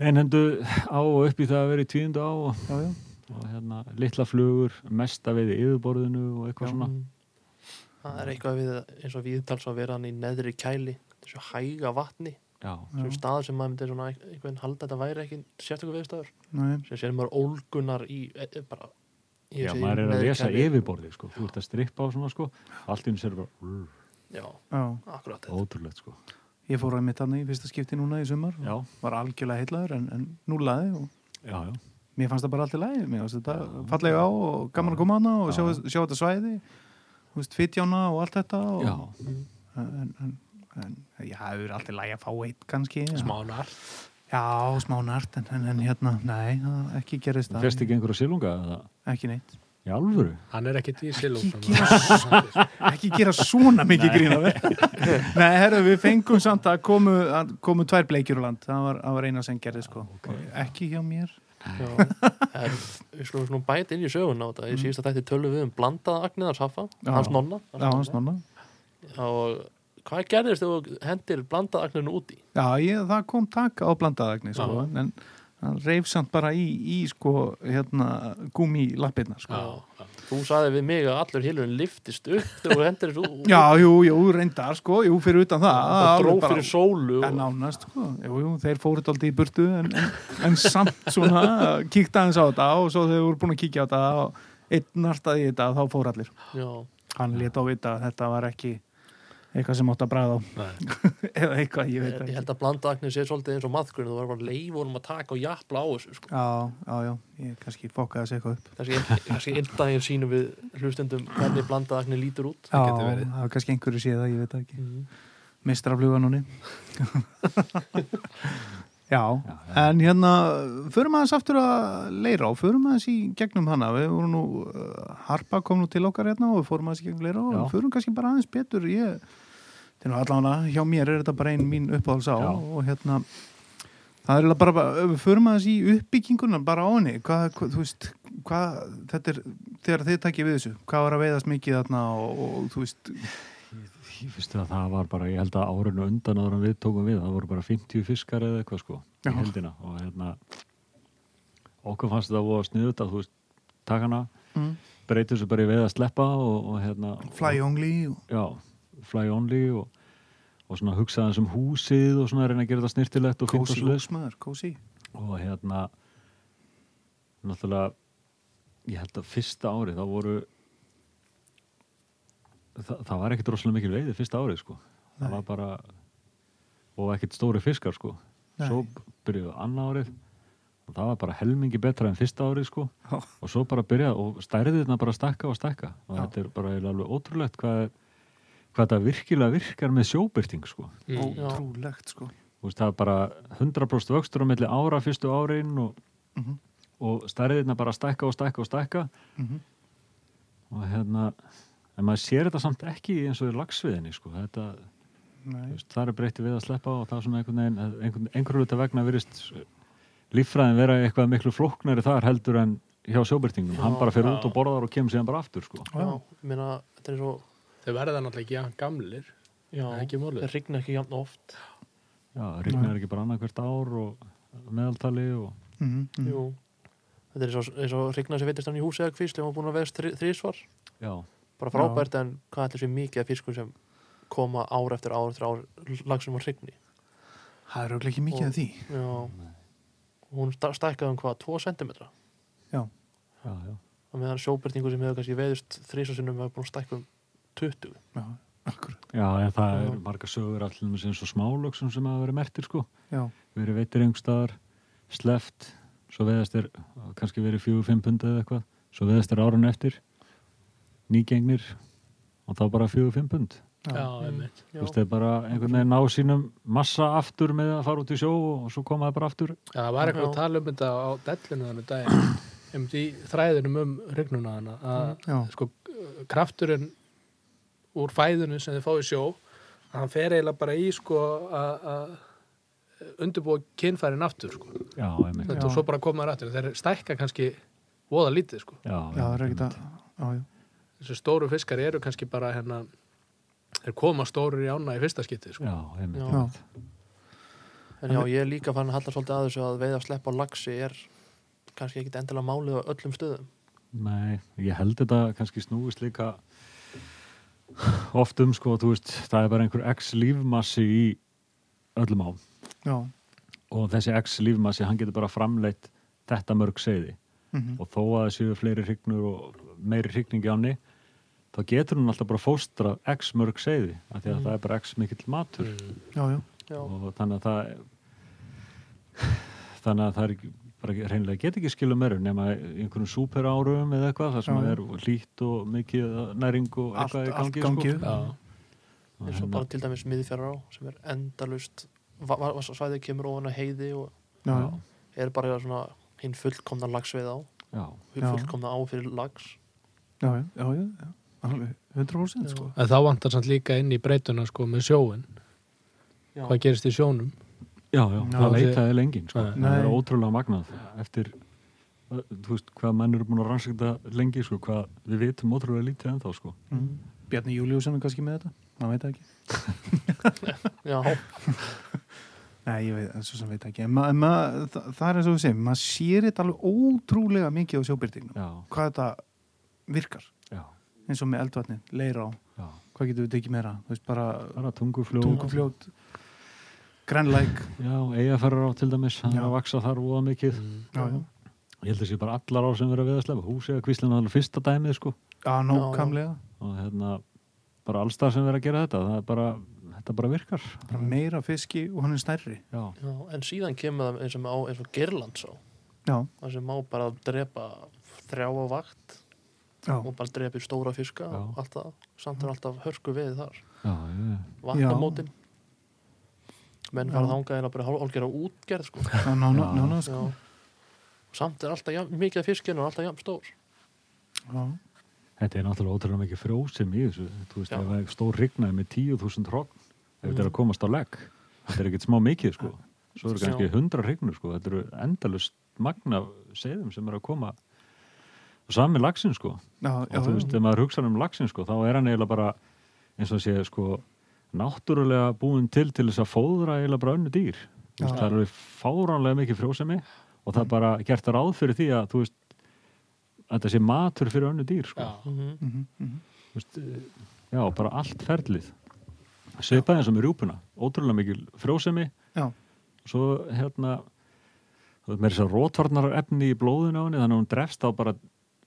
Speaker 4: einhendu á og upp í það að vera í tíundu á og,
Speaker 2: já, já.
Speaker 4: og hérna, litla flugur, mesta veiði yfirborðinu og eitthvað svona
Speaker 1: Mm. það er eitthvað við eins og viðtals að vera hann í neðri kæli þessu hæga vatni,
Speaker 4: Já,
Speaker 1: þessu
Speaker 2: Já.
Speaker 1: stað sem maður myndi svona ein- einhvern veginn halda að þetta væri ekki sérstakur viðstæður
Speaker 2: Nei.
Speaker 1: sem sér maður ólgunar í e, e, bara, ég
Speaker 4: já
Speaker 1: sé í
Speaker 4: maður er að
Speaker 1: neðri
Speaker 4: lesa
Speaker 1: kæli.
Speaker 4: yfirborðið sko, þú ert að strippa á svona sko, allt í hún sér bara rrr,
Speaker 1: já,
Speaker 2: Já.
Speaker 1: akkurat þetta
Speaker 4: ótrúlegt sko,
Speaker 2: Ég fór að mitt hann í fyrsta skipti núna í sumar.
Speaker 4: já,
Speaker 2: Var algjörlega heitlaður en, en núlaði og
Speaker 4: já, já.
Speaker 2: mér fannst það bara allt í lagi. Mér fannst þetta fallega á og gaman að koma hana og sjá, sjá þetta svæði. Þú veist, fitjána og allt þetta. Og,
Speaker 4: Já,
Speaker 2: En, en, en já, það eru allt í lagi að fá eitt kannski. en-
Speaker 3: smánar
Speaker 2: Já, smá nart, en, en, en hérna, nei, það ekki gerist
Speaker 4: það fyrst ekki einhverja silunga eða
Speaker 2: Ekki neitt.
Speaker 4: í alvöru
Speaker 3: Hann er ekkit í silum
Speaker 2: Ekki gera svona mikið grína vel. nei, herru, við fengum samt að komu, að komu tvær bleikjur úr land. Það var, það var eina sem gerði, sko. Ekki hjá mér.
Speaker 1: Já,
Speaker 2: [LAUGHS]
Speaker 1: en við slúum svona bæti inn í sögun á þetta, ég síðist að þetta tölum við um blandaða agniðars hafa,
Speaker 2: Mm. Já.
Speaker 1: hans nonna hans
Speaker 2: Já, hans nonna.
Speaker 1: nonna. og hvað gerðist þegar þú hendir blandaða agniðinu úti
Speaker 2: Já, ég, það kom taka á blandaðagni, sko. En hann reif samt bara í, í sko, hérna, gumi lappirnar, sko.
Speaker 3: Já, já.
Speaker 1: þú saði við mig að allur hilurinn liftist upp þegar þú hendir þessu út
Speaker 2: Já, jú, jú, reyndar, sko, jú, fyrir utan það.
Speaker 1: og
Speaker 2: alveg
Speaker 1: dró
Speaker 2: bara-
Speaker 1: fyrir sólu
Speaker 2: Já,
Speaker 1: og,
Speaker 2: nánast, sko. Jú, jú, þeir fóru alltaf í burtu en, en, en samt svona kíkta aðeins á þetta og svo þegar þeir voru búin að kíkja á þetta og einn nartaði í þetta þá fóru allir.
Speaker 1: já,
Speaker 2: Hann lét á vita að þetta var ekki eitthvað sem átt að bræða á [LAUGHS]
Speaker 3: Nei.
Speaker 2: eða eitthvað, ég veit
Speaker 1: ég
Speaker 2: ekki.
Speaker 1: held að blandaða agniðin sé svolítið eins og maðkurinn, þú var bara leifunum að taka og jafla á þessu sko.
Speaker 2: Já, já, já, ég kannski fokkaði þessi eitthvað upp.
Speaker 1: kannski einn- kannski einn daginn sínum við hlustendum hvernig blandaða agniðin lítur út
Speaker 2: Já,
Speaker 3: getur verið.
Speaker 2: það var kannski einhverju séð það, ég veit það ekki.
Speaker 1: Mhm.
Speaker 2: Mistrafluga núni. [LAUGHS] já,
Speaker 4: Já,
Speaker 2: en hérna, förum aðeins aftur að leira og förum aðeins í gegnum hana. Við vorum nú, uh, Harpa kom nú til okkar hérna og við fórum aðeins í gegnum leira og
Speaker 4: Já.
Speaker 2: við förum kannski bara aðeins betur. Ég, til nú allan hjá mér er þetta bara einn mín uppáhalds á
Speaker 4: Já.
Speaker 2: og hérna, það er eiginlega bara, bara, við förum aðeins í uppbygginguna bara á henni. Hvað, hvað, þú veist, hvað, þetta er, þegar þið takkið við þessu, hvað var að veiðast mikið þarna og, og þú veist,
Speaker 4: Ég finnst að það var bara, ég held að árinu undan áður en við tókum við, það voru bara 50 fiskar eða eitthvað sko,
Speaker 2: Já.
Speaker 4: í heldina og hérna okkur fannst þetta voru að sniðu þetta, þú veist takana,
Speaker 2: mm,
Speaker 4: breytir þessu bara í veið að sleppa og, og hérna
Speaker 2: fly only og,
Speaker 4: já, fly only og, og svona hugsaðan sem húsið og svona reyna að gera þetta snirtilegt og fínt og
Speaker 2: kósi
Speaker 4: svoleiðis.
Speaker 2: húsmaður, kósi
Speaker 4: og hérna náttúrulega ég held að fyrsta árið þá voru það, það var ekkit rosalega mikil veiði fyrsta árið sko
Speaker 2: Nei.
Speaker 4: það var bara og ekkit stóri fiskar sko
Speaker 2: Nei.
Speaker 4: svo byrjuðu anna árið og það var bara helmingi betra en fyrsta árið sko
Speaker 2: Já.
Speaker 4: og svo bara byrjaði og stærðirna bara stakka og stakka og
Speaker 2: Já.
Speaker 4: þetta er bara eiginlega alveg ótrúlegt hvað, hvað það virkilega virkar með sjóbyrting sko
Speaker 3: Mm.
Speaker 2: ótrúlegt sko
Speaker 4: þú veist, það er bara 100% vöxtur á milli ára fyrstu árin og,
Speaker 2: Mhm.
Speaker 4: og stærðirna bara stækka og stækka og stækka
Speaker 2: Mhm.
Speaker 4: og hérna en maður sér þetta samt ekki eins og í lagsviðinni sko, þetta, þú
Speaker 2: Nei.
Speaker 4: veist, það er breytti við að sleppa og það er svona einhvern veginn einhvern, einhvern hluta vegna virðist líffræðin vera eitthvað miklu flóknari þar heldur en hjá sjóbyrtingnum, hann bara fyrir út og borðar og kemur síðan bara aftur sko
Speaker 1: já, ég meina, þetta er svo
Speaker 3: Þau verða náttúrulega ekki jafn gamlir
Speaker 1: já,
Speaker 3: Það er ekki málið.
Speaker 1: það rigna ekki jafn oft
Speaker 4: já, rignar ekki bara annað hvert ár og meðaltali og
Speaker 2: Mhm, mhm.
Speaker 1: Jú. þetta er eins og- eins og rigna sem veitist hann í húsi eða kvist ef hann búin að veðast þrísvar
Speaker 4: já,
Speaker 1: bara frábært en hvað ætlir sér mikið af fiskur sem koma ár eftir ár eftir ár lagsum á hrygni
Speaker 2: það er auðvitað ekki mikið
Speaker 1: Og-
Speaker 2: af því
Speaker 1: Já. hún sta- stækkaði um hvað 2 cm og
Speaker 4: já, já,
Speaker 1: meðan sjóbyrtingu sem hefur kannski veðust þrísvarsinnum hefur búin að stækka um 20
Speaker 2: já, akkurat
Speaker 4: já en það
Speaker 1: Já.
Speaker 4: er marga sögur allir eins og smálöksum sem hafa verið mertir sko
Speaker 2: já,
Speaker 4: verið veitir einhver staðar, sleft, svo veðast er kannski verið fjögur, fimm pund eða eitthvað, svo veðast er árun eftir nýgengnir og þá bara fjögur fimm pund
Speaker 3: já, einmitt.
Speaker 1: Já.
Speaker 4: þú veist þeir bara einhvern veginn ná sínum massa aftur með að fara út í sjó og svo koma þeir bara aftur
Speaker 3: Já, það var eitthvað
Speaker 1: Já.
Speaker 3: að tala um þetta á dellinu þannig daginn, um því þræðinum um regnuna hana, að
Speaker 2: Já.
Speaker 3: sko, krafturinn úr fæðinu sem þið fá í sjó hann fer eiginlega bara í sko að að undirbúa kynfærin aftur sko.
Speaker 4: já, einmitt
Speaker 3: Þetta, og
Speaker 2: Já.
Speaker 3: svo bara koma þær aftur, þeir stækka kannski voða lítið sko,
Speaker 4: já,
Speaker 2: Já, það er ekkert að já, já.
Speaker 3: þessi stóru fiskar eru kannski bara hérna, þeir koma stórir í ána í fyrsta skipti sko.
Speaker 4: já, einmitt,
Speaker 1: Já.
Speaker 4: einmitt.
Speaker 1: En já, ég er líka fann að halda svolítið að þessu að veiða slepp á lagsi er kannski ekkit endilega málið á öllum stöðum.
Speaker 4: Nei, ég held þetta kannski snúist líka oft um sko, þú veist, það er bara einhver x lífmassi í öllum á
Speaker 2: já.
Speaker 4: og þessi x lífmassi, hann getur bara framleitt þetta mörg seiði
Speaker 2: mhm,
Speaker 4: og þó að það séu fleiri hrygnur og meiri hrygningi áni þá getur hún alltaf bara fóstrað x mörg seiði af því að það er bara x mikill matur
Speaker 3: Mm.
Speaker 2: já, Mm. já.
Speaker 1: Já,
Speaker 4: og þannig að það [SIGHS] þannig að það er ekki- bara ekki- reynilega get ekki skilu meiru nema í einhverjum súper árum eða eitthvað það sem
Speaker 2: Já.
Speaker 4: er hlýtt og mikið næring og
Speaker 2: Allt-
Speaker 4: eitthvað í
Speaker 2: allt
Speaker 4: gangi,
Speaker 2: gangi upp.
Speaker 4: sko.
Speaker 3: Já.
Speaker 4: Og
Speaker 1: eins og
Speaker 4: hérna-
Speaker 1: bara til dæmis miðfjara á sem er endalust svæðið kemur ofan að heiði og
Speaker 2: já, já.
Speaker 4: já,
Speaker 1: er bara svona hinn fullkomna lagsveið á
Speaker 4: já,
Speaker 1: hinn
Speaker 2: Já.
Speaker 1: fullkomna á fyrir lags
Speaker 2: Já, já, já, já, já. Alveg 100% sko.
Speaker 3: en þá vantar samt líka inn í breytuna sko með sjóin,
Speaker 1: Já,
Speaker 3: hvað gerist í sjónum
Speaker 4: já, já,
Speaker 2: Já,
Speaker 4: það
Speaker 3: þessi-
Speaker 4: leitaði lengin sko.
Speaker 3: Nei.
Speaker 4: það er
Speaker 2: Nei.
Speaker 4: ótrúlega magnað eftir uh, þú veist hvað menn eru búin að rannsakta lengi sko, hvað við vitum ótrúlega lítið ennþá sko.
Speaker 2: Mm. Bjarni Júliusson er kannski með þetta, maður veit það ekki.
Speaker 1: já,
Speaker 2: Nei, ég veit, svo sem veit það ekki. En ma, en ma, það, það er eins og við segjum, maður sér þetta alveg ótrúlega mikið á sjóbyrtingnum.
Speaker 4: já,
Speaker 2: Hvað þetta virkar,
Speaker 4: já,
Speaker 2: eins og með eldvatni, leira á,
Speaker 4: já
Speaker 2: hvað getur við tekið meira? Þú veist, bara
Speaker 4: bara tungufljóð
Speaker 2: tungufljót, grænlæk.
Speaker 4: já, eigaferrar á til dæmis,
Speaker 2: Já.
Speaker 4: það er að vaksa þar úða mikið
Speaker 2: Já, já.
Speaker 4: ég held að sé bara allar á sem verið að við að slefa húsi eða kvíslinu alveg fyrsta dæmið sko
Speaker 2: Já, nákvæmlega.
Speaker 4: og hérna bara allstar sem verið að gera þetta það er bara, þetta bara virkar
Speaker 2: Bara meira fiski og hann er stærri.
Speaker 4: já,
Speaker 1: já, en síðan kemur það eins og, á, eins og Gerland svo
Speaker 2: Já,
Speaker 1: það sem má bara drepa þrjá á vakt
Speaker 2: já.
Speaker 1: og bara drepi stóra fiska
Speaker 4: Já.
Speaker 1: og allt það, samt er alltaf hörku við þar
Speaker 4: já, já,
Speaker 1: vatnamótin menn
Speaker 2: Já.
Speaker 1: fara þangað eða bara hálfgerða útgerð sko.
Speaker 2: Ná, ná, ná, ná, ná,
Speaker 1: Já.
Speaker 2: sko.
Speaker 1: Og samt er alltaf jafn, mikið af fiskinu og alltaf jafn stór
Speaker 2: Já,
Speaker 4: þetta er náttúrulega ótrúlega mikið frjósum í þessu þú veist,
Speaker 1: Já.
Speaker 4: ef það er stór rignaði með 10.000 hrogn ef þetta er að komast á legg þetta er ekkert smá mikið sko svo eru kannski
Speaker 1: Já.
Speaker 4: 100 hrygnur sko þetta eru endalust magna seðum sem eru að koma og sami lagsin sko
Speaker 2: já, já.
Speaker 4: og þú veist, ef maður hugsa um laxin sko, þá er hann eiginlega bara eins og sé sko náttúrulega búin til til þess að fóðra eiginlega bara önnu dýr Þú veist,
Speaker 2: Já.
Speaker 4: það er alveg fáránlega mikið frjósemi og það er bara gert ráð fyrir því að þú veist að þetta sé matur fyrir önnu dýr sko.
Speaker 3: já,
Speaker 1: Mhm.
Speaker 2: Mhm, mhm.
Speaker 4: Þú veist, eh, já, bara allt ferlið sveipaði eins og með rjúpuna ótrúlega mikið frjósemi
Speaker 2: Já,
Speaker 4: svo hérna þú veist, með þess að rótvarnar efni í blóðinu á henni þannig að hún drefst á bara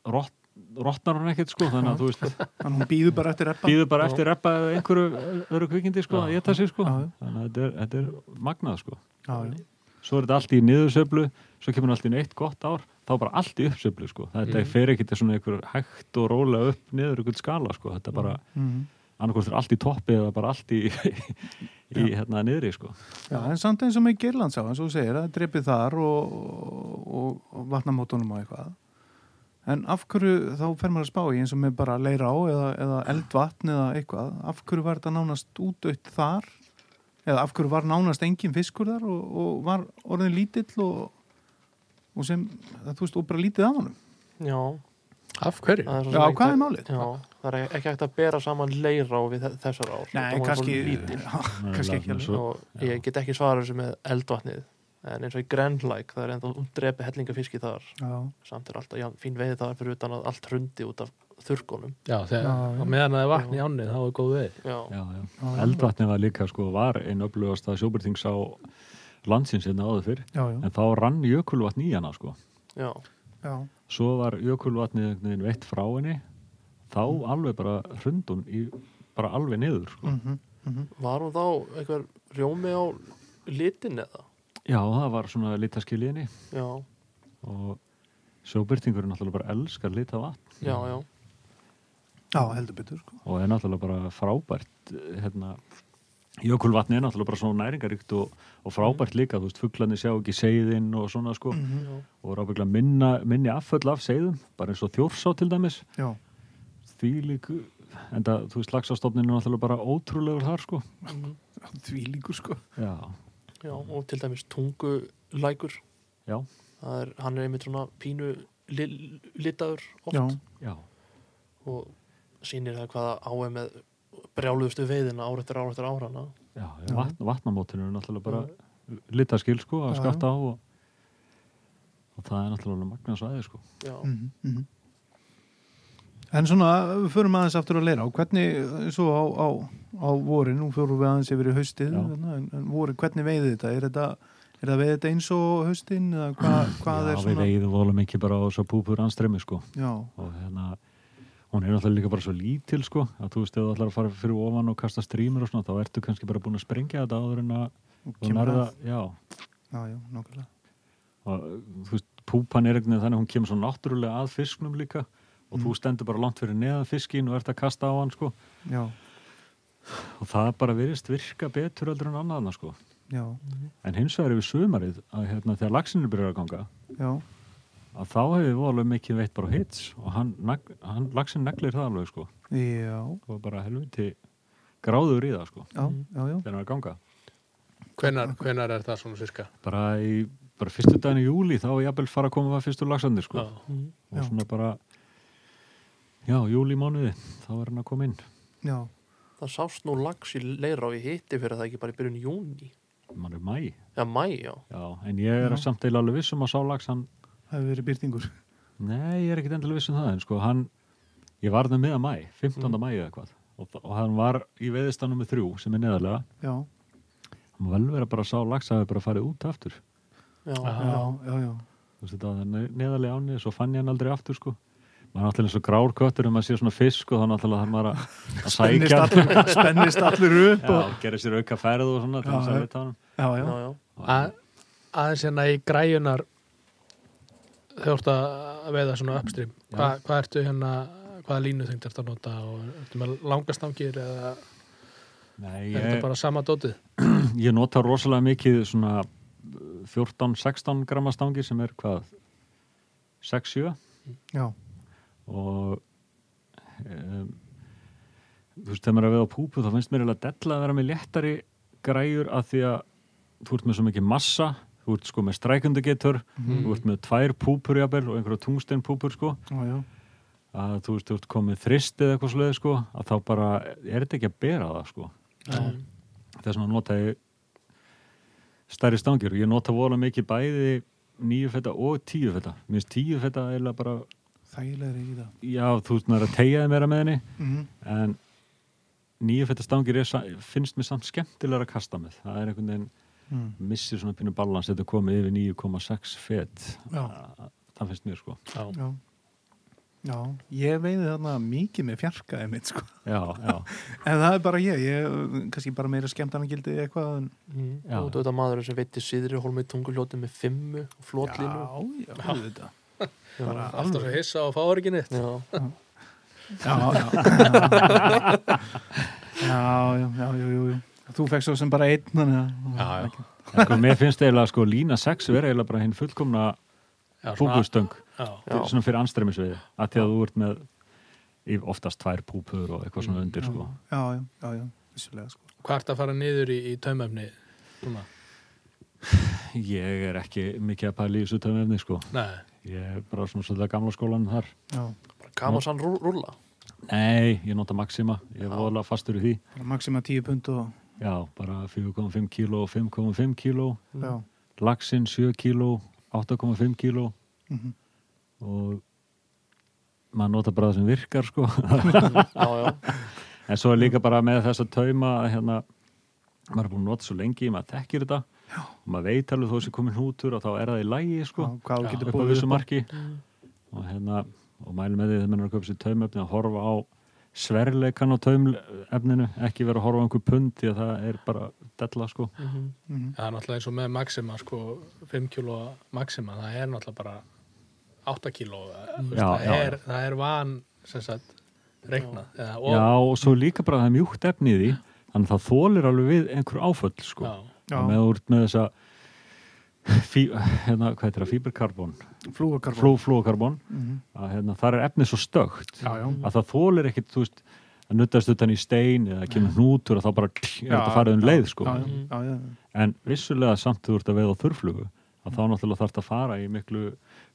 Speaker 4: rott, rottnar hún ekkert sko þannig að þú veist
Speaker 2: þannig hún býður bara eftir eppa.
Speaker 4: býður bara eftir reppa eða einhverju öðru kvikindi sko að geta sig sko
Speaker 2: Já, já.
Speaker 4: þannig að þetta er, þetta er magnað sko
Speaker 2: Já, já.
Speaker 4: svo er þetta allt í niðursöflu svo kemur allt í einu eitt gott ár þá bara allt í uppsöflu sko þetta
Speaker 3: Mhm.
Speaker 4: fer ekkert svona einhver hægt og rólega upp niður einhvern skala sko þetta er bara
Speaker 2: Mhm.
Speaker 4: annarkvort er allt í toppi eða bara allt í, [LAUGHS] í hérna niðri sko
Speaker 2: Já, en samt eins og með Gerlands á, eins og þú segir að drepið þar og, og, og vatnamótunum og eitthvað. En af hverju þá fer maður að spá í eins og með bara leira á eða, eða eldvatn eða eitthvað, af hverju var þetta nánast útdött þar? Eða af hverju var nánast engin fiskur þar og, og var orðin lítill og, og sem, þú veist, og bara lítið af honum?
Speaker 1: já,
Speaker 3: af hverju?
Speaker 1: það er svo
Speaker 2: Já,
Speaker 1: sem ekki-
Speaker 2: hvað er málið?
Speaker 1: já, það er ekki hægt að bera saman leirá við þe- þessar ár
Speaker 2: Nei,
Speaker 1: Þetta var
Speaker 2: kannski,
Speaker 1: svo lítil.
Speaker 2: já, [LAUGHS] kannski ekki alveg.
Speaker 4: Svo-
Speaker 1: og ég get ekki svara þessu með eldvatnið en eins og í Grandlæk það er ennþá hún drepi hellingafiski þar
Speaker 2: Já,
Speaker 1: samt er alltaf já, fín veiði þar fyrir utan að allt hrundi út af þurrkunum
Speaker 3: Já, þegar,
Speaker 2: Já, já.
Speaker 3: á meðan það er vatn í ánni þá er góð veið.
Speaker 1: já,
Speaker 4: já, já.
Speaker 2: Já, já.
Speaker 4: eldvatni var líka sko var einn öflugasta sjóbyrtings á landsins hérna áður fyrr
Speaker 2: já, já,
Speaker 4: en þá rann jökulvatn í hana sko
Speaker 1: já,
Speaker 2: já,
Speaker 4: svo var jökulvatnið einhvern veginn veitt frá henni þá alveg bara hrundun í, bara alveg niður sko.
Speaker 2: mhm, mhm.
Speaker 1: var hún þá einhver rjómi á litin eða
Speaker 4: já, það var svona litaskiljiðni
Speaker 1: já,
Speaker 4: og sjóbyrtingur er náttúrulega bara elskar lit af vatn
Speaker 1: já, já,
Speaker 2: Já, heldur betur sko.
Speaker 4: og er náttúrulega bara frábært eh, hérna, jökulvatni er náttúrulega bara svona næringaríkt og, og frábært
Speaker 2: Mm.
Speaker 4: líka, þú veist, fugglarnir sjá ekki seiðin og svona sko
Speaker 2: Mhm.
Speaker 1: já.
Speaker 4: og er ábyggla minna, minni afföll af seiðum bara eins og þjórsá til dæmis
Speaker 2: Já,
Speaker 4: því lík, enda þú veist, lagsastofnin er náttúrulega bara ótrúlegur þar sko
Speaker 2: því líkur sko
Speaker 4: já,
Speaker 1: já og til dæmis tungulækur
Speaker 4: já,
Speaker 1: það er, hann er einmitt svona pínu li, litaður oft
Speaker 2: Já,
Speaker 4: já
Speaker 1: og sýnir það hvaða áið með brjáluðustu veiðina ár eftir ár eftir árana
Speaker 4: Já,
Speaker 2: Já.
Speaker 4: já. Vatn, vatnamótinu er náttúrulega bara litaskil sko að
Speaker 2: Já,
Speaker 4: skatta á og, og það er náttúrulega alveg magnað svæði sko.
Speaker 1: já,
Speaker 2: mhm, mhm. En svona, við förum aðeins aftur að leira á hvernig, svo á, á, á vorin, nú förum við aðeins yfir í haustið
Speaker 4: Já.
Speaker 2: hérna, en, en vorin, hvernig veiði þetta? Er þetta, er þetta veiði þetta eins og haustin eða hva, hvað
Speaker 4: já,
Speaker 2: er
Speaker 4: við
Speaker 2: svona?
Speaker 4: veiðum vola mikið bara á svo púpur anstremi sko
Speaker 2: Já,
Speaker 4: og hérna hún er náttúrulega líka bara svo lítil sko að þú veist ef þú ætlar að fara fyrir ofan og kasta strímur og svona þá ertu kannski bara búin að sprengja þetta áður en að
Speaker 2: og
Speaker 4: þú
Speaker 2: kemur
Speaker 4: nærða,
Speaker 2: að.
Speaker 4: já
Speaker 2: Já, já, nokkulega.
Speaker 4: og þú veist púpan er einhvern veginn þannig að hún kemur svo náttúrulega að fisknum líka og
Speaker 2: Mm.
Speaker 4: þú stendur bara langt fyrir neðan fiskin og ert að kasta á hann sko
Speaker 2: Já,
Speaker 4: og það bara virðist virka betur heldur en annaðna sko
Speaker 2: já,
Speaker 4: En hins vegar yfir sumarið að hérna, þegar laxinu byrjar að ganga
Speaker 2: já,
Speaker 4: að þá hefur við alveg mikið veitt bara á hits og hann, nagl, hann laxin neglir það alveg sko
Speaker 2: já,
Speaker 4: og bara helviti gráður í það sko
Speaker 2: já, já, já.
Speaker 4: þegar hann er að ganga.
Speaker 3: Hvenar, hvenar er það svona sirka?
Speaker 4: Bara í bara fyrstu daginn í júli þá er jafnvel fara að koma að fyrstu laxandi sko
Speaker 3: Já.
Speaker 1: Mhm.
Speaker 4: og
Speaker 2: Já.
Speaker 4: svona bara já, júli mánuði þá er hann að koma inn
Speaker 2: já.
Speaker 1: það sást nú lags í leira og ég hitti fyrir það ekki bara í byrjun júni
Speaker 4: mann er mæ,
Speaker 1: eða mæ, já,
Speaker 4: já, en ég er
Speaker 2: Já.
Speaker 4: samt eil alveg viss um að sá lax hann,
Speaker 2: Það hefur verið byrtingur.
Speaker 4: nei, ég er ekkit endilega viss um það en sko hann, ég um var það með að mæ 15. Mm. mæ eða hvað og, og hann var í veðistanum með þrjú sem er neðarlega
Speaker 2: Já,
Speaker 4: Það má vel vera bara að sá lax að það bara farið út aftur.
Speaker 1: já,
Speaker 3: Aha.
Speaker 1: já.
Speaker 2: já, já, já.
Speaker 4: Þú veist þetta, það er neðalega ánið, svo fann ég hann aldrei aftur sko. Maður er náttúrulega eins og grár köttur um að sé svona fisk og þá náttúrulega þarf maður að,
Speaker 2: [LAUGHS]
Speaker 4: að
Speaker 2: Spennist
Speaker 4: sækja.
Speaker 2: allur, spennist allur upp.
Speaker 4: Já,
Speaker 2: Og,
Speaker 4: gerir sér auka ferð og svona til
Speaker 2: Já,
Speaker 4: þess að
Speaker 2: já.
Speaker 4: vita hann.
Speaker 2: já, já,
Speaker 1: Já,
Speaker 2: já,
Speaker 1: já.
Speaker 3: Að- aðeins hérna í græjunar þegar þú ert að veiða svona uppstrým Hva, hvað ertu hérna hvaða línu þengt ertu að nota og ertu með langastangir eða
Speaker 4: Nei,
Speaker 3: er þetta
Speaker 4: ég,
Speaker 3: bara sama dótið
Speaker 4: ég nota rosalega mikið svona uh, 14-16 gramma stangir sem er hvað? 6-7
Speaker 2: já,
Speaker 4: og um, þú veist, þegar maður er að veða á púpu þá finnst mér eiginlega della að vera með léttari græjur af því að þú ert með svo mikið massa, þú ert sko með strækundugetur, þú ert með tvær púpur jafnvel og einhverja tungstein púpur sko
Speaker 2: já,
Speaker 4: að þú veist, þú ert komið þrist eða eitthvað sluðið sko, að þá bara er þetta ekki að bera það sko þess að nota ég stærri stangir og ég nota vola mikið bæði nýju feta og tíu feta mér finnst tíu feta eiginlega bara
Speaker 2: þægilegri í það.
Speaker 4: já, þú veist, maður er að tegja þeim meira með henni
Speaker 2: Mhm.
Speaker 4: en nýju fettastangir er, sa- finnst mér samt skemmtilega að kasta með það er einhvern veginn,
Speaker 2: Mm.
Speaker 4: missir svona pínu balans þetta er komið yfir 9,6 fett
Speaker 2: Já.
Speaker 4: Þa- það finnst mér sko
Speaker 3: já,
Speaker 2: Já. Já, ég veiði þarna mikið með fjarkaði mitt sko.
Speaker 4: já, já,
Speaker 2: En það er bara ég, ég kannski bara meira skemmtarnagildi eða eitthvað. En...
Speaker 1: Mm.
Speaker 4: Já.
Speaker 1: og þetta maður sem veitir síðri hólmi tunguljóti með fimmu og flotlínu
Speaker 2: Já, já, þetta.
Speaker 1: Já.
Speaker 2: Bara
Speaker 3: alltaf svo hissa og fáur ekki neitt
Speaker 1: Já.
Speaker 2: Já, já. [LAUGHS] já, já, já, já, já, já. Þú fekst svo sem bara einn, þannig að...
Speaker 3: Já, já.
Speaker 4: en sko mér finnst eiginlega sko lína 6 vera eiginlega bara hinn fullkomna
Speaker 3: Já, svona-
Speaker 4: púpustöng
Speaker 3: já,
Speaker 1: Já.
Speaker 4: svona fyrir anstremisviði að því að þú ert með í- oftast tvær púpur og eitthvað svona undir sko
Speaker 2: Já, já, já, já, vissulega sko.
Speaker 3: hvað ertu að fara niður í, í taumöfni núna?
Speaker 4: ég er ekki mikið að pæla í þessu tömefni sko
Speaker 3: Nei,
Speaker 4: ég er bara svona svolítið að gamla skólanum þar
Speaker 2: Já,
Speaker 1: bara kamasan rú- rúlla
Speaker 4: Nei, ég nota Maxima, ég er voðalega fastur í því.
Speaker 2: bara maxima 10 pund og...
Speaker 4: Já, bara 4,5 kíló, 5,5 kíló,
Speaker 2: Já,
Speaker 4: laxinn 7 kíló, 8,5 kíló
Speaker 2: mhm.
Speaker 4: og maður nota bara það sem virkar sko. [LAUGHS]
Speaker 1: já, já,
Speaker 4: en svo er líka bara með þess að tauma að hérna, maður er búin að nota svo lengi, maður þekkir þetta og maður veit alveg þó þessi komin hútur og þá er það í lægi
Speaker 2: Já,
Speaker 4: sko,
Speaker 2: hvað þú
Speaker 3: Já,
Speaker 2: getur
Speaker 4: upp á
Speaker 2: búið
Speaker 4: vissu marki og hérna, og mæli með því þegar maður er að köpa sér taumöfni að horfa á sverleikan á taumöfninu, ekki vera að horfa á einhver pund því að það er bara della sko.
Speaker 2: Mhm.
Speaker 3: það er náttúrulega eins og með Maxima sko, 5 kilo Maxima, það er náttúrulega bara 8 kíló eða, þú veist,
Speaker 4: Mm. Já,
Speaker 3: það,
Speaker 4: já,
Speaker 3: er- það er van sem sagt, reiknað eða, og,
Speaker 4: Já, og svo líka bara það er mjúkt efni í því þannig að það þólir alveg við einhver áföll sko.
Speaker 3: já,
Speaker 2: Já.
Speaker 4: með úr með þessa fí, hérna, hvað heitir það, fíberkarbon
Speaker 2: flúakarbon
Speaker 4: fló, flókarbon
Speaker 2: Mhm.
Speaker 4: að hérna, þar er efnið svo stögt
Speaker 2: já, já.
Speaker 4: að það þólir ekkit, þú veist að nuttast utan í stein eða kemur hnútur og þá bara er
Speaker 2: Já,
Speaker 4: þetta farið um
Speaker 2: já,
Speaker 4: leið sko.
Speaker 2: já, já, já, já.
Speaker 4: en vissulega samt þú ert að veða á þurrflugu að þá náttúrulega þarf þetta að fara í miklu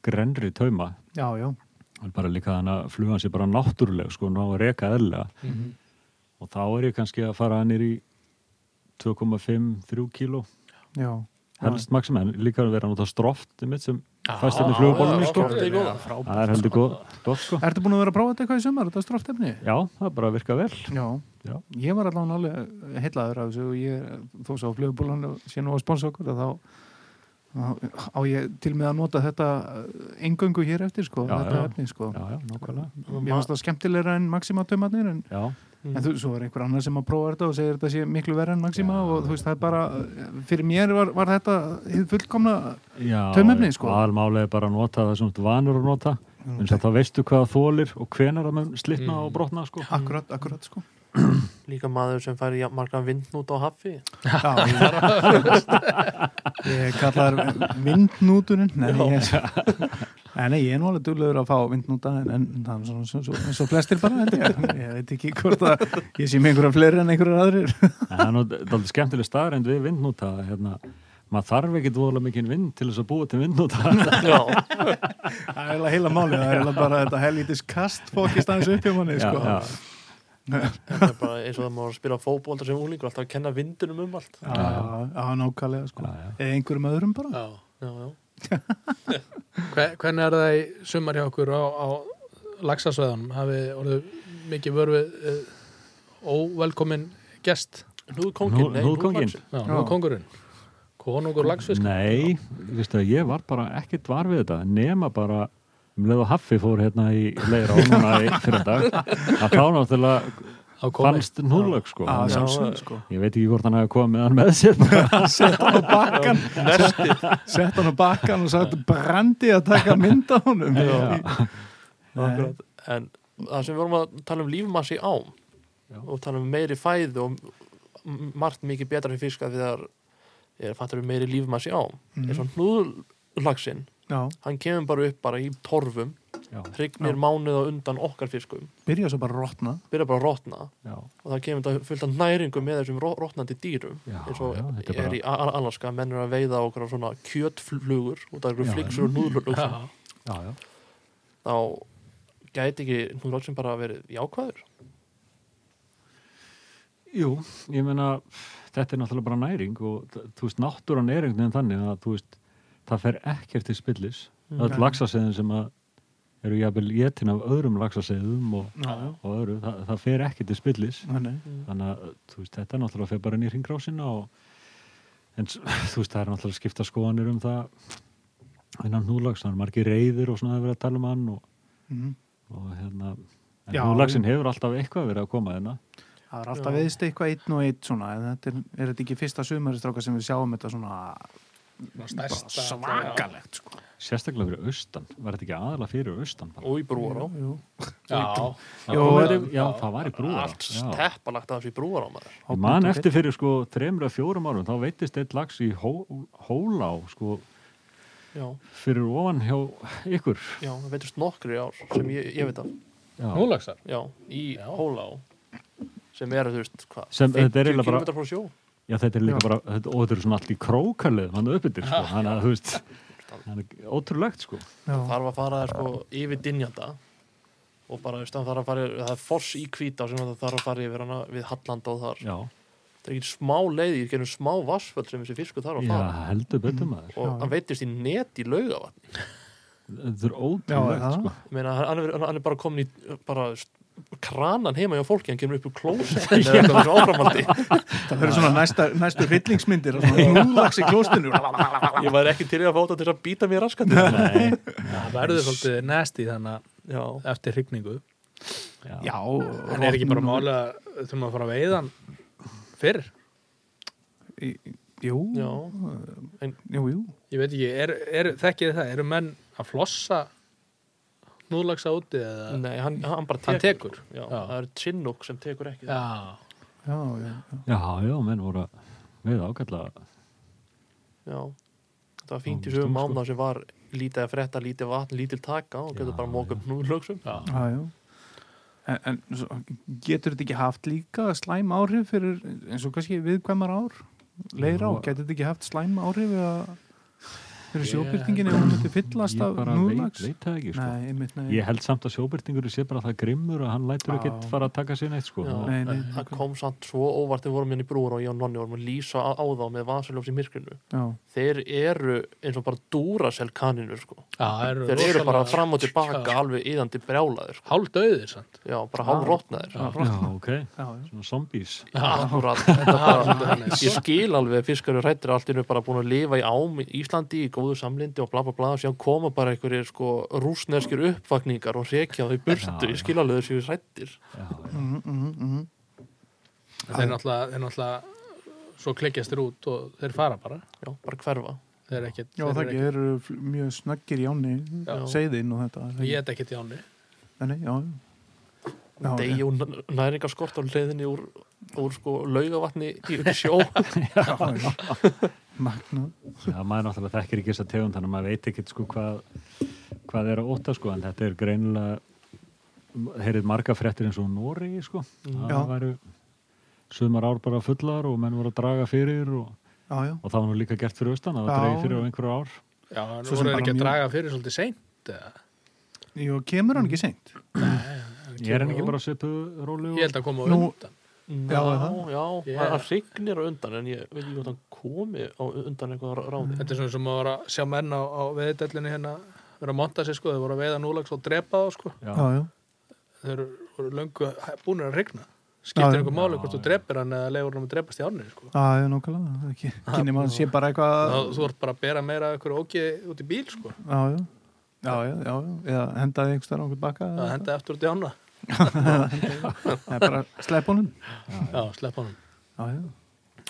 Speaker 4: grenri tauma
Speaker 2: já, já.
Speaker 4: Það er bara líka þannig að flugan sé bara náttúruleg sko, ná að reka eðlega og þá er ég kannski að fara nýr í 2,5-3 kíló
Speaker 2: já.
Speaker 4: helst maximum, en líka að vera að nota stroft mitt sem
Speaker 3: Já,
Speaker 4: fæst hérna í
Speaker 1: já,
Speaker 4: flugubólunum sko.
Speaker 1: stroft er góð.
Speaker 4: það er heldur góð, gott sko
Speaker 2: Ertu búin að vera að prófa þetta eitthvað í sumar, þetta stróftefni?
Speaker 4: já, það er bara að virka vel
Speaker 2: Já.
Speaker 4: Já.
Speaker 2: Ég var allan alveg heillaður af þessu og ég, þó sá flugubólan sé nú að sponsa okkur að þá þá á ég til með að nota þetta engöngu hér eftir sko,
Speaker 4: Já,
Speaker 2: þetta
Speaker 4: já.
Speaker 2: efni sko.
Speaker 4: já, já, nákvæmlega
Speaker 2: Mér finnst það skemmtilegra en Maxima tömarnir en,
Speaker 4: já,
Speaker 2: en þú, svo er einhver annar sem að prófa þetta og segir þetta sé miklu verra en Maxima og þú veist það er bara, fyrir mér var, var þetta hið fullkomna
Speaker 4: já
Speaker 2: Taumefni, sko. Mm.
Speaker 4: aðalmálega er bara að nota það sem þú ert vanur að nota eins og þá veistu hvað það þólir og hvenar það mun slitna og brotna sko
Speaker 2: akkurat, akkurat sko
Speaker 1: líka maður sem fær jafn marga vindnút á hafi
Speaker 2: Já, ég var að Ég kallar vindnúturinn Nei, ég, nei, nei, ég er nú alveg duglegur að fá vindnúta en, en það er svona svo, svo, svo flestir bara held ég. ég veit ekki hvort að ég sé með einhverja fleiri en einhverjar aðrir
Speaker 4: En það er náttúrulega skemmtileg staðarind við vindnúta hérna, maður þarf ekki dvoðlega mikinn vind til þess að búa til vindnúta
Speaker 1: [LAUGHS] já,
Speaker 2: Það er eiginlega heila málið, það er eiginlega bara þetta helítis kast fókist aðeins upp hjá manni
Speaker 4: Já,
Speaker 2: sko.
Speaker 4: já.
Speaker 1: þetta er bara eins og það maður spila fótbolta sem úlingur alltaf að kenna vindunum um allt já,
Speaker 2: Já, já, nákvæmlega sko.
Speaker 4: Já, já.
Speaker 2: Eða einhverjum öðrum bara
Speaker 3: já.
Speaker 1: já.
Speaker 3: Hve- Hvernig er það í sumar hjá okkur á, á laxasveðanum? Hafið orðið mikið vörfið uh, óvelkomin gest?
Speaker 1: hnúðkongin,
Speaker 4: Hnúð-
Speaker 1: nei,
Speaker 4: hnúðkónginn.
Speaker 1: hnúðlaxinn.
Speaker 3: Já, nú
Speaker 2: Já.
Speaker 3: er kongurinn. Konungur laxfisk?
Speaker 4: Nei, viðstu, að ég var bara ekkert var við þetta nema bara um leið og Haffi fór hérna í leira núna í fyrir dag að þá náttúrulega
Speaker 3: Á komi.
Speaker 4: fannst núlög sko
Speaker 2: Já,
Speaker 4: Þannig að-
Speaker 2: sjálfsögðu, sko.
Speaker 4: ég veit ekki hvort hann hafi komið með hann með sér bara.
Speaker 2: Sett hann á bakkan
Speaker 1: [LAUGHS]
Speaker 2: Sett hann á bakkan og sagt brandi að taka mynda honum
Speaker 4: Já.
Speaker 1: Akkurat. en það sem við vorum að tala um lífmassi ám
Speaker 4: Já.
Speaker 1: og tala um meiri fæðu og m- margt mikið betra fyrir fiska því það er fattur um meiri lífmassi ám
Speaker 2: Mhm.
Speaker 1: eins og hnúðlagsinn
Speaker 2: Já,
Speaker 1: hann kemur bara upp bara í torfum
Speaker 4: Já,
Speaker 1: hrygnir
Speaker 2: Já.
Speaker 1: mánuð á undan okkar fiskum
Speaker 2: byrja svo bara að rotna
Speaker 1: byrja bara að rotna
Speaker 4: já,
Speaker 1: og það kemur þetta fullt af næringum með þessum ro- rotnandi dýrum
Speaker 4: Já,
Speaker 1: eins og
Speaker 4: já, þetta er
Speaker 1: er
Speaker 4: bara-
Speaker 1: í A- A- Alaska mennur að veiða okkur á svona kjötflugur og það eru
Speaker 4: Já.
Speaker 1: fliksur og
Speaker 3: Já,
Speaker 1: núðlöksum
Speaker 4: já, já.
Speaker 1: þá gæti ekki núðlöksum bara verið jákvæður
Speaker 4: Jú, ég meina þetta er náttúrulega bara næring og þ- þú veist, náttúran er einhvern veginn þannig að þú veist, það fer ekkert til spillis öll laxaseiðin sem að eru jafnvel getin af öðrum laxaseiðum og,
Speaker 2: Já, já.
Speaker 4: og öðru, það, það fer ekki til spillis
Speaker 2: Þannig.
Speaker 4: þannig að þú veist, þetta er náttúrulega fer bara inn í hringrásina og en s- [LAUGHS] þú veist, það er náttúrulega skipta skoðanir um það innan núlags, það er margir reyðir og svona að vera að tala um hann og,
Speaker 2: Mhm.
Speaker 4: og hérna en
Speaker 2: Já.
Speaker 4: núlagsin hefur alltaf eitthvað verið að koma hérna
Speaker 2: Það er alltaf
Speaker 1: Já.
Speaker 2: viðst eitthvað einn og einn svona en þetta er, er þetta ekki fyrsta sumaristráka sem við sjáum þetta svona
Speaker 3: svona stærsta.
Speaker 2: svakalegt sko.
Speaker 4: sérstaklega fyrir austan, var þetta ekki aðalega fyrir austan bara?
Speaker 1: og í brúará
Speaker 2: Jú.
Speaker 3: Já,
Speaker 4: Það
Speaker 2: Jó,
Speaker 4: kom
Speaker 2: er-
Speaker 4: verið- já, það var í brúðar
Speaker 1: allt steppalagt af þessu í brúará maður
Speaker 4: Ég man eftir fyrir sko þremur að fjórum árum þá veitist eitt lags í hó, hólá sko
Speaker 1: já,
Speaker 4: fyrir ofan hjá ykkur
Speaker 1: já, það veitist nokkri ár sem ég, ég veit af,
Speaker 4: já.
Speaker 3: núlagsar.
Speaker 1: já, í hólá sem eru, þú veist, hvað
Speaker 4: Sem- þetta er
Speaker 1: 50
Speaker 4: eiginlega bara-
Speaker 1: km frá sjó
Speaker 4: Já, þetta er líka
Speaker 2: Já.
Speaker 4: bara, þetta, og þetta eru svona allt í krókalið, hann er uppbyttir,
Speaker 2: [LAUGHS]
Speaker 4: sko, hann er, þú veist, hann er ótrúlegt, sko.
Speaker 2: Já,
Speaker 1: þarf að fara sko, yfir dinjanda og bara, þú veist, hann þarf að fara það er foss í kvítá sem það þarf að fara yfir hana við Hallanda og þar
Speaker 4: Já,
Speaker 1: það er ekki smá leið, ég gerum smá vassföld sem þessi fiskur þarf að
Speaker 4: já
Speaker 1: fara
Speaker 4: heldur betur maður.
Speaker 1: og hann veitist í net í laugavatn
Speaker 4: Þetta er
Speaker 2: Já, er
Speaker 4: ótrúlegt,
Speaker 2: það?
Speaker 4: sko.
Speaker 1: ég meina, hann, hann, er- hann er bara komin í bara, þú veist, kranan heima hjá fólki hann kemur upp úr
Speaker 4: [LAUGHS]
Speaker 1: klósetin eða eitthvað þessu áframaldi
Speaker 2: það verður svona næsta, næstu hryllingsmyndir og svona núlags í klóstinu
Speaker 1: ég væri ekki til í að fóta til að býta mér raskandi
Speaker 4: Nei,
Speaker 3: Það verður svolítið næsti þannig
Speaker 1: já,
Speaker 3: að eftir hrygningu.
Speaker 4: já,
Speaker 2: Já,
Speaker 3: Hann er ekki bara málega, þurfum að fara að veiða hann fyrr.
Speaker 2: Í- Jú,
Speaker 1: já,
Speaker 2: jú, jú
Speaker 3: Ég veit ekki, er, er, þekkið þið það, eru menn að flossa snúðlags úti eða
Speaker 1: Nei, hann, hann bara tekur,
Speaker 3: hann tekur?
Speaker 1: Já,
Speaker 3: Já.
Speaker 1: það er Chinook sem tekur ekki
Speaker 3: Já,
Speaker 2: já, já.
Speaker 4: sko. Já, já, menn voru að veiða ágætlega
Speaker 1: Já. þetta var fínt í
Speaker 4: Já,
Speaker 1: sögum
Speaker 4: stór, sko.
Speaker 1: mánuð sem var lítið að frétta, lítið vatn, lítil taka og getur
Speaker 4: Já, Mm,
Speaker 1: bara móka upp núðlöksum
Speaker 3: já.
Speaker 2: Já, já. En, en svo, getur þetta ekki haft líka slæm áhrif fyrir eins og kannski viðkvæmar ár leira á,
Speaker 4: Já.
Speaker 2: getur þetta ekki haft slæm áhrif eða fyrir
Speaker 3: Ég-
Speaker 2: sjóbyrtingin ef hún myndi fyllast
Speaker 4: Ég
Speaker 2: af
Speaker 4: bara veit,
Speaker 2: núðlags
Speaker 4: veit það ekki sko.
Speaker 2: Nei, einmitt, nei,
Speaker 4: Ég held samt að sjóbyrtingur sé bara það grimmur að hann lætur
Speaker 2: Já.
Speaker 4: ekkert fara að taka sér neitt sko.
Speaker 1: Já.
Speaker 2: nei, nei,
Speaker 1: það kom samt svo óvart við vorum hérna í brúur og ég og Nonni vorum að lýsa á, á þá með vasaljós í myrkrinu
Speaker 2: já,
Speaker 1: þeir eru eins og bara dúrasel kaninur sko.
Speaker 3: Já, það eru
Speaker 1: þeir eru
Speaker 3: rosalega-
Speaker 1: bara fram og tilbaka
Speaker 3: Já.
Speaker 1: alveg íðandi brjálaðir sko.
Speaker 3: Hálf döðir, sant?
Speaker 1: já, bara
Speaker 2: Já.
Speaker 1: hálfrotnaðir
Speaker 3: Já.
Speaker 4: Já, ok,
Speaker 2: já, já.
Speaker 4: svona zombies
Speaker 1: [LAUGHS] Akkurat,
Speaker 3: Já,
Speaker 1: þetta
Speaker 3: þannig.
Speaker 1: bara ég skil alveg að fiskar og hrættir allt innur bara búin að lifa í ám í Íslandi í góðu samlindi og bla bla bla og síðan koma bara einhverjir sko rúsneskir uppvakningar og rekja þau í burtu,
Speaker 4: Já,
Speaker 1: ég skil alveg þessi hrættir
Speaker 4: Já, já.
Speaker 2: Mm, mm, mm.
Speaker 3: Þeir náttúrulega, þeir náttúrulega svo klikkjast þeir út og þeir fara bara
Speaker 1: já, bara hverfa
Speaker 3: Þeir er ekkit
Speaker 2: já
Speaker 3: þeir
Speaker 2: það
Speaker 3: eru
Speaker 2: ekki, þeir eru fl- mjög snaggir í áni
Speaker 3: Já.
Speaker 2: seiðin og þetta
Speaker 3: ekkit- Ég get ekkit í áni
Speaker 2: Nei, nei, já, já, já,
Speaker 1: degi og næringarskort á leiðinni úr, úr sko laugavatni í út í sjó
Speaker 2: [LAUGHS] já, já. Magna
Speaker 4: Já, maður náttúrulega þekkir ekki þess að tegund þannig að maður veit ekkert sko hvað hvað er að óta sko, en þetta er greinilega heyrið marga fréttir eins og Noregi sko,
Speaker 2: Já.
Speaker 4: það væru sumar ár bara fullar og menn voru að draga fyrir og,
Speaker 2: Já, já,
Speaker 4: og það var nú líka gert fyrir austan að
Speaker 2: Já.
Speaker 4: það dregi fyrir á einhverju ár
Speaker 3: Já, en
Speaker 2: Svo sem
Speaker 3: voru þeir
Speaker 2: bara
Speaker 3: ekki að
Speaker 2: mjög-
Speaker 3: draga fyrir svolítið seint eða?
Speaker 2: Jú, kemur hann ekki seint?
Speaker 4: Ég er hann ekki bara að setja róli og
Speaker 3: Ég held að koma á
Speaker 2: Nú-
Speaker 3: undan
Speaker 1: já,
Speaker 2: Já, er
Speaker 1: já,
Speaker 2: það?
Speaker 3: Já.
Speaker 1: það yeah. signir á undan en ég veit ekki hvort hann komi á undan eitthvað ráði
Speaker 3: Þetta er svona sem að vera að sjá menn á, á veðdellinu hérna vera að monta sér sko, þeir voru að veiða núlags og drepa þá sko
Speaker 4: Já.
Speaker 2: Já, já,
Speaker 3: þeir eru- voru löngu búinir að regna skiptir
Speaker 2: Já, já.
Speaker 3: einhver máli hvort
Speaker 4: Já,
Speaker 3: þú drepir hann eða leifur hann að drepast í árni sko.
Speaker 2: já, já, nákvæmlega það er ekki, kynni maður sé bara eitthvað
Speaker 3: Þá- þú ert bara að bera meira af einhverju ógið út í bíl sko.
Speaker 2: Já, já, já, já, já, já. eða hendaði einhvers þar á einhvern bakka
Speaker 3: að henda eftir út í ána
Speaker 2: [LAUGHS] eða bara slepp honum
Speaker 3: já, slepp honum
Speaker 2: Já, já,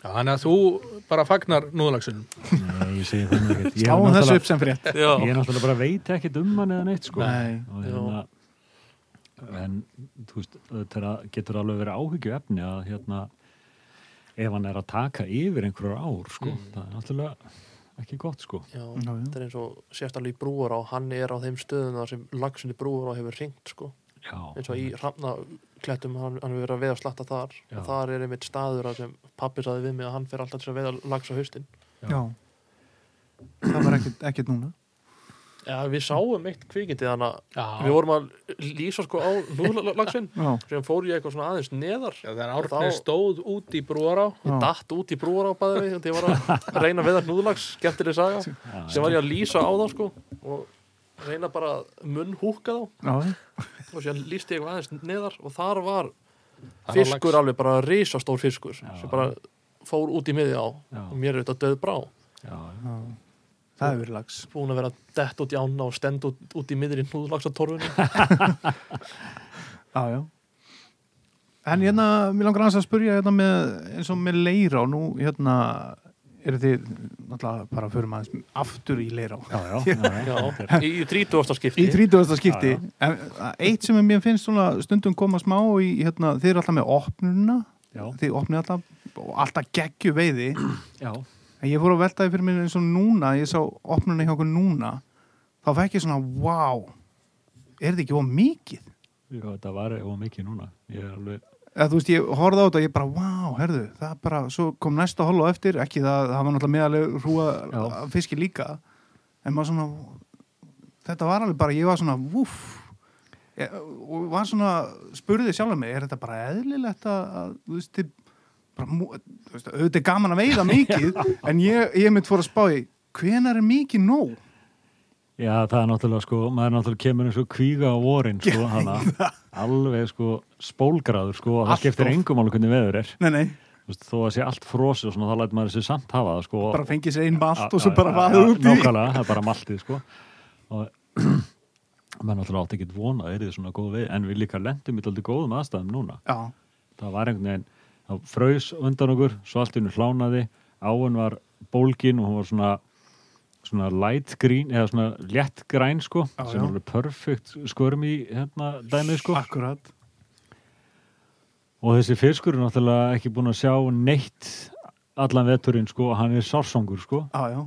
Speaker 3: Já, Þannig að þú bara fagnar núðlagsunum
Speaker 4: Nei, ég segi þannig ekkert Ég er
Speaker 2: sláum þessu
Speaker 4: náttúrulega-
Speaker 2: upp sem frétt
Speaker 1: já,
Speaker 4: ég er náttúrulega bara veit ekkert um hann eða neitt sko
Speaker 2: Nei,
Speaker 4: og hérna en þú veist, þetta getur alveg verið áhyggju efni að hérna ef hann er að taka yfir einhverjar ár sko, það er náttúrulega ekki gott sko
Speaker 1: já.
Speaker 2: já, já,
Speaker 1: þetta er eins og sérstaklega í brúar á hann er á þeim stöðum þar sem lagsinni brúar á hefur ringt sko
Speaker 4: já,
Speaker 1: eins og í hrafnaklettum hann, hann hefur verið að veiða slatta þar
Speaker 4: Já.
Speaker 1: og þar er einmitt staður að sem pappi saði við mig að hann fer alltaf til að veiða lags á haustin
Speaker 2: já Það var ekkert, ekkert núna
Speaker 1: Já, við sáum eitt kvikindi þannig að
Speaker 3: Já,
Speaker 1: við vorum að lýsa sko á núlagsinn
Speaker 2: Já,
Speaker 1: sem fór ég eitthvað svona aðeins neðar
Speaker 3: Já, þegar
Speaker 1: Og
Speaker 3: árni
Speaker 1: þá-
Speaker 3: stóð út í brúará
Speaker 2: já,
Speaker 1: datt út í brúar á bæði við þegar ég var að reyna að veiða núðlags skemmtileg saga
Speaker 4: já,
Speaker 1: sem var ég að lýsa á þá sko og reyna bara að munnhúka þá
Speaker 2: já, já.
Speaker 1: og síðan lísti ég eitthvað aðeins neðar og þar var
Speaker 3: Það var
Speaker 1: fiskur
Speaker 3: lax.
Speaker 1: alveg bara risastór fiskur
Speaker 4: Já.
Speaker 1: sem bara fór út í miði á
Speaker 4: Já.
Speaker 1: og mér er þetta döð brá
Speaker 4: já,
Speaker 2: já. Það hefur verið lags
Speaker 1: búin að vera dett út í ána og stend út, út í miðri
Speaker 4: [LAUGHS]
Speaker 1: núðlagsatorfunni
Speaker 2: Já, já En hérna, mér langar aðeins að spurja hérna með, eins og með leira og nú hérna eru þið náttúrulega bara að förum aðeins aftur í leira
Speaker 4: já, já, já, já. þetta er-
Speaker 1: í 30. skipti
Speaker 2: Í 30. skipti
Speaker 4: Já,
Speaker 2: En, Eitt sem mér finnst svona stundum koma smá í, hérna, þið eru alltaf með opnuna
Speaker 4: já,
Speaker 2: þið opnið alltaf og alltaf geggju veiði
Speaker 4: já,
Speaker 2: en ég fór að velta því fyrir mér eins og núna ég sá opnuna hjá okkur núna þá fekk ég svona, wow er þetta ekki of mikið?
Speaker 4: já, þetta var og mikið núna ég er alveg,
Speaker 2: Eða, þú veist, ég horfði á þetta og ég bara, wow, herðu það bara, svo kom næsta holu á eftir ekki það, það var náttúrulega meðaleg
Speaker 4: Já.
Speaker 2: hrúa fiski líka en maður svona, þetta var alveg bara ég var svona, wúff Ég- og var svona, spurði sjálf mig er þetta bara eðlilegt að, að þú veist, þið bara, mú- þú veist, auðvitað er gaman að
Speaker 4: [LAUGHS]
Speaker 2: veiða mikið en ég, ég mitt fór að spá í hvenar er mikið nóg?
Speaker 4: já, það er náttúrulega sko maður náttúrulega kemur eins og kvíga á vorin sko, hana, alveg sko spólgraður sko, og
Speaker 2: Allt
Speaker 4: það skiptir
Speaker 2: of.
Speaker 4: engum alveg hvernig veður er
Speaker 2: Nei, nei,
Speaker 4: Þú veist, þó að sé allt frosið og svona þá lætur maður þessi samt hafa það sko og-
Speaker 2: bara fengið sér einn
Speaker 4: Já,
Speaker 2: malt og svo
Speaker 4: já,
Speaker 2: bara
Speaker 4: já,
Speaker 2: vaðið
Speaker 4: já,
Speaker 2: út í
Speaker 4: nákvæmlega, það er bara maltið sko og [CLEARS THROAT] menn alltaf átti ekkert vona að er þið svona góð við en við líka lendum í alltaf góðum aðstæðum núna
Speaker 2: Já,
Speaker 4: það var einhvern veginn, það fraus undan okkur svo allt í hennu hlánaði áin var bólgin og hún var svona svona light green eða svona létt græn sko
Speaker 2: Já,
Speaker 4: sem
Speaker 2: já.
Speaker 4: er alveg perfect skörm í hérna dæmið sko
Speaker 2: Akkurat
Speaker 4: og þessi fiskur er náttúrulega ekki búin að sjá neitt allan veturinn sko og hann er sársangur sko
Speaker 2: Já, já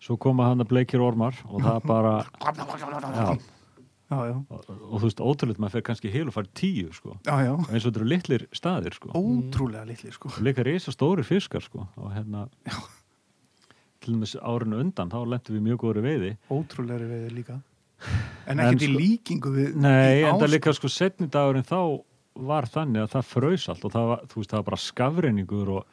Speaker 4: svo koma hann að bleikir ormar og það bara já,
Speaker 2: Já, já
Speaker 4: og, og þú veist ótrúlega maður fer kannski heil og fari tíu sko
Speaker 2: Já, já
Speaker 4: eins og þetta eru litlir staðir sko
Speaker 2: Ótrúlega litli sko
Speaker 4: og líka reysa stóri fiskar sko og hérna til og með árinu undan þá lentum við í mjög góðri veiði
Speaker 2: Ótrúlega veiði
Speaker 4: [SIGHS]
Speaker 2: líka En
Speaker 4: En
Speaker 2: ekkert í
Speaker 4: sko-
Speaker 2: líkingu við
Speaker 4: Nei,
Speaker 2: í
Speaker 4: en það
Speaker 2: ás-
Speaker 4: líka sko setni dagurinn þá var þannig að það frös allt og það var, þú veist, það var bara skafreiningur og,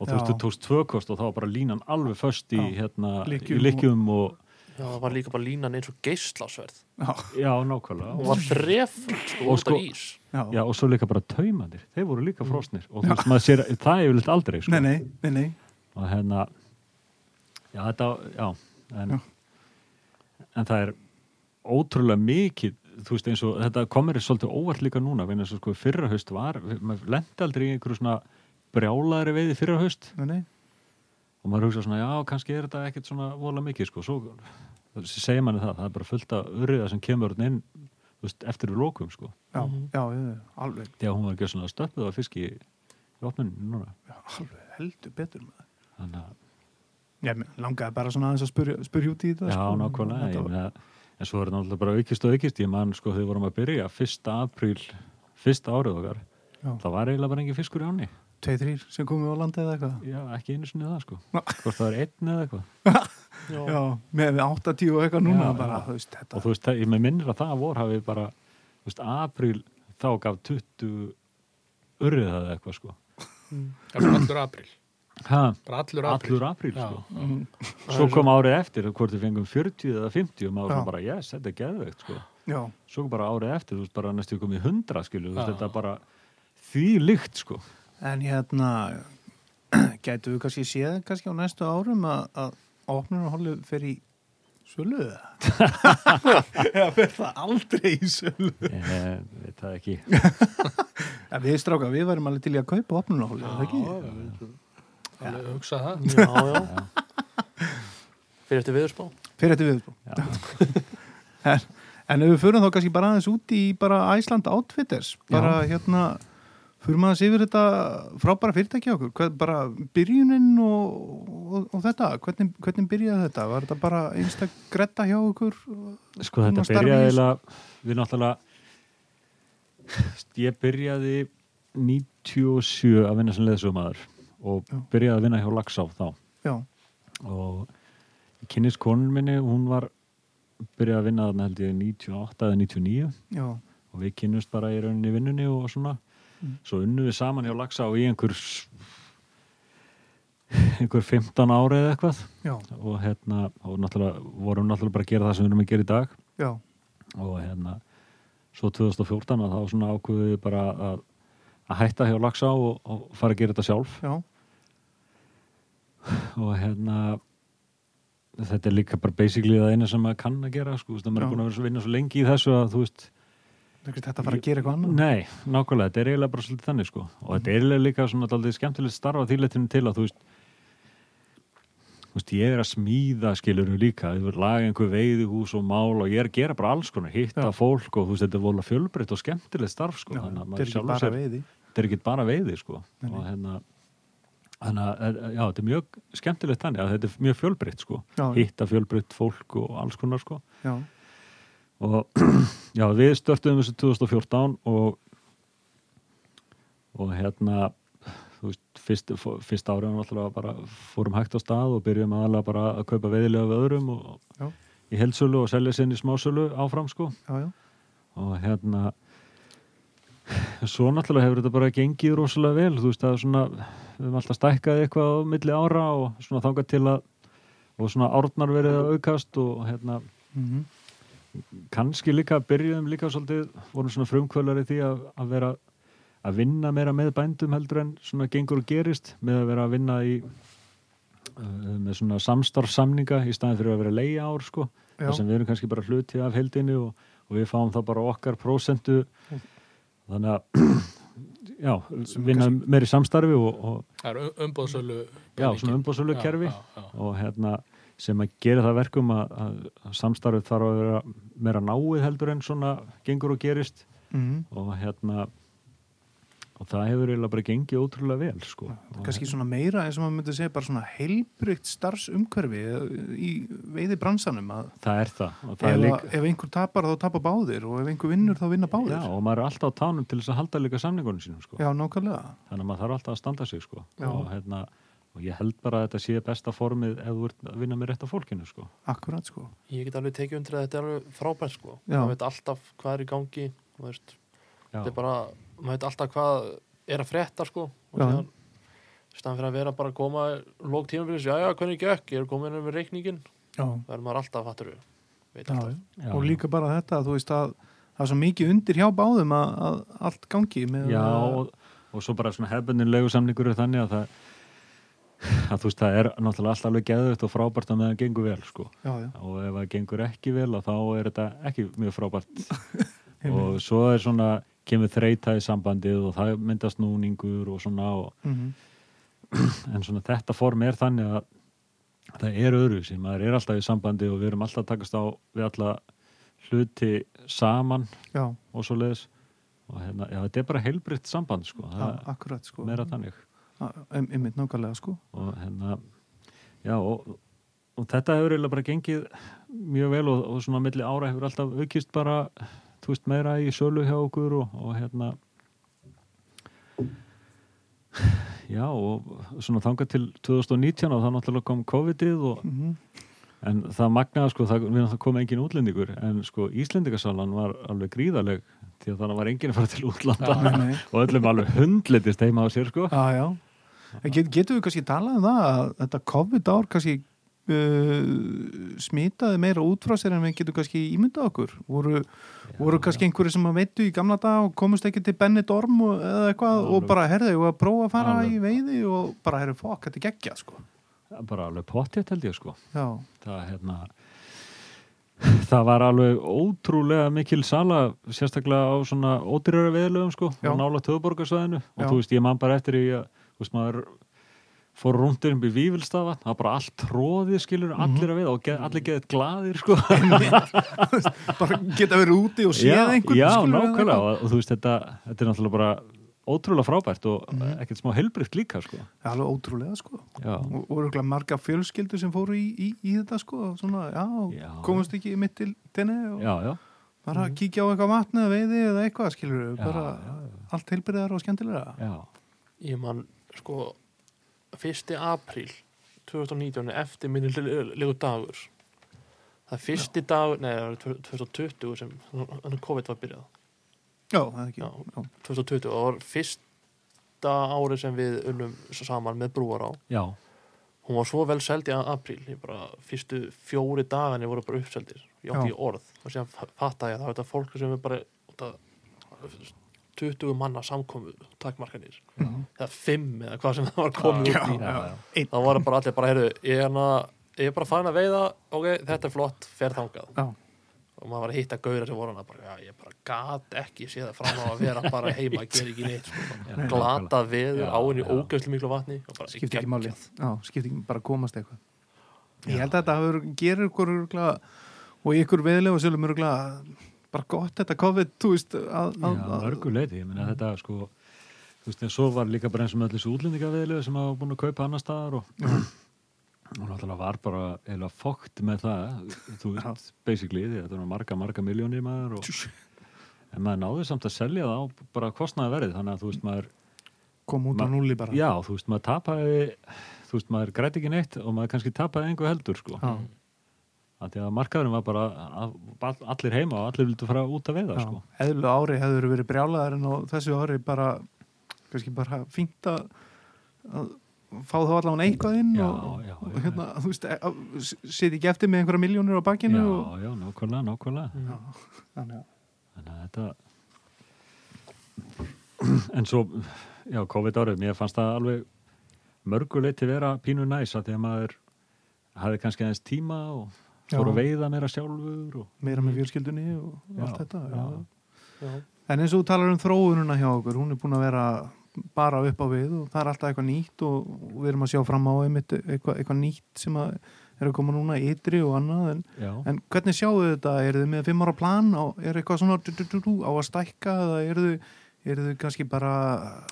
Speaker 4: og þú veist,
Speaker 2: Já.
Speaker 4: þú tókst tvökost og þá var bara línan alveg föst í,
Speaker 2: Já.
Speaker 4: hérna,
Speaker 2: Lykkjum
Speaker 4: í lykkjum og,
Speaker 1: Já, það var líka bara línan eins og geislasverð
Speaker 2: Já,
Speaker 4: já,
Speaker 1: og
Speaker 4: nákvæmlega.
Speaker 1: var þrefum sko,
Speaker 4: Og
Speaker 1: út
Speaker 4: sko-
Speaker 1: af ís
Speaker 2: já,
Speaker 4: Já, og svo líka bara taumandir, þeir voru líka frosnir og þú veist, maður sér, það er yfirleitt aldrei, sko.
Speaker 2: Nei, nei, nei, nei
Speaker 4: Og hérna, já, þetta, já, en,
Speaker 2: Já.
Speaker 4: en það er ótrúlega mikið, þú veist, eins og þetta komir svolítið óvart líka núna, vegna þess að sko fyrra haust var, maður lendi aldrei í einhverju svona brjálaðri veiði fyrra haust
Speaker 2: Nei, nei
Speaker 4: og maður hugsa svona, já, kannski er þetta ekkert svona vola mikið, sko, svo það segir manni það, það er bara fullt af urriða sem kemur þarna inn, þú veist, eftir við lókum, sko,
Speaker 2: Já,
Speaker 1: Mhm.
Speaker 2: já, já, já, alveg
Speaker 4: því að hún var ekki svona stöppið af fiski í opnunni núna
Speaker 2: já, Alveg heldur betur með það
Speaker 4: þannig að,
Speaker 2: Ég meina, langaði bara svona aðeins að spurja, spurja út í þetta
Speaker 4: já,
Speaker 2: sko.
Speaker 4: nákvæmlega
Speaker 2: Þetta
Speaker 4: ég
Speaker 2: var-
Speaker 4: meina, en svo er þetta náttúrulega bara aukist og aukist, ég man, sko, þegar við vorum að byrja fyrsta apríl, fyrsta árið okkar
Speaker 2: Já.
Speaker 4: það var eiginlega bara engin fiskur í áni
Speaker 2: Tvei, þrýr sem komið á landið eða eitthvað
Speaker 4: já, ekki einu sinni það, sko
Speaker 2: Ná.
Speaker 4: hvort það er einn
Speaker 2: [LAUGHS]
Speaker 4: eða eitthvað
Speaker 1: Já,
Speaker 2: Já, með 80 og eitthvað núna
Speaker 4: Já,
Speaker 2: bara,
Speaker 4: já.
Speaker 2: þú veist, þetta
Speaker 4: og þú veist, það- ég með minnir að það vor hafi bara, þú veist, apríl þá gaf 20 urrið það eitthvað sko
Speaker 3: Það er bara allur apríl.
Speaker 4: ha,
Speaker 3: Bara allur apríl.
Speaker 4: allur apríl
Speaker 3: Já.
Speaker 4: sko.
Speaker 2: Mhm.
Speaker 4: svo kom árið eftir hvort við fengum 40 eða 50 og maður
Speaker 2: Já.
Speaker 4: svona bara, yes, þetta er geðveikt sko.
Speaker 2: Já,
Speaker 4: svo bara árið eftir, þú veist, bara næstu komið 100 skilju, þú veist,
Speaker 3: Já.
Speaker 4: þetta er bara því
Speaker 2: [LAUGHS]
Speaker 4: líkt sko.
Speaker 2: En hérna, [CLEARS THROAT] gætu við kannski séð kannski á næstu árum að, að opnunarhólið fer í sölu það? [LAUGHS] Já, fer það aldrei í sölu.
Speaker 4: eh, veit það ekki
Speaker 2: En við stráka, við varum alveg til í að kaupa opnunarhólið, er það ekki?
Speaker 3: Alveg hugsa það.
Speaker 1: já, já.
Speaker 2: [LAUGHS]
Speaker 1: Fyrir eftir viðurspá
Speaker 2: Fyrir þetta við. [LAUGHS] En, en ef við förum þá kannski bara aðeins út í bara Æsland Outfitters, bara hérna... Fyrir maður að sé yfir þetta frábæra fyrirtæki okkur, Hvað, bara byrjunin og, og, og þetta, hvernig, hvernig byrjaði þetta? Var þetta bara einstak gretta hjá okkur?
Speaker 4: sko
Speaker 2: Hún
Speaker 4: þetta
Speaker 2: var starfa í
Speaker 4: byrjaði
Speaker 2: þessu.
Speaker 4: eiginlega við náttúrulega ég byrjaði 97 að vinna sem leðsumæður og
Speaker 2: Já.
Speaker 4: byrjaði að vinna hjá Laxá þá
Speaker 2: Já,
Speaker 4: og ég kynnist konun minni hún var byrjaði að vinna þarna held ég 98 eða 99
Speaker 2: já,
Speaker 4: og við kynnumst bara í rauninni í vinnunni og svona svo unnum við saman hjá Laxá í einhver einhver 15 ári eða eitthvað
Speaker 2: já,
Speaker 4: og hérna og náttúrulega vorum náttúrulega bara að gera það sem við erum að gera í dag
Speaker 2: já,
Speaker 4: og hérna svo 2014 að þá svona ákveðum við bara að, að hætta hjá Laxá og, og fara að gera þetta sjálf
Speaker 2: já,
Speaker 4: og hérna þetta er líka bara basically það eina sem maður kann að gera sko, þú veist, að maður
Speaker 2: Já.
Speaker 4: er búin að vera svo vinna svo lengi í þessu að þú veist,
Speaker 2: það er þetta að fara að gera eitthvað annað.
Speaker 4: nei, nákvæmlega, þetta er eiginlega bara svolítið þannig sko, og þetta er eiginlega líka svona alltaf skemmtilegt starfa þýletinu til að þú veist þú veist, ég er að smíða skilurinn líka, ég er að laga einhver veiðihús og mál og ég er að gera bara alls konar hitta
Speaker 2: Já.
Speaker 4: fólk og þú veist, þetta er vola fjölbreytt og skemmtilegt starf sko,
Speaker 2: Já,
Speaker 4: þannig
Speaker 2: þetta er
Speaker 4: að maður
Speaker 2: ekki
Speaker 4: sjálfur
Speaker 2: bara
Speaker 4: sér
Speaker 2: veiði.
Speaker 4: þetta er ekki bara veiði sko
Speaker 2: Nei, nei.
Speaker 4: og hérna þannig að, já, þetta er mjög skemmtilegt þannig að þetta er mjög fjölbreytt sko
Speaker 2: Já, já.
Speaker 4: hitta fjölbreytt fólk og alls konar sko
Speaker 2: Já,
Speaker 4: og [CLEARS THROAT] já, við störtum þessu 2014 og og hérna þú veist, fyrst, fó- fyrst árið var náttúrulega bara fórum hægt á stað og byrjum aðalega bara að kaupa veiðilega við öðrum og
Speaker 2: Já.
Speaker 4: í heldsölu og selja sinni í smásölu áfram sko
Speaker 2: já, já,
Speaker 4: og hérna svo náttúrulega hefur þetta bara gengið rosalega vel, þú veist það er svona við höfum alltaf stækkað eitthvað á milli ára og svona þangað til að og svona árnar verið að aukast og hérna
Speaker 2: mhm,
Speaker 4: kannski líka byrjuðum líka svolítið vorum svona frumkvölar í því að, að vera að vinna meira með bændum heldur en svona gengur og gerist með að vera að vinna í uh, með svona samstarfsamninga í staðin fyrir að vera leiða ár sko
Speaker 2: Já.
Speaker 4: þar sem við erum kannski bara hluti af heldinu og, og við fáum þá bara okkar prósentu þannig að [CLEARS THROAT] já,
Speaker 2: Mm. Sem
Speaker 4: vinna meiri samstarfi og, og
Speaker 3: Það er umbóðsölu.
Speaker 4: já, svona umbóðsölu kerfi og hérna sem að gera það verkum að, að samstarfið þarf að vera meira náið heldur en svona gengur og gerist
Speaker 2: Mm.
Speaker 4: og hérna og það hefur eiginlega bara gengið ótrúlega vel sko.
Speaker 2: Kanski svona meira eins og maður myndi segja bara svona heilbrygt starfsumhverfi eh, í veiði bransanum að
Speaker 4: það er það og
Speaker 2: ef,
Speaker 4: það er
Speaker 2: lík...
Speaker 4: líka
Speaker 2: ef einhver tapar þá tapar báðir og ef einhver vinnur þá vinna báðir.
Speaker 4: já, og maður er alltaf á tánum til þess að halda líka samningunum sínum sko.
Speaker 2: Já, nákvæmlega.
Speaker 4: þannig að maður þarf alltaf að standa sig sko.
Speaker 2: Já.
Speaker 4: og, hérna, og ég held bara að þetta sé besta formið ef þú ert að vinna með rétt af fólkinu sko.
Speaker 2: Akkurat sko.
Speaker 1: Ég get alveg tekið undir að þetta er alveg frábært sko.
Speaker 2: Já.
Speaker 1: maður veit alltaf hvað er í gangi þú veist,
Speaker 4: Já.
Speaker 1: þetta er bara, maður veit alltaf hvað er að frétta sko. og
Speaker 2: Já.
Speaker 1: síðan staðan fyrir að vera bara að koma lók tímabilis, já já, hvernig gekk ég er komin með reikningin,
Speaker 2: Já,
Speaker 1: það er maður alltaf fattur við, veit
Speaker 2: já.
Speaker 1: alltaf
Speaker 4: Já.
Speaker 2: Og líka bara þetta að þú veist að það er svo mikið undir hjá báðum að, að allt gangi með
Speaker 4: Já, og, og svo bara svona hefbundinlegu samningur er þannig að það að þú veist, það er náttúrulega alltaf alveg geðvögt og frábært að meðan gengur vel, sko
Speaker 2: já, já.
Speaker 4: og ef það gengur ekki vel að þá er þetta ekki mjög frábært og svo er svona, kemur þreita í sambandið og það myndast núningur og svona, og,
Speaker 2: Mm
Speaker 4: en svona þetta form er þannig að það er öðru sem maður er alltaf í sambandi og við erum alltaf að takast á við alla hluti saman
Speaker 2: já
Speaker 4: og svo leiðis og hérna, já, þetta er bara heilbritt samband, sko
Speaker 2: a,
Speaker 4: það,
Speaker 2: akkurat sko.
Speaker 4: meira þannig
Speaker 2: A- em- Einmitt nákvæmlega sko.
Speaker 4: og hérna já og, og þetta hefur eiginlega bara gengið mjög vel og, og svona milli ára hefur alltaf aukist bara þú veist meira í sölu hjá okkur og, og hérna já og svona þangað til 2019 og það náttúrulega kom COVID-ið og
Speaker 2: Mm
Speaker 4: En það magnaði sko, það, við náttúrulega komum engin útlendingur, en sko Íslendingasalan var alveg gríðaleg því að þannig var enginn að fara til útlanda
Speaker 2: nei.
Speaker 4: og öllum alveg hundlitist heima á sér sko.
Speaker 2: Já, já. En Get, getum við kannski talað um það að þetta COVID-ár kannski uh, smitaði meira út frá sér en við getum kannski ímyndað okkur. Voru, voru kannski einhverju sem að veitu í gamla dag og komust ekki til Benny Dorm og, eða eitthvað og
Speaker 4: Alveg.
Speaker 2: bara herðu og að prófa að fara
Speaker 4: Alveg.
Speaker 2: í veiði og bara herðu fokk, þetta er geggja sko.
Speaker 4: Bara alveg pottið held ég sko.
Speaker 2: Já,
Speaker 4: það hérna það var alveg ótrúlega mikil sala, sérstaklega á svona ódýrara veðlöfum sko,
Speaker 2: Já.
Speaker 4: nála töðborgarsvæðinu og
Speaker 2: Já.
Speaker 4: þú veist, ég man bara eftir í að, þú veist, maður fór rúndur um í Vívilstafa, það var bara allt tróðið skilur,
Speaker 2: Mhm.
Speaker 4: allir að við og geð, allir geðið glaðir sko
Speaker 2: [LAUGHS] bara geta verið úti og séð einhvern.
Speaker 4: [LAUGHS] já,
Speaker 2: skilur við, eða
Speaker 4: nákvæmlega
Speaker 2: eitthvað.
Speaker 4: og, og þú veist, þetta, þetta er náttúrulega bara ótrúlega frábært og
Speaker 2: Mhm.
Speaker 4: ekkert smá helbrikt líka sko
Speaker 2: Það er alveg ótrúlega sko.
Speaker 4: já,
Speaker 2: Og og eru marga fjölskyldur sem fóru í, í, í þetta sko, svona, já,
Speaker 4: Já.
Speaker 2: komust ekki mitt til tenni og...
Speaker 4: já, já,
Speaker 2: bara
Speaker 4: Mhm.
Speaker 2: að kíkja á eitthvað vatni eða veiði eða eitthvað skilur við,
Speaker 4: Já,
Speaker 2: bara allt heilbyrðar og skemmtilega
Speaker 4: já,
Speaker 1: ég man sko 1. apríl 2019 er eftir minni legu dagur það er fyrsti dagur, nei það var 2020 sem þannig COVID var byrjað
Speaker 2: já, það er ekki
Speaker 1: Já.
Speaker 2: já.
Speaker 1: 2020 og það var fyrsta ári sem við unnum saman með brúar á
Speaker 4: já,
Speaker 1: hún var svo vel seld í apríl ég bara, fyrstu fjóri dagarnir voru bara uppseldir ég átti
Speaker 2: Já.
Speaker 1: í orð og síðan fa- fattaði ég að það var þetta fólk sem er bara þetta, 20 manna samkomu takmarkanir eða 5 eða hvað sem það var komið út í
Speaker 4: Mhm. já, já.
Speaker 1: þá var bara allir bara, heyrðu, ég er, hana, ég er bara farin að veiða ok, þetta er flott, fer þangað
Speaker 2: Já.
Speaker 1: og maður var að hitta gauðra sem voru hana bara, já, ég bara gat ekki séð það fram á að vera bara heima, gera ekki neitt sko, bara
Speaker 4: Já,
Speaker 1: glata veður
Speaker 4: Já,
Speaker 1: áin í
Speaker 4: já.
Speaker 1: ógæslu miklu vatni og bara,
Speaker 2: skiptir
Speaker 1: geggjað.
Speaker 2: ekki máli já, skiptir ekki bara að komast eitthvað ég held að þetta hefur, gerir ykkur örgla, og í ykkur veðilega og svolum örgla bara gott þetta COVID þú veist að,
Speaker 4: Já,
Speaker 2: að, að,
Speaker 4: mörgu leiti, ég meina þetta sko þú veist, en svo var líka bara eins og með allir þessu útlendingaveðilegu sem hafa búin að kaupa annar staðar og, og náttúrulega var bara eða fókt með það þú veist, basically, því þetta var marga, marga miljónir maður og en maður náði samt að selja það á bara kostnaði verið þannig að þú veist maður,
Speaker 2: koma út á
Speaker 4: Ma-
Speaker 2: núli bara
Speaker 4: já, þú veist maður tapaði þú veist maður græti ekki neitt og maður kannski tapaði einhver heldur sko
Speaker 2: Já,
Speaker 4: að því að markaðurinn var bara að, að, allir heima og allir vildu fara út að veiða
Speaker 2: já.
Speaker 4: sko
Speaker 2: eðlu ári hefur verið brjálaðar en á þessu ári bara kannski bara fínt að að fá þá allavega eitthvað inn
Speaker 4: Já,
Speaker 2: og,
Speaker 4: já,
Speaker 2: og
Speaker 4: já,
Speaker 2: hérna, þú veist, e- að- s- sitja ekki eftir með einhverja miljónir á
Speaker 4: já,
Speaker 2: bakkinu og,
Speaker 4: já, nákvæmlega, nákvæmlega
Speaker 2: Þannig að
Speaker 4: Þannig að þetta en svo já, COVID árið, mér fannst það alveg mörguleiti vera pínu næs að því að maður hafði kannski aðeins tíma og fór
Speaker 2: Já.
Speaker 4: að veiða meira sjálfur og
Speaker 2: meira með fjölskyldunni og
Speaker 4: Já,
Speaker 2: allt þetta já.
Speaker 4: já.
Speaker 1: Já.
Speaker 2: En eins og þú talar um þróununa hjá okkur hún er búin að vera bara upp á við og það er alltaf eitthvað nýtt og og við erum að sjá fram á einmitt eitthvað, eitthvað nýtt sem að er er að koma núna ytri og annað en,
Speaker 4: já.
Speaker 2: en hvernig sjáu þetta, er þið með fimm ára plan og er eitthvað svona du, du, du, du, á að stækka eða er þið, er þið kannski bara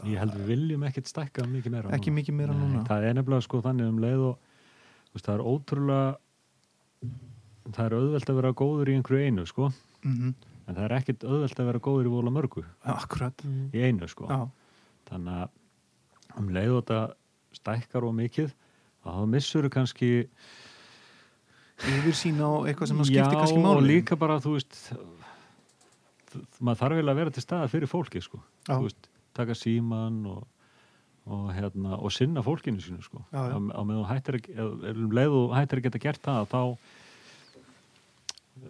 Speaker 4: Ég held við viljum ekkert stækka mikið meira
Speaker 2: ekki mikið meira
Speaker 4: Nei,
Speaker 2: núna
Speaker 4: Það er nefnilega sko þannig um leið og þú veist, það er ótrúlega það er auðvelt að vera góður í einhverju einu sko
Speaker 2: mm
Speaker 4: en það er ekkert auðvelt að vera góður í vola mörgu
Speaker 2: Akkurat
Speaker 1: Mm.
Speaker 4: í einu sko
Speaker 2: Já,
Speaker 4: þannig að um leið og þetta stækkar og mikið að það missur kannski
Speaker 2: yfir sína og eitthvað sem að
Speaker 4: já
Speaker 2: skipti kannski
Speaker 4: og
Speaker 2: máli
Speaker 4: líka bara þú veist þ- maður þarf eiginlega að vera til staða fyrir fólki sko
Speaker 2: Já.
Speaker 4: Þú veist, taka síman og, og, hérna, og sinna fólkinu sínu sko
Speaker 2: Já, já.
Speaker 4: á, á meðan þú hættir að- ef- ef um leið og hættir að geta gert það þá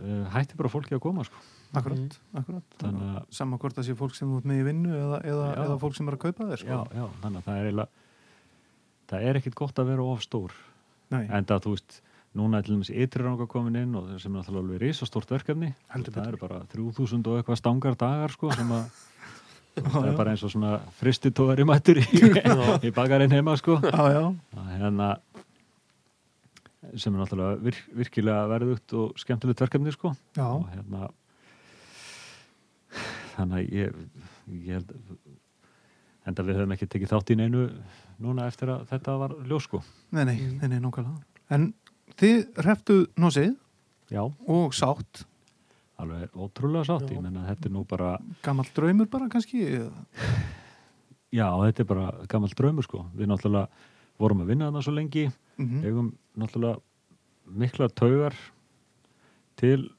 Speaker 4: uh, hættir bara fólki að koma sko
Speaker 2: Akkurat, akkurat
Speaker 4: þannig að
Speaker 2: Saman hvort það sé fólk sem þú ert með í vinnu eða, eða,
Speaker 4: Já.
Speaker 2: eða fólk sem er að kaupa þér
Speaker 4: já,
Speaker 2: sko.
Speaker 4: já, þannig að það er eiginlega það er ekkit gott að vera of stór
Speaker 2: Nei,
Speaker 4: en það, þú veist, núna er til dæmis ytri ranga komin inn og sem er náttúrulega alveg risastórt verkefni
Speaker 2: Heldur
Speaker 4: það er bara 3000 og eitthvað stangar dagar sko, sem
Speaker 2: [LAUGHS]
Speaker 4: að það er bara eins og svona fristitóðari mættur í,
Speaker 2: [LAUGHS]
Speaker 4: í bakarinn heima sko.
Speaker 2: já, já,
Speaker 4: Að hérna sem er náttúrulega vir, virkilega verðugt og skemmtilegt verkefni sko.
Speaker 2: já,
Speaker 4: og hérna þannig að ég, ég held enda við höfum ekki tekið þátt í neinu núna eftir að þetta var ljós sko.
Speaker 2: nei, nei, nei, nei, nákvæmlega En þið hreftu nósið
Speaker 4: já
Speaker 2: og sátt
Speaker 4: alveg ótrúlega sátt,
Speaker 1: Já.
Speaker 4: ég menna þetta er nú bara
Speaker 2: Gammal draumur bara kannski eða-
Speaker 4: já, þetta er bara gammal draumur sko við náttúrulega vorum að vinna þarna svo lengi
Speaker 1: Mm.
Speaker 2: Mhm.
Speaker 4: eigum náttúrulega mikla taugar til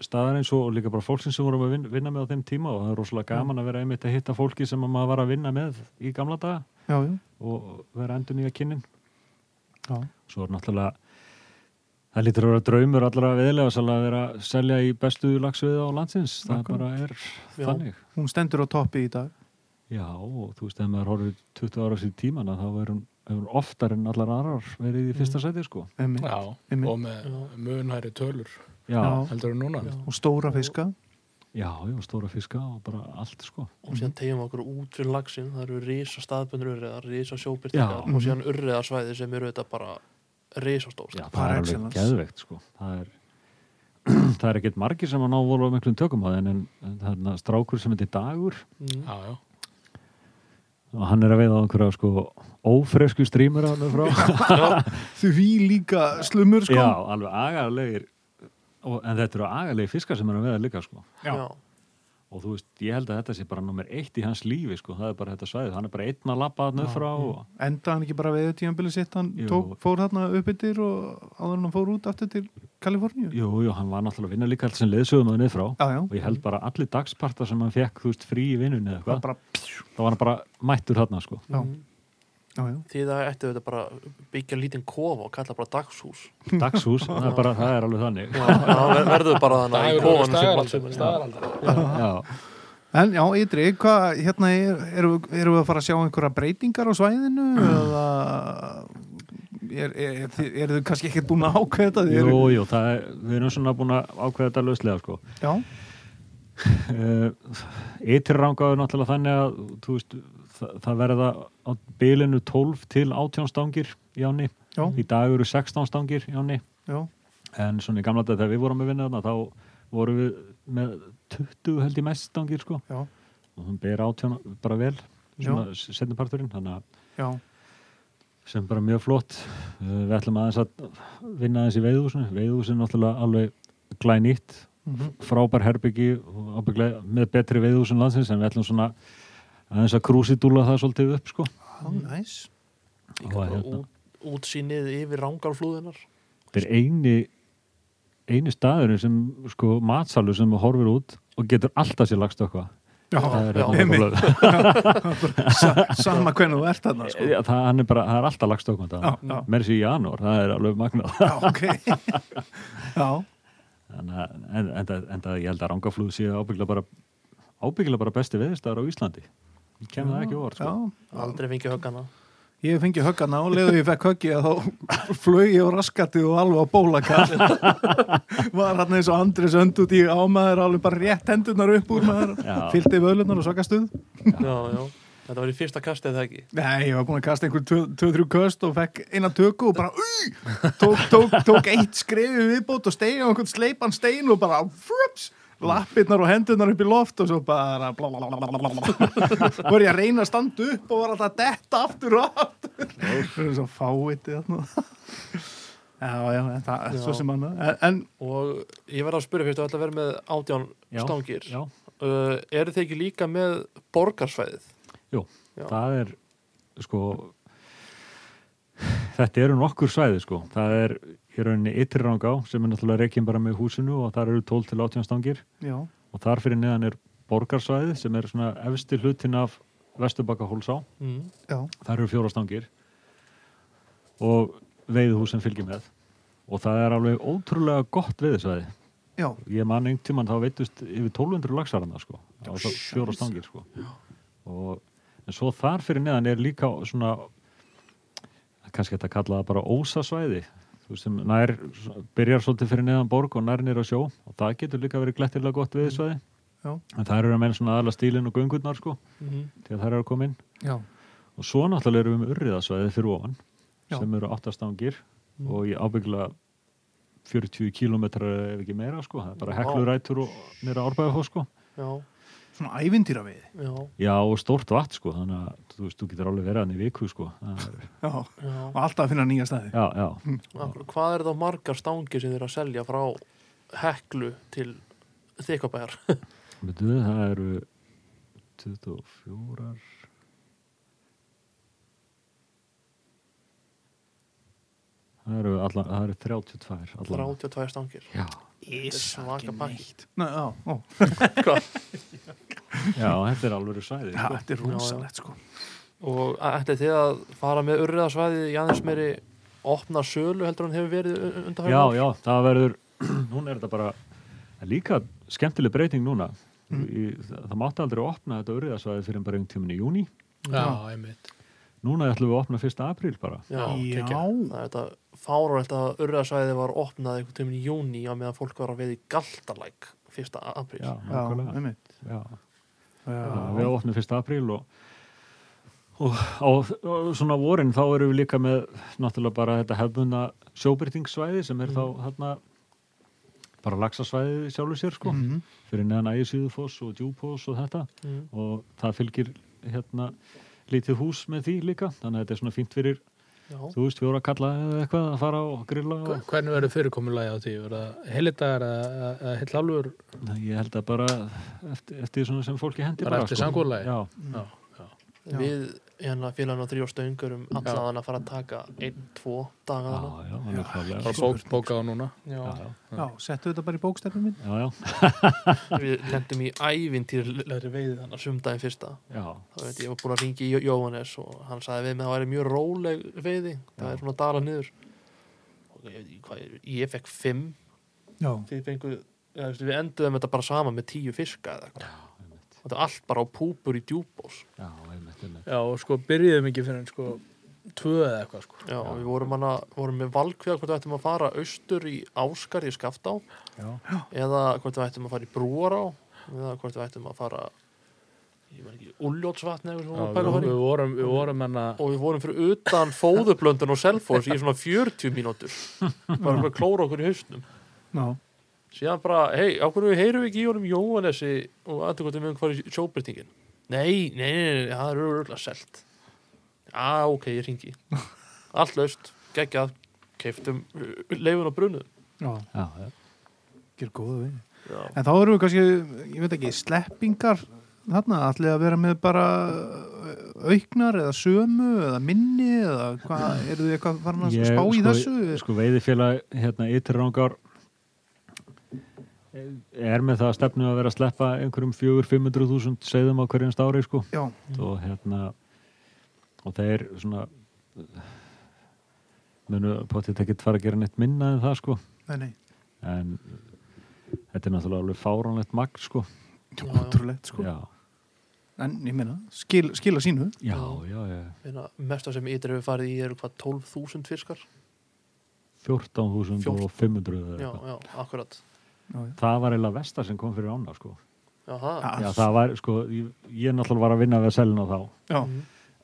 Speaker 4: staðar eins og og líka bara fólksins sem vorum að vinna, vinna með á þeim tíma og það er
Speaker 1: Mm.
Speaker 4: rosalega gaman að vera einmitt að hitta fólki sem að maður var að vinna með í gamla daga
Speaker 2: Já, já,
Speaker 4: og vera endur nýja kynnin
Speaker 2: já,
Speaker 4: svo er náttúrulega það lítur að vera draumur allra viðlega að vera að selja í bestu lagsviða á landsins, það
Speaker 2: Akkurat.
Speaker 4: bara er
Speaker 1: Já.
Speaker 4: þannig
Speaker 2: hún stendur á toppi í dag
Speaker 4: Já, og þú veist, ef maður horfir 20 ára sér tíman að þá er hún, er hún oftar en allar aðrar
Speaker 2: Mm.
Speaker 4: verið í fyrsta sæti, sko.
Speaker 2: emmi,
Speaker 3: Já,
Speaker 2: Einmitt.
Speaker 3: og með munhæri tölur
Speaker 4: Já,
Speaker 2: Já.
Speaker 4: já,
Speaker 3: heldur en núna
Speaker 1: Já.
Speaker 2: og stóra fiska
Speaker 4: já, stóra fiska og bara allt, sko.
Speaker 1: og síðan tegjum við okkur út fyrir lagsin það eru risa staðbundur urriðar, risa
Speaker 4: Já. Mhm.
Speaker 1: sjóbyrtingar og síðan urriðarsvæði sem eru þetta bara risastórt
Speaker 4: Já, það
Speaker 2: Par
Speaker 4: er alveg
Speaker 2: excellence.
Speaker 4: geðveikt, sko. Það er, [CLEARS THROAT] það er ekkert margir sem að ná voru miklum tökum á þenn, en, en það er þarna strákur sem heitir Dagur
Speaker 1: mm.
Speaker 3: Já, já,
Speaker 4: og hann er að veiða á einhverja, sko, ófresku strímur á hann
Speaker 2: [LAUGHS]
Speaker 4: frá.
Speaker 2: Því líka slumur sko
Speaker 4: já, alveg agalegir, og, en þetta eru agalegir fiskar sem er að veiða líka, sko.
Speaker 2: Já.
Speaker 1: Já.
Speaker 4: og þú veist, ég held að þetta sé bara nummer eitt í hans lífi, sko, það er bara þetta svæðið hann er bara einn að labba þarna upp frá og,
Speaker 2: Enda hann ekki bara við tíðanbili sitt hann
Speaker 4: Jú.
Speaker 2: tók, fór þarna uppbyttir og áður en hann fór út aftur til Kaliforníu
Speaker 4: jú, jú, hann var náttúrulega að vinna líka allt sem leðsögum að niður frá
Speaker 2: Já, já,
Speaker 4: og ég held bara allir dagspartar sem hann fekk, þú veist, frí í vinnunni eða
Speaker 2: það
Speaker 4: eitthvað,
Speaker 2: bara
Speaker 4: þá var hann bara mættur þarna, sko
Speaker 2: Já,
Speaker 1: Mm.
Speaker 2: já, já
Speaker 1: því það ættu þetta bara að byggja lítinn kofa og kalla bara dagshús
Speaker 4: dagshús, það er bara, það er alveg þannig
Speaker 1: Já, það verður bara þannig í
Speaker 3: Dagur og
Speaker 1: kofanum sem
Speaker 3: staðaraldar,
Speaker 1: allt sem
Speaker 3: staðaraldar.
Speaker 4: já,
Speaker 2: En já, Ytri, hvað, hérna er, erum, við- erum við að fara að sjá einhverja breytingar á svæðinu
Speaker 4: Mm.
Speaker 2: eða er, er, er, þið- eru þið kannski ekkert búin að ákveða þetta? Þið
Speaker 4: jú,
Speaker 2: eru-
Speaker 4: jú, það er við erum svona búin að ákveða þetta lauslega, sko Eh,
Speaker 2: Já,
Speaker 4: Ytri rangaður náttúrulega þannig að, þú veist, það, það verða á bilinu 12 til 18 stangir í áni,
Speaker 2: já,
Speaker 4: í dag eru 16 stangir í áni
Speaker 2: já,
Speaker 4: en svona í gamla dag þegar við vorum að vinna þarna þá vorum við með 20 held í mest stangir sko
Speaker 2: já,
Speaker 4: og hún ber átján bara vel svona setni parturinn þannig að
Speaker 2: já,
Speaker 4: sem bara mjög flott Eh, við ætlum aðeins að vinna aðeins í veiðhúsinu veiðhúsinu er náttúrulega alveg glænýtt
Speaker 2: Mhm.
Speaker 4: frábær herbyggi og ábygglega með betri veiðhúsin landsins en við ætlum svona aðeins að krúsidúla það svolítið upp sko
Speaker 2: já, næs,
Speaker 4: Og
Speaker 1: bara
Speaker 4: hérna.
Speaker 1: út, útsýnið yfir rángarflúðinar
Speaker 4: þetta er eini eini staðurinn sem sko matsalur sem horfir út og getur alltaf sér lagst okkar
Speaker 2: já,
Speaker 4: það er
Speaker 1: já,
Speaker 4: hérna
Speaker 2: einmitt.
Speaker 4: bara-
Speaker 2: Sa, sama hvernig þú ert þarna,
Speaker 4: [LAUGHS]
Speaker 2: sko.
Speaker 4: Já, það, hann er bara, það er alltaf lagst okkur
Speaker 2: Já, já.
Speaker 4: með þessi í janúar, það er alveg magnað [LAUGHS]
Speaker 2: Já, ok, [LAUGHS] já,
Speaker 4: Þannig að- en, en, það- en það ég held að rangaflúð sé ábyggilega bara ábyggilega bara besti veðurstaðar á Íslandi kemur það ekki óvart sko.
Speaker 2: já.
Speaker 1: aldrei fengið höggana
Speaker 2: Ég hef fengið höggana og leðu ég fekk höggið að þá flög ég á raskatið og alveg á bólakall. Var hann eins og Andris önd út í ámaður alveg bara rétt hendunar upp úr maður,
Speaker 4: Já.
Speaker 2: fyllti völunar og svakastuð.
Speaker 1: já, já, Þetta var í fyrsta kastið eða ekki
Speaker 2: Nei, ég var búin að kasta einhver 2-3 köst og fekk eina tökku og bara "Új!" tók, tók, tók eitt skrifi viðbót og stein og einhvern sleipan stein og bara frups, lappirnar og hendurnar upp í loft og svo bara voru ég að reyna að standa upp og var alltaf að detta aftur og aftur það er svo fáið þarna Já, já, en það er
Speaker 1: Já.
Speaker 2: svo sem annað En, en
Speaker 1: Og ég verði að spyrja fyrst að ætla að vera með átján
Speaker 4: Já,
Speaker 1: stangir
Speaker 4: Já,
Speaker 1: uh, Eru þið ekki líka með borgarsvæðið?
Speaker 4: Jú,
Speaker 1: Já.
Speaker 4: það er sko þetta eru nokkur svæði sko það er í rauninni ytri rangá sem er náttúrulega reikin bara með húsinu og þar eru 12 til 18 stangir
Speaker 2: já,
Speaker 4: og þar fyrir neðan er borgarsvæði sem er svona efsti hlutin af vesturbakka hólsá,
Speaker 1: Mm.
Speaker 3: Mhm.
Speaker 2: já,
Speaker 4: þar eru fjóra stangir og veiðhús sem fylgir með og það er alveg ótrúlega gott veiðisvæði
Speaker 2: já
Speaker 4: ég man einn tíman þá veitust yfir 1200 laxarana sko, það var það fjóra stangir sko og en svo þar fyrir neðan er líka svona kannski þetta kalla það bara ósasvæði þú veist sem nær byrjar svolítið fyrir neðan borg og nær nýra sjó og það getur líka verið glettilega gott viðsvæði
Speaker 2: Já.
Speaker 4: en það eru að menn svona aðla stílinn og göngurnar sko
Speaker 1: Mhm.
Speaker 4: til að það eru að koma inn
Speaker 2: Já,
Speaker 4: og svo náttúrulega erum við um urriðasvæði fyrir ofan
Speaker 2: Já. Mm.
Speaker 4: sem eru áttastangir og ég ábyggla 40 kilometrar ef ekki meira sko, það er bara
Speaker 1: Vá.
Speaker 4: heklurætur og nýra árbæðahó sko
Speaker 1: Já,
Speaker 2: svona ævintýra við
Speaker 1: já,
Speaker 4: Já, og stórt vatn sko, þannig að þú veist, þú getur alveg verið hann í viku sko. Það er,
Speaker 2: Já, og
Speaker 1: já.
Speaker 2: alltaf að finna nýja staði
Speaker 4: já, já.
Speaker 1: Akkur, Hvað er þá margar stangir sem þið eru að selja frá heklu til þykabæjar?
Speaker 4: Veitu, það eru 24 Það eru, alla, það eru 32 allan.
Speaker 1: 32 stangir
Speaker 4: Já.
Speaker 1: Þetta er svaka pakki
Speaker 2: Nei, já, ó,
Speaker 1: Hvað?
Speaker 4: já, þetta er alveg sæði
Speaker 2: já,
Speaker 4: sko.
Speaker 2: þetta er rosalegt sko
Speaker 1: Og ætlið þið að fara með urriðasvæðið í aðeins meiri opna sölu heldur hann hefur verið
Speaker 4: Já,
Speaker 1: undanhægum
Speaker 4: já, það verður [CLEARS THROAT] núna er þetta bara en líka skemmtileg breyting núna í, það, það mátti aldrei opna þetta urriðasvæði fyrir bara einhvern tíminn í júni
Speaker 3: Já, einmitt.
Speaker 4: Núna ætlum við að opna 1. apríl bara
Speaker 1: já.
Speaker 2: Já,
Speaker 1: Það er þetta fáránlegt að urriðasvæðið var opnað einhvern tíminn í júni á meðan fólk var að veið í galtalæk fyrsta apríl
Speaker 4: Já,
Speaker 2: já,
Speaker 4: nákvæmlega.
Speaker 2: einmitt
Speaker 4: Já.
Speaker 2: Já,
Speaker 4: Við opnum 1. apríl og, og á og svona vorin þá erum við líka með náttúrulega bara þetta hefbunna sjóbyrtingssvæði sem er þá hérna bara laxasvæði sjálfur sér sko
Speaker 2: Mhm.
Speaker 4: fyrir neðan ægisíðufoss og djúfoss og þetta
Speaker 1: mm.
Speaker 4: og það fylgir hérna lítið hús með því líka þannig að þetta er svona fínt fyrir
Speaker 1: Já,
Speaker 4: þú veist fjóra kalla eða eitthvað að fara og grilla og
Speaker 3: Hvernig verður fyrirkomulagi á því? Verða heilidagar eða eða heill alvör?
Speaker 4: Nei, ég held að bara eftir, eftir svona sem fólki hendi sko.
Speaker 3: Bara eftir samkomulagi?
Speaker 4: Já,
Speaker 3: Já.
Speaker 1: við hérna félagin á þrjór stöngur um allaðan að fara að taka einn, tvo daga
Speaker 4: já,
Speaker 1: þarna.
Speaker 4: já, alveg klárlega. sko.
Speaker 3: Bara bók, bóka á núna.
Speaker 1: Já,
Speaker 4: já, já.
Speaker 2: já, settu þetta bara í bókstefnum minn
Speaker 4: Já, já,
Speaker 1: við lendum í ævintýrlegri veiði þannig sumdæðin fyrsta
Speaker 4: já,
Speaker 1: þá veit ég, ég var búin að ringi í Jó- Jóhannes og hann sagði við mig að það væri mjög róleg veiði það
Speaker 4: Já.
Speaker 1: er svona að dala niður og ég, veit ekki hvað, ég, ég fekk fimm
Speaker 2: Já,
Speaker 1: þið fengu, ja, við enduðum þetta bara sama með tíu fiska eða eitthvað og þetta er allt bara á púpur í djúbós
Speaker 4: já, einmitt, einmitt.
Speaker 3: Já, og sko byrjuðum ekki fyrir en sko tvö eða eitthvað sko.
Speaker 1: Já, og við vorum, hana, vorum með valkveða hvort við ættum að fara austur í Áskar í Skaftá
Speaker 4: Já.
Speaker 1: eða hvort við ættum að fara í Brúará eða hvort við ættum að fara ég veit ekki, Ulljótsvatn eða
Speaker 3: Já,
Speaker 1: eitthvað
Speaker 3: við,
Speaker 1: pæla að fara í
Speaker 3: við vorum, við vorum hérna- enna
Speaker 1: og við vorum fyrir utan fóðublöndun og selfos í svona 40 mínútur bara fyrir að klóra okkur í hausnum
Speaker 2: já,
Speaker 1: síðan bara, hei, á hverju heyrum við ekki í honum Jóhannessi og aðtökvotum um hvað er sjóbyrtingin nei, nei, nei, nei, það eru örgulega selt já, ok, ég ringi allt laust, geggjað keiftum leifun og brunuðum
Speaker 2: já,
Speaker 4: Já, já.
Speaker 2: ger góða við
Speaker 1: já,
Speaker 2: En þá erum við kannski, ég veit ekki, sleppingar þarna, ætlið að vera með bara uh, auknar eða sömu eða minni eða hvað, eru þið eitthvað farin að
Speaker 4: Ég,
Speaker 2: spá í
Speaker 4: sko,
Speaker 2: þessu?
Speaker 4: Sko veiðifélag, hérna, ytri rángar er með það að stefnu að vera að sleppa einhverjum 400-500.000 segðum á hverjum stári, sko.
Speaker 2: Já,
Speaker 4: og hérna og þeir svona munu potið ekki fara að gera neitt minna en það sko
Speaker 2: nei, nei,
Speaker 4: en þetta er náttúrulega alveg fáránlegt magn sko
Speaker 2: ótrúlegt sko.
Speaker 4: já,
Speaker 2: En ég meina, skil, skila sínu.
Speaker 4: já, já, já.
Speaker 1: Meina, hérna, mesta sem ytir hefur farið í eru hvað 12.000 fiskar
Speaker 4: 14.500 eða
Speaker 1: já,
Speaker 4: eitthvað.
Speaker 1: já, akkurat
Speaker 2: Já, já.
Speaker 4: það var eiginlega vestar sem kom fyrir ána sko
Speaker 1: Já, það.
Speaker 2: Ah,
Speaker 4: Já, það var, sko, ég, ég náttúrulega var að vinna við að selja þá.
Speaker 2: Já,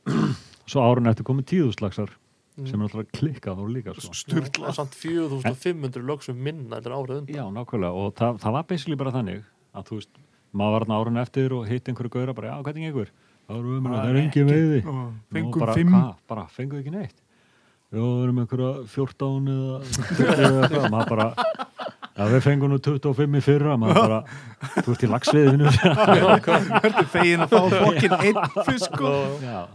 Speaker 1: Mhm.
Speaker 4: Svo árun eftir komið tíðuslagsar sem er náttúrulega klikkað og líka, sko.
Speaker 1: Sturla. Mhm. Samt 4500 lögsum minna þetta er árið undan.
Speaker 4: Já, nákvæmlega. Og það, það var basically bara þannig að, þú veist, maður var þarna árun eftir og hitt einhverju gauðra bara, já, hvernig gengur? Það eru umræðið, það er engin veiði.
Speaker 2: og
Speaker 4: Nú,
Speaker 2: fengum
Speaker 4: bara,
Speaker 2: fimm
Speaker 4: Hvað, bara fengum ekki neitt. Já, við erum einhverja 14 eða 20 eða eitthvað, maður bara, já, við fengum nú 25 í fyrra, maður bara, þú ert í lagsviðinu.
Speaker 2: Ertu fegin að fá fokkin einn fisk sko?
Speaker 4: já.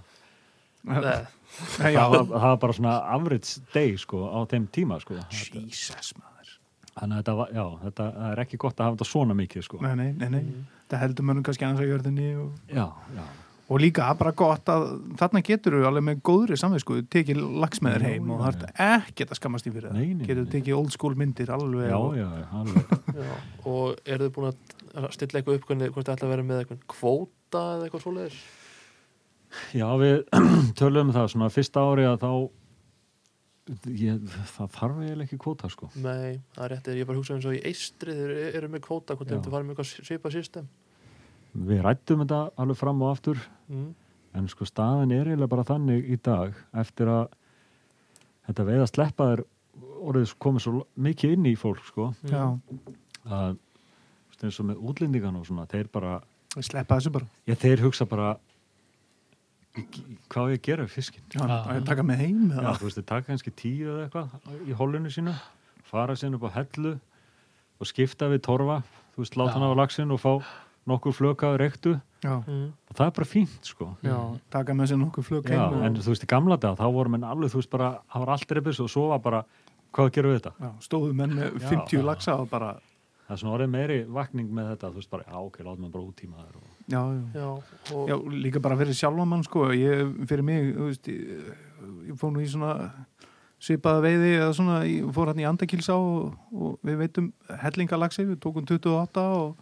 Speaker 1: Nei,
Speaker 2: Nei, já,
Speaker 4: það var, það var bara svona average day sko, á þeim tíma sko. Þetta-
Speaker 2: Jesus maður
Speaker 4: þannig að þetta, var, já, þetta það er ekki gott að hafa þetta svona mikið sko.
Speaker 2: Nei, nei, nei, nei Það heldur mönnum kannski aðeins að jörðinni og,
Speaker 4: já, já,
Speaker 2: og líka bara gott að þarna getur við alveg með góðri samvisku tekið lagsmæður heim og það er ekkert að skammast í fyrir það
Speaker 4: Nei, nei,
Speaker 2: getur
Speaker 4: nei.
Speaker 2: tekið old school myndir alveg
Speaker 4: já,
Speaker 2: og-
Speaker 4: já, já, alveg
Speaker 1: já. Og eru þið búin að stilla eitthvað upp hvernig hvort þið ætla að vera með eitthvað kvóta eða eitthvað svoleiðis?
Speaker 4: já, við [CLEARS THROAT] töluðum um það svona fyrsta ári að þá ég, það þarf eiginlega ekki kvóta sko.
Speaker 1: Nei, það er réttið. Ég bara hugsa eins og í eistri þeir eru með kvóta, hvort
Speaker 4: Já.
Speaker 1: þeir eru farið með eitthvað svipað system.
Speaker 4: við rættum þetta alveg fram og aftur
Speaker 1: Mm.
Speaker 4: en sko staðan er eiginlega bara þannig í dag eftir að þetta veið að sleppa þér orðið komið svo mikið inn í fólk sko,
Speaker 2: já,
Speaker 4: að þú veist, eins og með útlendingan og svona, þeir bara
Speaker 2: við sleppa þessu bara
Speaker 4: Já, þeir hugsa bara "Ég- hvað á ég að gera við fiskinn?
Speaker 2: já,
Speaker 3: Já.
Speaker 2: að taka með heim
Speaker 4: Já,
Speaker 2: eða?
Speaker 4: þú veist, þeir taka kannski tíu eða eitthvað í hollinu sínu, fara síðan upp á hellu og skipta við torfa, þú veist,
Speaker 3: Já.
Speaker 4: láta hann á laxinn og fá nokkur flöka og reyktu
Speaker 2: já,
Speaker 1: Mm.
Speaker 4: og það er bara fínt, sko.
Speaker 2: já, taka með sér nokkuð flug
Speaker 4: Já,
Speaker 2: heim
Speaker 4: en
Speaker 2: og,
Speaker 4: þú veist, í gamla dag, þá vorum enn alveg, þú veist, bara, það var allt reyfis og svo var bara, hvað gerum við þetta?
Speaker 2: já, stóðu menn með
Speaker 4: Já.
Speaker 2: 50 lagsa og bara
Speaker 4: Það er svona orðið meiri vakning með þetta, þú veist, bara, já, ok, láta maður bara útíma þér og...
Speaker 2: já, já
Speaker 1: Já, og
Speaker 2: Já, líka bara fyrir sjálfan mann sko ég, fyrir mig, þú veist ég, ég fór nú í svona svipaða veiði eða svona, ég fór hann í andakilsá og, og við veitum hellingalaxi, við tókum 28 og,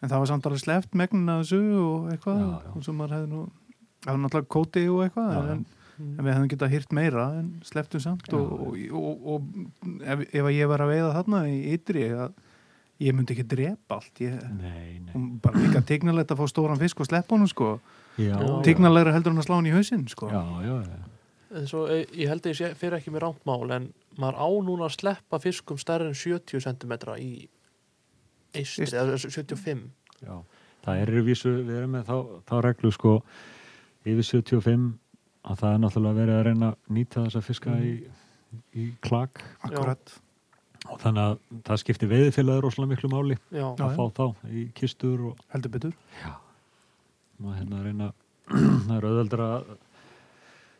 Speaker 2: en það var samt alveg sleft megnin að þessu og eitthvað,
Speaker 4: Já, já.
Speaker 2: og svo maður hefði nú það var náttúrulega kóti og eitthvað
Speaker 4: Já, já.
Speaker 2: en, en við hefðum getað hýrt meira en sleftum samt
Speaker 4: Já,
Speaker 2: og, og, og, og ef, ef að ég var að veiða þarna í ytri að ég myndi ekki drepa allt ég,
Speaker 4: Nei, nei.
Speaker 2: og bara líka tegnalegt að fá stóran fisk og sleppa honum sko
Speaker 4: Já, já.
Speaker 2: Tignalegra heldur hann að slá hann í hausinn sko.
Speaker 4: Já, já, já.
Speaker 1: eins og eh, ég held að ég sé- fer ekki með rántmál en maður á núna að sleppa fiskum stærri en 70 cm í eistri,
Speaker 2: Eystri.
Speaker 1: eða 75
Speaker 4: Já, það er í vísu, við erum með þá, þá reglu sko yfir 75 að það er náttúrulega verið að reyna að nýta þessa fiska í, í klak
Speaker 2: Akkurat
Speaker 4: og þannig að það skiptir veiðfélagið rosalega miklu máli
Speaker 1: já,
Speaker 2: Já,
Speaker 4: að fá þá í kistur og
Speaker 2: heldur betur
Speaker 4: maður hérna að reyna [CLEARS THROAT] það er auðveldur að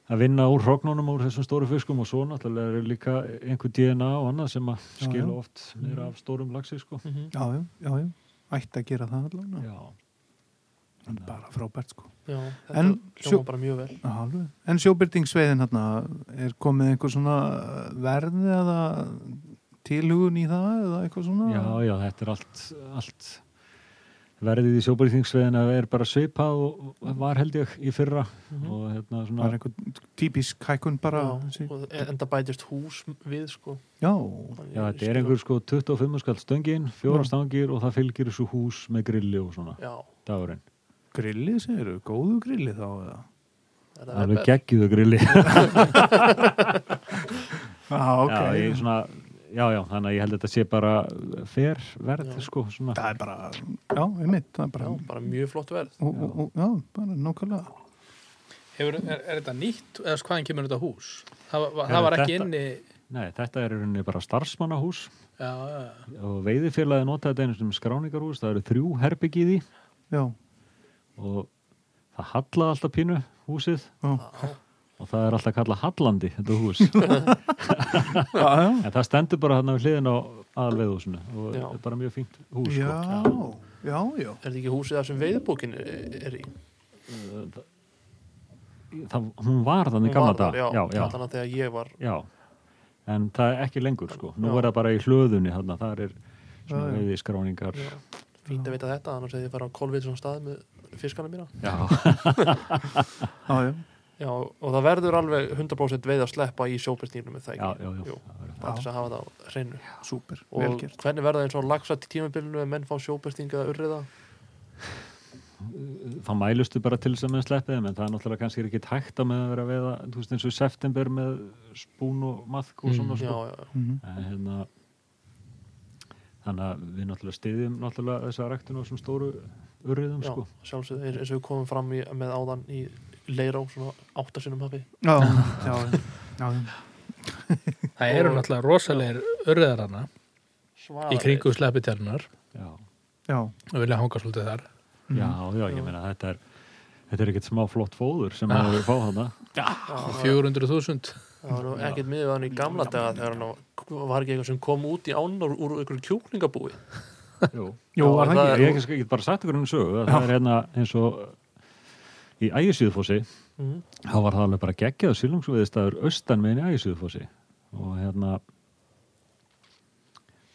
Speaker 4: að vinna úr hrognunum úr þessum stóru fiskum og svo náttúrulega er líka einhver DNA og annað sem að
Speaker 2: Já,
Speaker 4: skila
Speaker 2: já.
Speaker 4: oft meira af stórum lagsi sko.
Speaker 1: Mhm.
Speaker 2: Já, já, já, já, ætti að gera það allan
Speaker 4: Já,
Speaker 2: En bara frábært sko
Speaker 1: já þetta
Speaker 2: En sjó-
Speaker 1: hljóma bara mjög vel
Speaker 2: Já, alveg. En sjóbyrtingssveiðin hérna er komið einhver svona verð eða tilhugun í það eða eitthvað svona
Speaker 4: Já, já, þetta er allt, allt verðið í sjóbrítingsveðina er bara svipað og og var held ég í fyrra og hérna
Speaker 2: Mhm. Var
Speaker 4: svona
Speaker 2: einhver típisk hækun bara
Speaker 1: já,
Speaker 2: sí-
Speaker 1: og en það bætist hús við sko
Speaker 2: Já,
Speaker 4: Já, þetta er einhver sko 25 skall stöngin, fjóra
Speaker 2: Já.
Speaker 4: stangir og það fylgir þessu hús með grilli og svona
Speaker 1: já,
Speaker 4: dagurinn.
Speaker 2: grillið segir þau, góðu grillið þá eða
Speaker 1: þetta
Speaker 4: Það er alveg
Speaker 1: er
Speaker 4: geggjúðu grilli.
Speaker 2: Já, ok
Speaker 4: [LAUGHS] já, ég svona, já, já, þannig að ég held að þetta sé bara fer verð
Speaker 1: Já.
Speaker 4: sko svona.
Speaker 2: Það er bara, já, einmitt það er bara,
Speaker 1: já,
Speaker 4: Mm.
Speaker 2: já,
Speaker 1: bara mjög flott verð
Speaker 2: og, og, og, já bara nákvæmlega
Speaker 3: Hefur, er, er þetta nýtt, eða sko, hvaðan kemur þetta hús? Það, var- það var ekki
Speaker 4: þetta-
Speaker 3: inni
Speaker 4: Nei, þetta er í rauninni bara starfsmannahús
Speaker 3: Já, já, já.
Speaker 4: og veiðifélagi notaði þetta einu sem skráningarhús, það eru þrjú herbyggi í því
Speaker 2: Já,
Speaker 4: og það hallaði alltaf pínu húsið
Speaker 2: já,
Speaker 4: og það er alltaf kallað Hallandi þetta
Speaker 1: [LAUGHS]
Speaker 4: hús,
Speaker 2: já, já.
Speaker 4: en það stendur bara hérna við hliðin á aðalveðhúsinu og
Speaker 1: Já.
Speaker 4: þetta er bara mjög fínt hús sko.
Speaker 2: Já, já, já.
Speaker 1: er þetta ekki húsið þar sem veiðbókin er, er í
Speaker 4: það, hún var
Speaker 1: Hún
Speaker 4: þannig gamla
Speaker 1: var þar,
Speaker 4: dag
Speaker 1: já,
Speaker 4: já, já,
Speaker 1: þannig að þegar ég var
Speaker 4: já. en það er ekki lengur sko. nú
Speaker 1: Já.
Speaker 4: er það bara í hlöðunni þarna, þar er
Speaker 2: Já,
Speaker 4: svona
Speaker 2: já.
Speaker 4: veiði skráningar
Speaker 1: já, fínt að vita þetta annars hefði ég farið á kolvitsum stað með fiskana mína
Speaker 4: já,
Speaker 2: Já, já.
Speaker 1: Já, og það verður alveg 100% veið að sleppa í sjóbyrstnýfnum með það
Speaker 4: já,
Speaker 1: ekki.
Speaker 4: já, já.
Speaker 1: Jú.
Speaker 4: Það verður-
Speaker 1: Bara til þess að hafa það á hreinu.
Speaker 2: Súper,
Speaker 1: Og
Speaker 2: velgjert
Speaker 1: hvernig verða það eins og lagsa til tímabilinu ef menn fá sjóbyrstninga að urriða?
Speaker 4: þá mælustu bara til þess að menn sleppi þeim en það er náttúrulega kannski ekki hægt að með að vera að veiða, þú veist eins og í september með spún og maðk og svona
Speaker 3: Mm,
Speaker 1: já,
Speaker 4: sko.
Speaker 1: já, já.
Speaker 2: Mhm.
Speaker 4: en hérna þannig að við náttúrulega stiðjum náttúrulega þessa ræktinu á þessum stóru urriðum
Speaker 1: já
Speaker 4: sko.
Speaker 1: sjálfsögðu eins- eins og við komum fram í, með áðan í leirá svona áttasinum hafi
Speaker 2: Já, já, já, já.
Speaker 3: Það eru
Speaker 1: Og-
Speaker 3: náttúrulega rosalegir örðar hana í
Speaker 1: Svaðalegir.
Speaker 3: kringu sleppitjarnar
Speaker 4: já.
Speaker 2: já.
Speaker 3: og vilja hanga svolítið þar.
Speaker 2: Mhm.
Speaker 4: já, já, ég meina þetta er þetta er ekkert smá flott fóður sem
Speaker 2: Ah.
Speaker 4: maður er að fá
Speaker 2: [LAUGHS]
Speaker 4: þarna
Speaker 1: Já, það var-
Speaker 3: 400.000.
Speaker 1: það var ekkert miður við hann í gamla daga þegar hann á- var ekki eitthvað sem kom út í ánar úr einhverju kjúklingabúi
Speaker 4: Jú.
Speaker 2: Jú, var það
Speaker 1: það
Speaker 2: ekki?
Speaker 4: ég hef ekki bara sagt ykkur um sögu að það er hérna eins og í ægisíðfósi
Speaker 1: Mhm.
Speaker 4: þá var það alveg bara geggjað sílungsveðistæður austan meðin í ægisíðfósi og hérna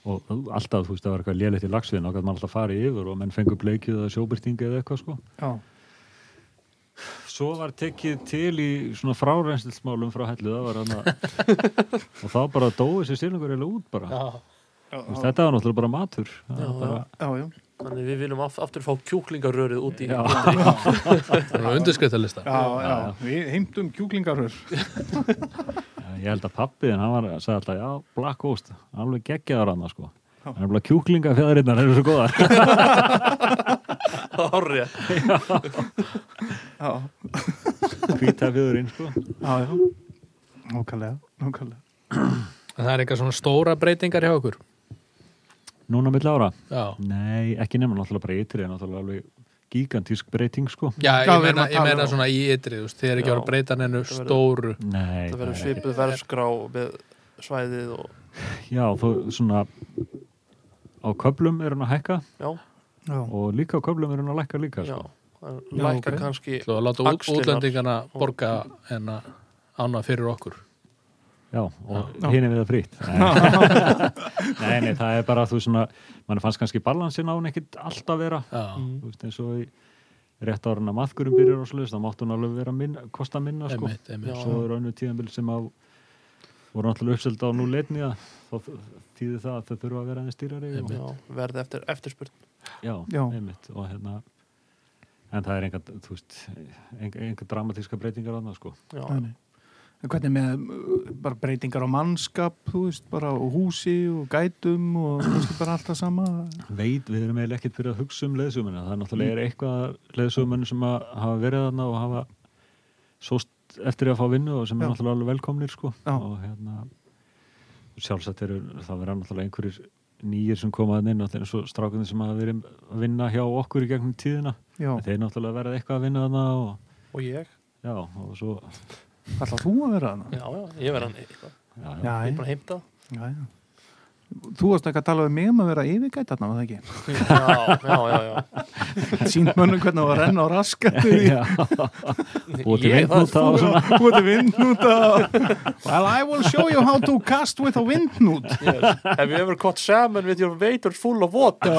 Speaker 4: og alltaf þú veist það var eitthvað lélegt í lagsviðin og gæti maður alltaf farið yfir og menn fengur bleikið eða sjóbyrtingi eða eitthvað sko
Speaker 2: Já,
Speaker 4: svo var tekið til í svona frárenstilsmálum frá hellu það var
Speaker 1: [LAUGHS]
Speaker 4: hérna og þá bara dóið sér sílungur eða út bara
Speaker 3: Já.
Speaker 4: Þú veist, þetta var náttúrulega bara matur Það
Speaker 1: Já,
Speaker 4: var bara,
Speaker 2: já, já.
Speaker 1: þannig við viljum aft- aftur fá kjúklingarörið út í [LAUGHS]
Speaker 4: Já. [LAUGHS]
Speaker 3: Það er undirskriftalista.
Speaker 2: Já, já, við heimtum kjúklingarhör.
Speaker 4: Ég held að pappiðin, hann var að segja alltaf, já, black oast, alveg geggjaður hann, sko. En hann er bara kjúklingafjæðurinnar, eru svo
Speaker 1: [LAUGHS]
Speaker 4: góða.
Speaker 1: Hárja.
Speaker 2: Já,
Speaker 4: Hvítafjæðurinn, sko.
Speaker 2: já, já. Nókallega, nókallega.
Speaker 3: En það er eitthvað svona stóra breytingar hjá okkur.
Speaker 4: Núna mill ára?
Speaker 3: Já.
Speaker 4: Nei, ekki nema náttúrulega bara ytri, en náttúrulega alveg gigantísk breyting, sko.
Speaker 2: Já,
Speaker 3: Já, ég
Speaker 2: við erum
Speaker 3: meina,
Speaker 2: að
Speaker 3: ég
Speaker 2: tala
Speaker 3: meina
Speaker 2: um-
Speaker 3: svona í ytri, þú veist, þið er ekki að
Speaker 1: Já.
Speaker 3: vera að breyta hennu
Speaker 1: Þetta verður-
Speaker 3: stóru.
Speaker 4: Nei,
Speaker 1: það verður
Speaker 4: er ekki-
Speaker 1: svipuð verskrá með svæðið og
Speaker 4: Já, þú, svona, á köflum er hann að hækka
Speaker 1: já,
Speaker 2: Já,
Speaker 4: og líka á köflum er hann að lækka líka,
Speaker 1: já
Speaker 4: sko.
Speaker 1: Það
Speaker 2: Já,
Speaker 1: lækka
Speaker 2: ok.
Speaker 1: kannski
Speaker 3: Þú að láta út,
Speaker 1: Axlirnar.
Speaker 3: útlendingana borga hennar annað fyrir okkur.
Speaker 4: Já, og
Speaker 2: Já.
Speaker 4: hinn er við það
Speaker 2: [LAUGHS]
Speaker 4: frýtt. Nei. nei, nei, það er bara, þú svona, mann fannst kannski balansin á hann ekkit alltaf vera.
Speaker 3: Já,
Speaker 1: Mhm.
Speaker 4: þú veist eins og í rétt ára að maðkurum byrjar og sluðist þá máttu hún alveg vera minna, kosta minna sko.
Speaker 3: einmitt, einmitt.
Speaker 1: Já.
Speaker 4: svo er önnu tíðanbíl sem að voru náttúrulega uppselt á nú leitni þá týði það að þau þurfa að vera aðeins dýrari og,
Speaker 1: já, verði eftir eftirspurn
Speaker 4: já,
Speaker 2: Já.
Speaker 4: einmitt og hérna en það er enga, þú veist enga, enga dramatíska breytingar annað sko
Speaker 1: já,
Speaker 2: þannig. En hvernig með uh, bara breytingar á mannskap, þú veist, bara og húsi og gætum og þú veist, bara alltaf sama.
Speaker 4: veit, við erum eiginlega ekkert fyrir að hugsa um leðsumuna það er náttúrulega er eitthvað leðsumunum sem að hafa verið þarna og hafa sóst eftir að fá vinnu og sem
Speaker 2: Já.
Speaker 4: er náttúrulega alveg velkomnir sko
Speaker 2: Já.
Speaker 4: og hérna sjálfsagt eru, það verða náttúrulega einhverjir nýjir sem koma að inn og þeir eru svo strákunni sem hafa verið að vinna hjá okkur í gegnum tíðina
Speaker 2: Já,
Speaker 4: þeir náttúrulega verða eitthvað að vinna þarna og
Speaker 1: og ég,
Speaker 4: já, og svo
Speaker 2: alltaf þú að vera hana.
Speaker 1: já, já, ég verði hann eitthvað.
Speaker 4: já,
Speaker 1: ég
Speaker 4: já.
Speaker 1: er
Speaker 2: Já,
Speaker 1: bara að heimta
Speaker 2: já, já. Þú varst ekki að tala um mig um að vera yfirgætt þarna, var það ekki?
Speaker 1: já, já, já, já.
Speaker 2: Sýnt mönnum hvernig það var að renna á raskattur í
Speaker 4: Já. [LAUGHS] og til
Speaker 1: Ég- það-
Speaker 4: vindnúta og svona
Speaker 2: What a vindnúta Well, I will show you how to cast with a [LAUGHS] vindnút
Speaker 1: Yes. Have you ever caught salmon with your waders full of water?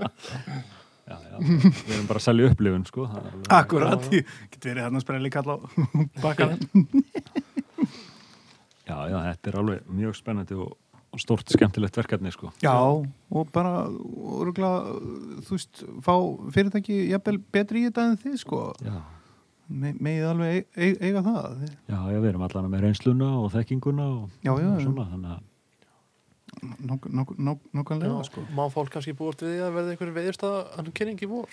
Speaker 4: já, já. við erum bara að selja upplifun sko það er alveg-
Speaker 2: Akkurat, ég get verið hann að sprelli [LAUGHS] kalla á bakkanum
Speaker 4: Já, já, þetta er alveg mjög spennandi og, og stórt skemmtilegt verkefni, sko.
Speaker 2: Já, og bara örgla, þú veist, fá fyrirtæki jafnvel betri í þetta en þið sko
Speaker 4: Já.
Speaker 2: Me, megið alveg eig- eig- eiga það
Speaker 4: Já, já, við erum allan með reynsluna og þekkinguna og,
Speaker 2: Já, já,
Speaker 4: og
Speaker 2: já.
Speaker 4: svona, þannig að,
Speaker 2: Nók- nók- nók-
Speaker 1: Já,
Speaker 2: Nókanlega sko
Speaker 1: Má fólk kannski búast við því að verði einhver veðurstað hann kynning í vor.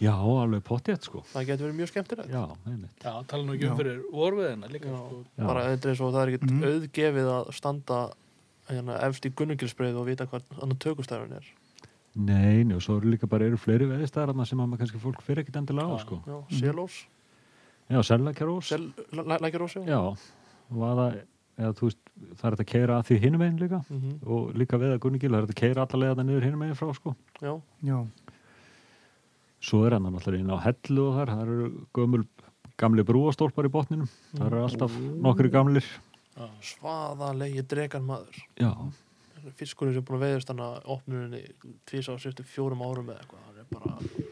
Speaker 4: já, alveg pottjætt, sko.
Speaker 1: Það getur verið mjög skemmtilegt.
Speaker 4: Já, einmitt.
Speaker 3: Já, tala nú
Speaker 2: ekki um Já.
Speaker 3: fyrir vorviðina líka. sko.
Speaker 4: Já.
Speaker 1: Bara auðvitað eins og það er ekkert
Speaker 2: Mhm.
Speaker 1: auðgefið að standa hérna, efst í Gunnugilsbreið og vita hvað annar tökustæðurinn er.
Speaker 4: Nei, njó, svo eru líka bara, eru fleiri veðistæðarna sem að maður kannski fólk fyrir ekkit endilega á,
Speaker 3: Já.
Speaker 4: sko.
Speaker 1: Já, Selós,
Speaker 4: Já, sellækjarós.
Speaker 1: Sel- Læ- Lækjarós, já.
Speaker 4: Já, vaða, eða þú veist, það er þetta að keira að því hinum einn líka
Speaker 1: Mhm,
Speaker 4: og líka veða Gunnigil, það er þetta að keira alla leiða niður hinum einn frá, sko.
Speaker 1: já.
Speaker 2: Já,
Speaker 4: Svo er hann náttúrulega inn á hellu og þar, þar eru gömul, gamli brúastólpar í botninum, þar eru alltaf nokkri gamlir.
Speaker 1: Svaðalegi dregan maður.
Speaker 4: Já,
Speaker 1: Fiskurinn sem er búin að veðast hann að opnuninni tvís á sérstu fjórum árum eða eitthvað. Það er bara,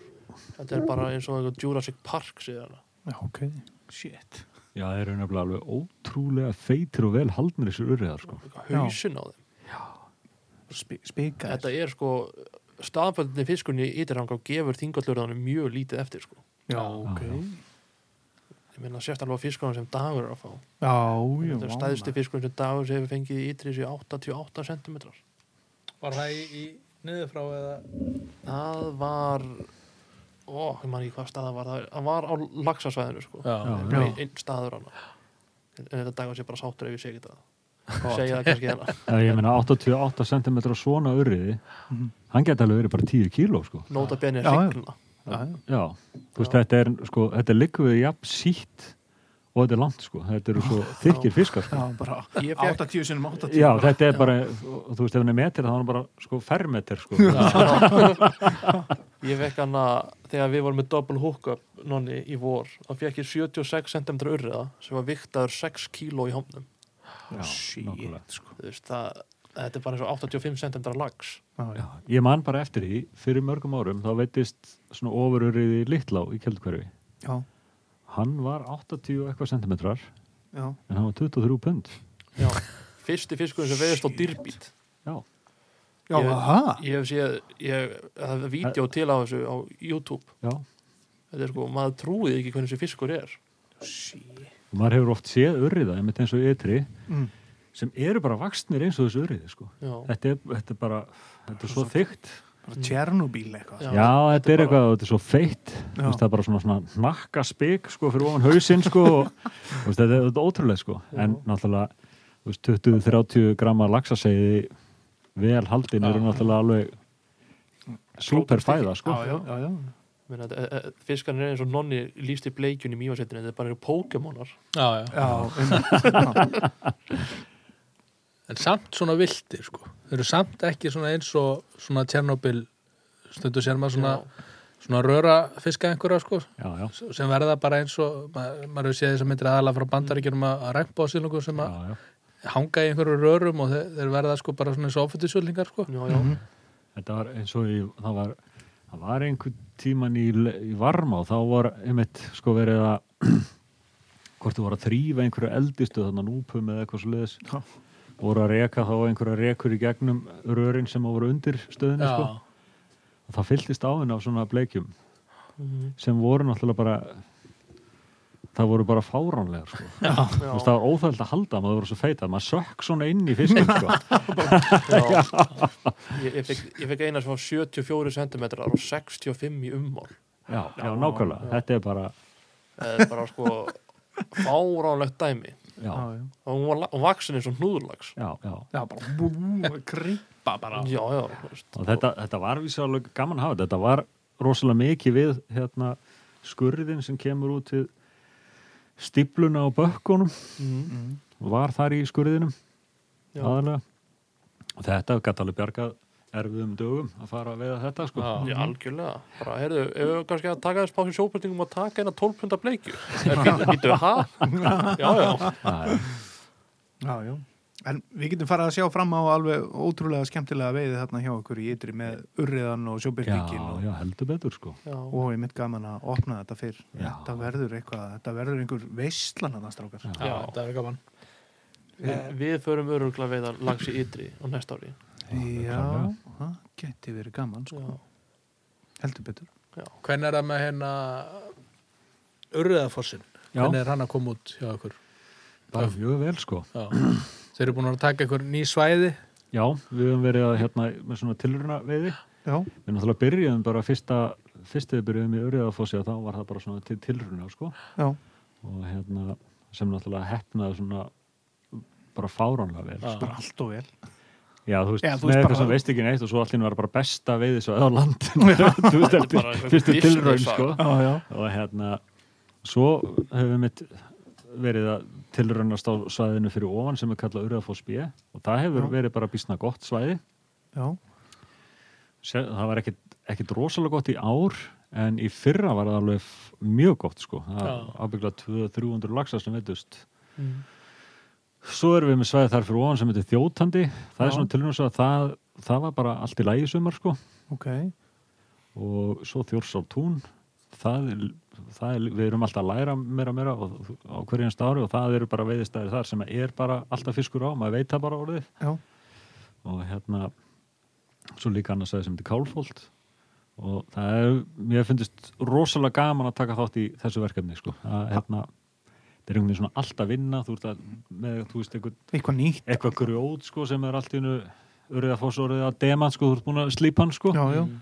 Speaker 1: þetta er bara eins og eitthvað Jurassic Park síðan.
Speaker 2: já, ok Shit
Speaker 4: já, það eru nefnilega alveg ótrúlega feitir og vel haldnir þessir urriðar, sko.
Speaker 1: Hauðsinn á þeim.
Speaker 2: Spi- Spikar
Speaker 1: Þetta er sko staðfældinni fiskunni ytirranga og gefur þingallurðanum mjög lítið eftir sko.
Speaker 2: Já,
Speaker 4: ok.
Speaker 1: ég meina sért alveg fiskunum sem dagur er að fá
Speaker 2: já,
Speaker 1: þetta er stæðsti fiskunum sem dagur sem hefur fengið í ytri sér 88 cm
Speaker 3: Var það í, í niðurfrá eða
Speaker 1: það var ó, ég man ekki hvað staða var það það var á laxasvæðinu sko.
Speaker 4: Já,
Speaker 1: Það var einn staður hana en en þetta dagur sé bara sáttur ef ég segi þetta segja það kannski
Speaker 2: [LAUGHS]
Speaker 1: hérna
Speaker 4: Já, ég meina 88 cm svona urriði
Speaker 2: Mhm.
Speaker 4: hann geti alveg verið bara 10 kíló sko.
Speaker 1: nota benni
Speaker 2: Já, já.
Speaker 1: hregluna
Speaker 2: já, já.
Speaker 4: já, þú veist þetta er sko, þetta er likvið jafn sítt og þetta er langt sko, þetta eru svo þykir fiskar sko.
Speaker 2: Já, bara
Speaker 1: Ég
Speaker 2: [LAUGHS]
Speaker 1: fékk-
Speaker 2: 80 sinum 80
Speaker 4: já, þetta er bara, og þú veist ef hann er metir þá er hann bara sko fermetir sko.
Speaker 1: Ég vekk hana þegar við vorum með double hookup nonni í vor þá fekk ég 76 cm urriða sem var viktaður 6 kíló í hómnum
Speaker 4: Já, nákvæmlega.
Speaker 2: Shit, sko.
Speaker 1: Þú veist, það, þetta er bara eins og 85 cm lags
Speaker 2: Já, já.
Speaker 4: ég man bara eftir því, fyrir mörgum árum þá veitist svona ofururriði litlá í keldukverfi,
Speaker 2: Já,
Speaker 4: hann var 80 og eitthvað centimetrar,
Speaker 2: já.
Speaker 4: en hann var 23 pund
Speaker 1: Já, fyrsti fiskurinn sem veiðist á dýrbít
Speaker 4: já,
Speaker 2: Já,
Speaker 1: Ég-
Speaker 2: aha.
Speaker 1: Ég hef séð, ég, það er vídeo til á þessu á YouTube
Speaker 4: já
Speaker 1: Þetta er sko, maður trúið ekki hvernig þessi fiskur er
Speaker 4: og maður hefur oft séð urriða, einmitt eins og ytri
Speaker 2: Mm.
Speaker 4: sem eru bara vaksnir eins og þessu urriði sko.
Speaker 1: Já,
Speaker 4: þetta, er, þetta er bara þetta er svo þygt
Speaker 2: Bara Tjernobyl eitthvað.
Speaker 1: Já.
Speaker 4: já, þetta er
Speaker 1: bara-
Speaker 4: eitthvað, þetta er svo feitt Þú veist, það er bara svona, svona nakka spik sko, fyrir ofan hausinn sko, og, þú veist, þetta, er- þetta er ótrúlega sko. en náttúrulega þú veist, 20-30 gramma laxaseiði vel haldin eru náttúrulega alveg super fæða sko.
Speaker 2: Já, já, já, já.
Speaker 1: menn að fiskarinn er e, eins og nonni líst í bleikjun í mývasettinu Þetta er bara eru Pokémonar
Speaker 3: Já, já.
Speaker 2: Já, einmitt.
Speaker 3: En samt svona viltir sko. Þeir eru samt ekki svona eins og svona Tjernobyl stundu sér maður svona, svona röra fiska einhverja sko
Speaker 4: já, já,
Speaker 3: sem verða bara eins og maður, maður hefur séð þess að myndir aðalega frá bandaríkjunum að rækpa á sílungu sem
Speaker 4: já,
Speaker 3: að
Speaker 4: já.
Speaker 3: hanga í einhverju rörum og þeir, þeir verða sko bara svona eins og oföldisvöldingar sko.
Speaker 1: Já, já,
Speaker 4: þetta var eins og í, það var það var einhver tíman í, le- í varma og þá var einmitt sko verið að [CLEARS THROAT] hvort þú var að þrýfa einhverju eldistu þannig að núpum eða eitthvað svo leiðis
Speaker 2: Já.
Speaker 4: voru að reka þá einhverja rekur í gegnum rörin sem voru undir stöðinu sko.
Speaker 3: Já,
Speaker 4: og það fylltist á henni af svona bleikjum
Speaker 1: Mhm.
Speaker 4: sem voru náttúrulega bara það voru bara fáránlegar sko. Þú veist,
Speaker 1: já,
Speaker 4: það var óþægild að halda, maður voru svo feita maður sökk svona inn í fiskin sko. [LAUGHS]
Speaker 1: já. Ég, ég, fekk, ég fekk eina sem var 74 cm og 65 í ummál
Speaker 4: já, já, nákvæmlega, þetta er bara
Speaker 1: það er bara sko fáránlegt dæmi
Speaker 4: já,
Speaker 2: já, já.
Speaker 1: og hún var la- hún vaksin eins og hnúðurlags
Speaker 4: já, já.
Speaker 2: Já, bara bú, kripa bara.
Speaker 1: já, já, þú veist.
Speaker 4: og þetta, þetta var vísa alveg gaman að hafa þetta þetta var rosalega mikið við hérna, skurðin sem kemur út við stípluna á bökkunum
Speaker 1: Mhm.
Speaker 4: var þar í skurðinum
Speaker 1: Já.
Speaker 4: aðalega og þetta gæti alveg bjargað erfiðum dögum að fara að veiða þetta sko.
Speaker 1: já, Mhm. algjörlega bara, heyrðu, ef við kannski að taka þess pási sjóbyrtingum og taka eina 12 punda bleikju [LAUGHS] Er býtu- býtu við ha? já, já,
Speaker 4: Það er-
Speaker 2: Já, já. En við getum farið að sjá fram á alveg ótrúlega skemmtilega veiði þarna hjá okkur í ytri með urriðan og
Speaker 4: já,
Speaker 2: sjóbyrkingin og,
Speaker 4: já, heldur betur sko.
Speaker 1: já.
Speaker 2: og ég mitt gaman að opna þetta fyrr.
Speaker 4: Já.
Speaker 2: Þetta verður eitthvað, þetta verður einhver veistlan að það strákar.
Speaker 3: já,
Speaker 1: Já.
Speaker 3: þetta er gaman
Speaker 1: Eh, við förum öruglega veiða lags í ytri á næsta ári
Speaker 2: Já,
Speaker 4: klárlega.
Speaker 2: það geti verið gaman, sko.
Speaker 1: já,
Speaker 2: Heldur betur.
Speaker 3: Hvernig er það með hérna urriðafossin?
Speaker 4: Já.
Speaker 3: Hvernig er hann að koma út hjá okkur?
Speaker 4: bara mjög vel sko.
Speaker 3: Já. [CLEARS THROAT] Þeir eru búin að taka einhver ný svæði
Speaker 4: já, við höfum verið að hérna, með svona tilurina veiði
Speaker 2: Já,
Speaker 4: við náttúrulega byrjuðum bara fyrsta fyrstu við byrjuðum í Uriðafossi og þá var það bara svona til tilurina sko.
Speaker 2: já,
Speaker 4: og hérna sem náttúrulega hefnaði svona bara fáránlega vel
Speaker 3: Já.
Speaker 4: sko.
Speaker 2: bara allt og vel.
Speaker 4: já,
Speaker 2: Já, þú
Speaker 4: þú veist,
Speaker 2: veist
Speaker 4: með
Speaker 2: bara-
Speaker 4: eitthvað sem veist ekki neitt og svo allir var bara besta veiði svo eða á
Speaker 2: [LAUGHS]
Speaker 4: landinu þú veist,
Speaker 1: Bara
Speaker 4: eftir
Speaker 1: eitthvað
Speaker 4: fyrstu
Speaker 1: business
Speaker 4: tilraun
Speaker 1: saga.
Speaker 4: sko.
Speaker 2: Já, já.
Speaker 4: og hérna svo hefur mitt verið að tilraunast á svæðinu fyrir ofan sem er kallað Uriðafoss B og það hefur
Speaker 2: Já.
Speaker 4: verið bara bísna gott svæði
Speaker 2: Já,
Speaker 4: Sér, það var ekkit, ekkit rosalega gott í ár en í fyrra var það alveg f- mjög gott sko, það
Speaker 3: Já.
Speaker 4: ábyggla 200-300 laxar sem veitust
Speaker 1: Mm.
Speaker 4: Svo erum við með svæði þar fyrir ofan sem heitir þjótandi. Það er
Speaker 2: Já.
Speaker 4: svona tilnæmis að það, það var bara allt í lægi sumar sko
Speaker 2: ok.
Speaker 4: og svo þjórsál tún. Það er, það er, við erum alltaf að læra meira meira og, á hverjum stári og það eru bara veiðistæðir þar sem er bara alltaf fiskur á, maður veit það bara orðið
Speaker 2: Já,
Speaker 4: og hérna svo líka annars aðeins sem þetta er Kálfóld og það er, mér finnst rosalega gaman að taka þátt í þessu verkefni sko, að hérna þetta er einhvern veginn svona allt að vinna þú ert að, með, þú veist, einhvern
Speaker 2: eitthvað nýtt
Speaker 4: eitthvað grjót sko sem er allt í hennu öryða fósorðið að deman sko, þú ert búin að slípa hann sko
Speaker 2: já, já,
Speaker 1: Mhm.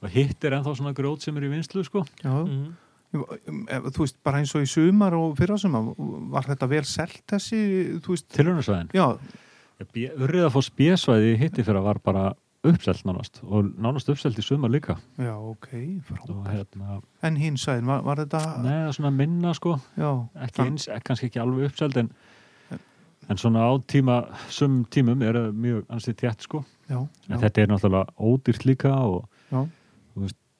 Speaker 4: og hitt er ennþá svona grjót sem er í vinslu sko
Speaker 2: já.
Speaker 1: Mhm.
Speaker 2: Mm. þú veist, bara eins og í sumar og fyrrasumar, var þetta vel selt þessi, þú veist,
Speaker 4: tilhörnarsvæðin
Speaker 2: já
Speaker 4: Eh, Urriðafoss bjösvæði hitti fyrir að var bara uppselt nánast og nánast uppselt í sumar líka
Speaker 2: já, ok,
Speaker 4: og
Speaker 2: frábært
Speaker 4: hérna,
Speaker 2: en hins aðeins, var, var þetta
Speaker 4: neða svona minna sko
Speaker 2: já,
Speaker 4: ekki eins, eh, kannski ekki alveg uppselt en, en svona á tíma sum tímum er það mjög ansið tjætt sko
Speaker 2: já,
Speaker 4: en
Speaker 2: já,
Speaker 4: þetta er náttúrulega ódýrt líka og
Speaker 2: já,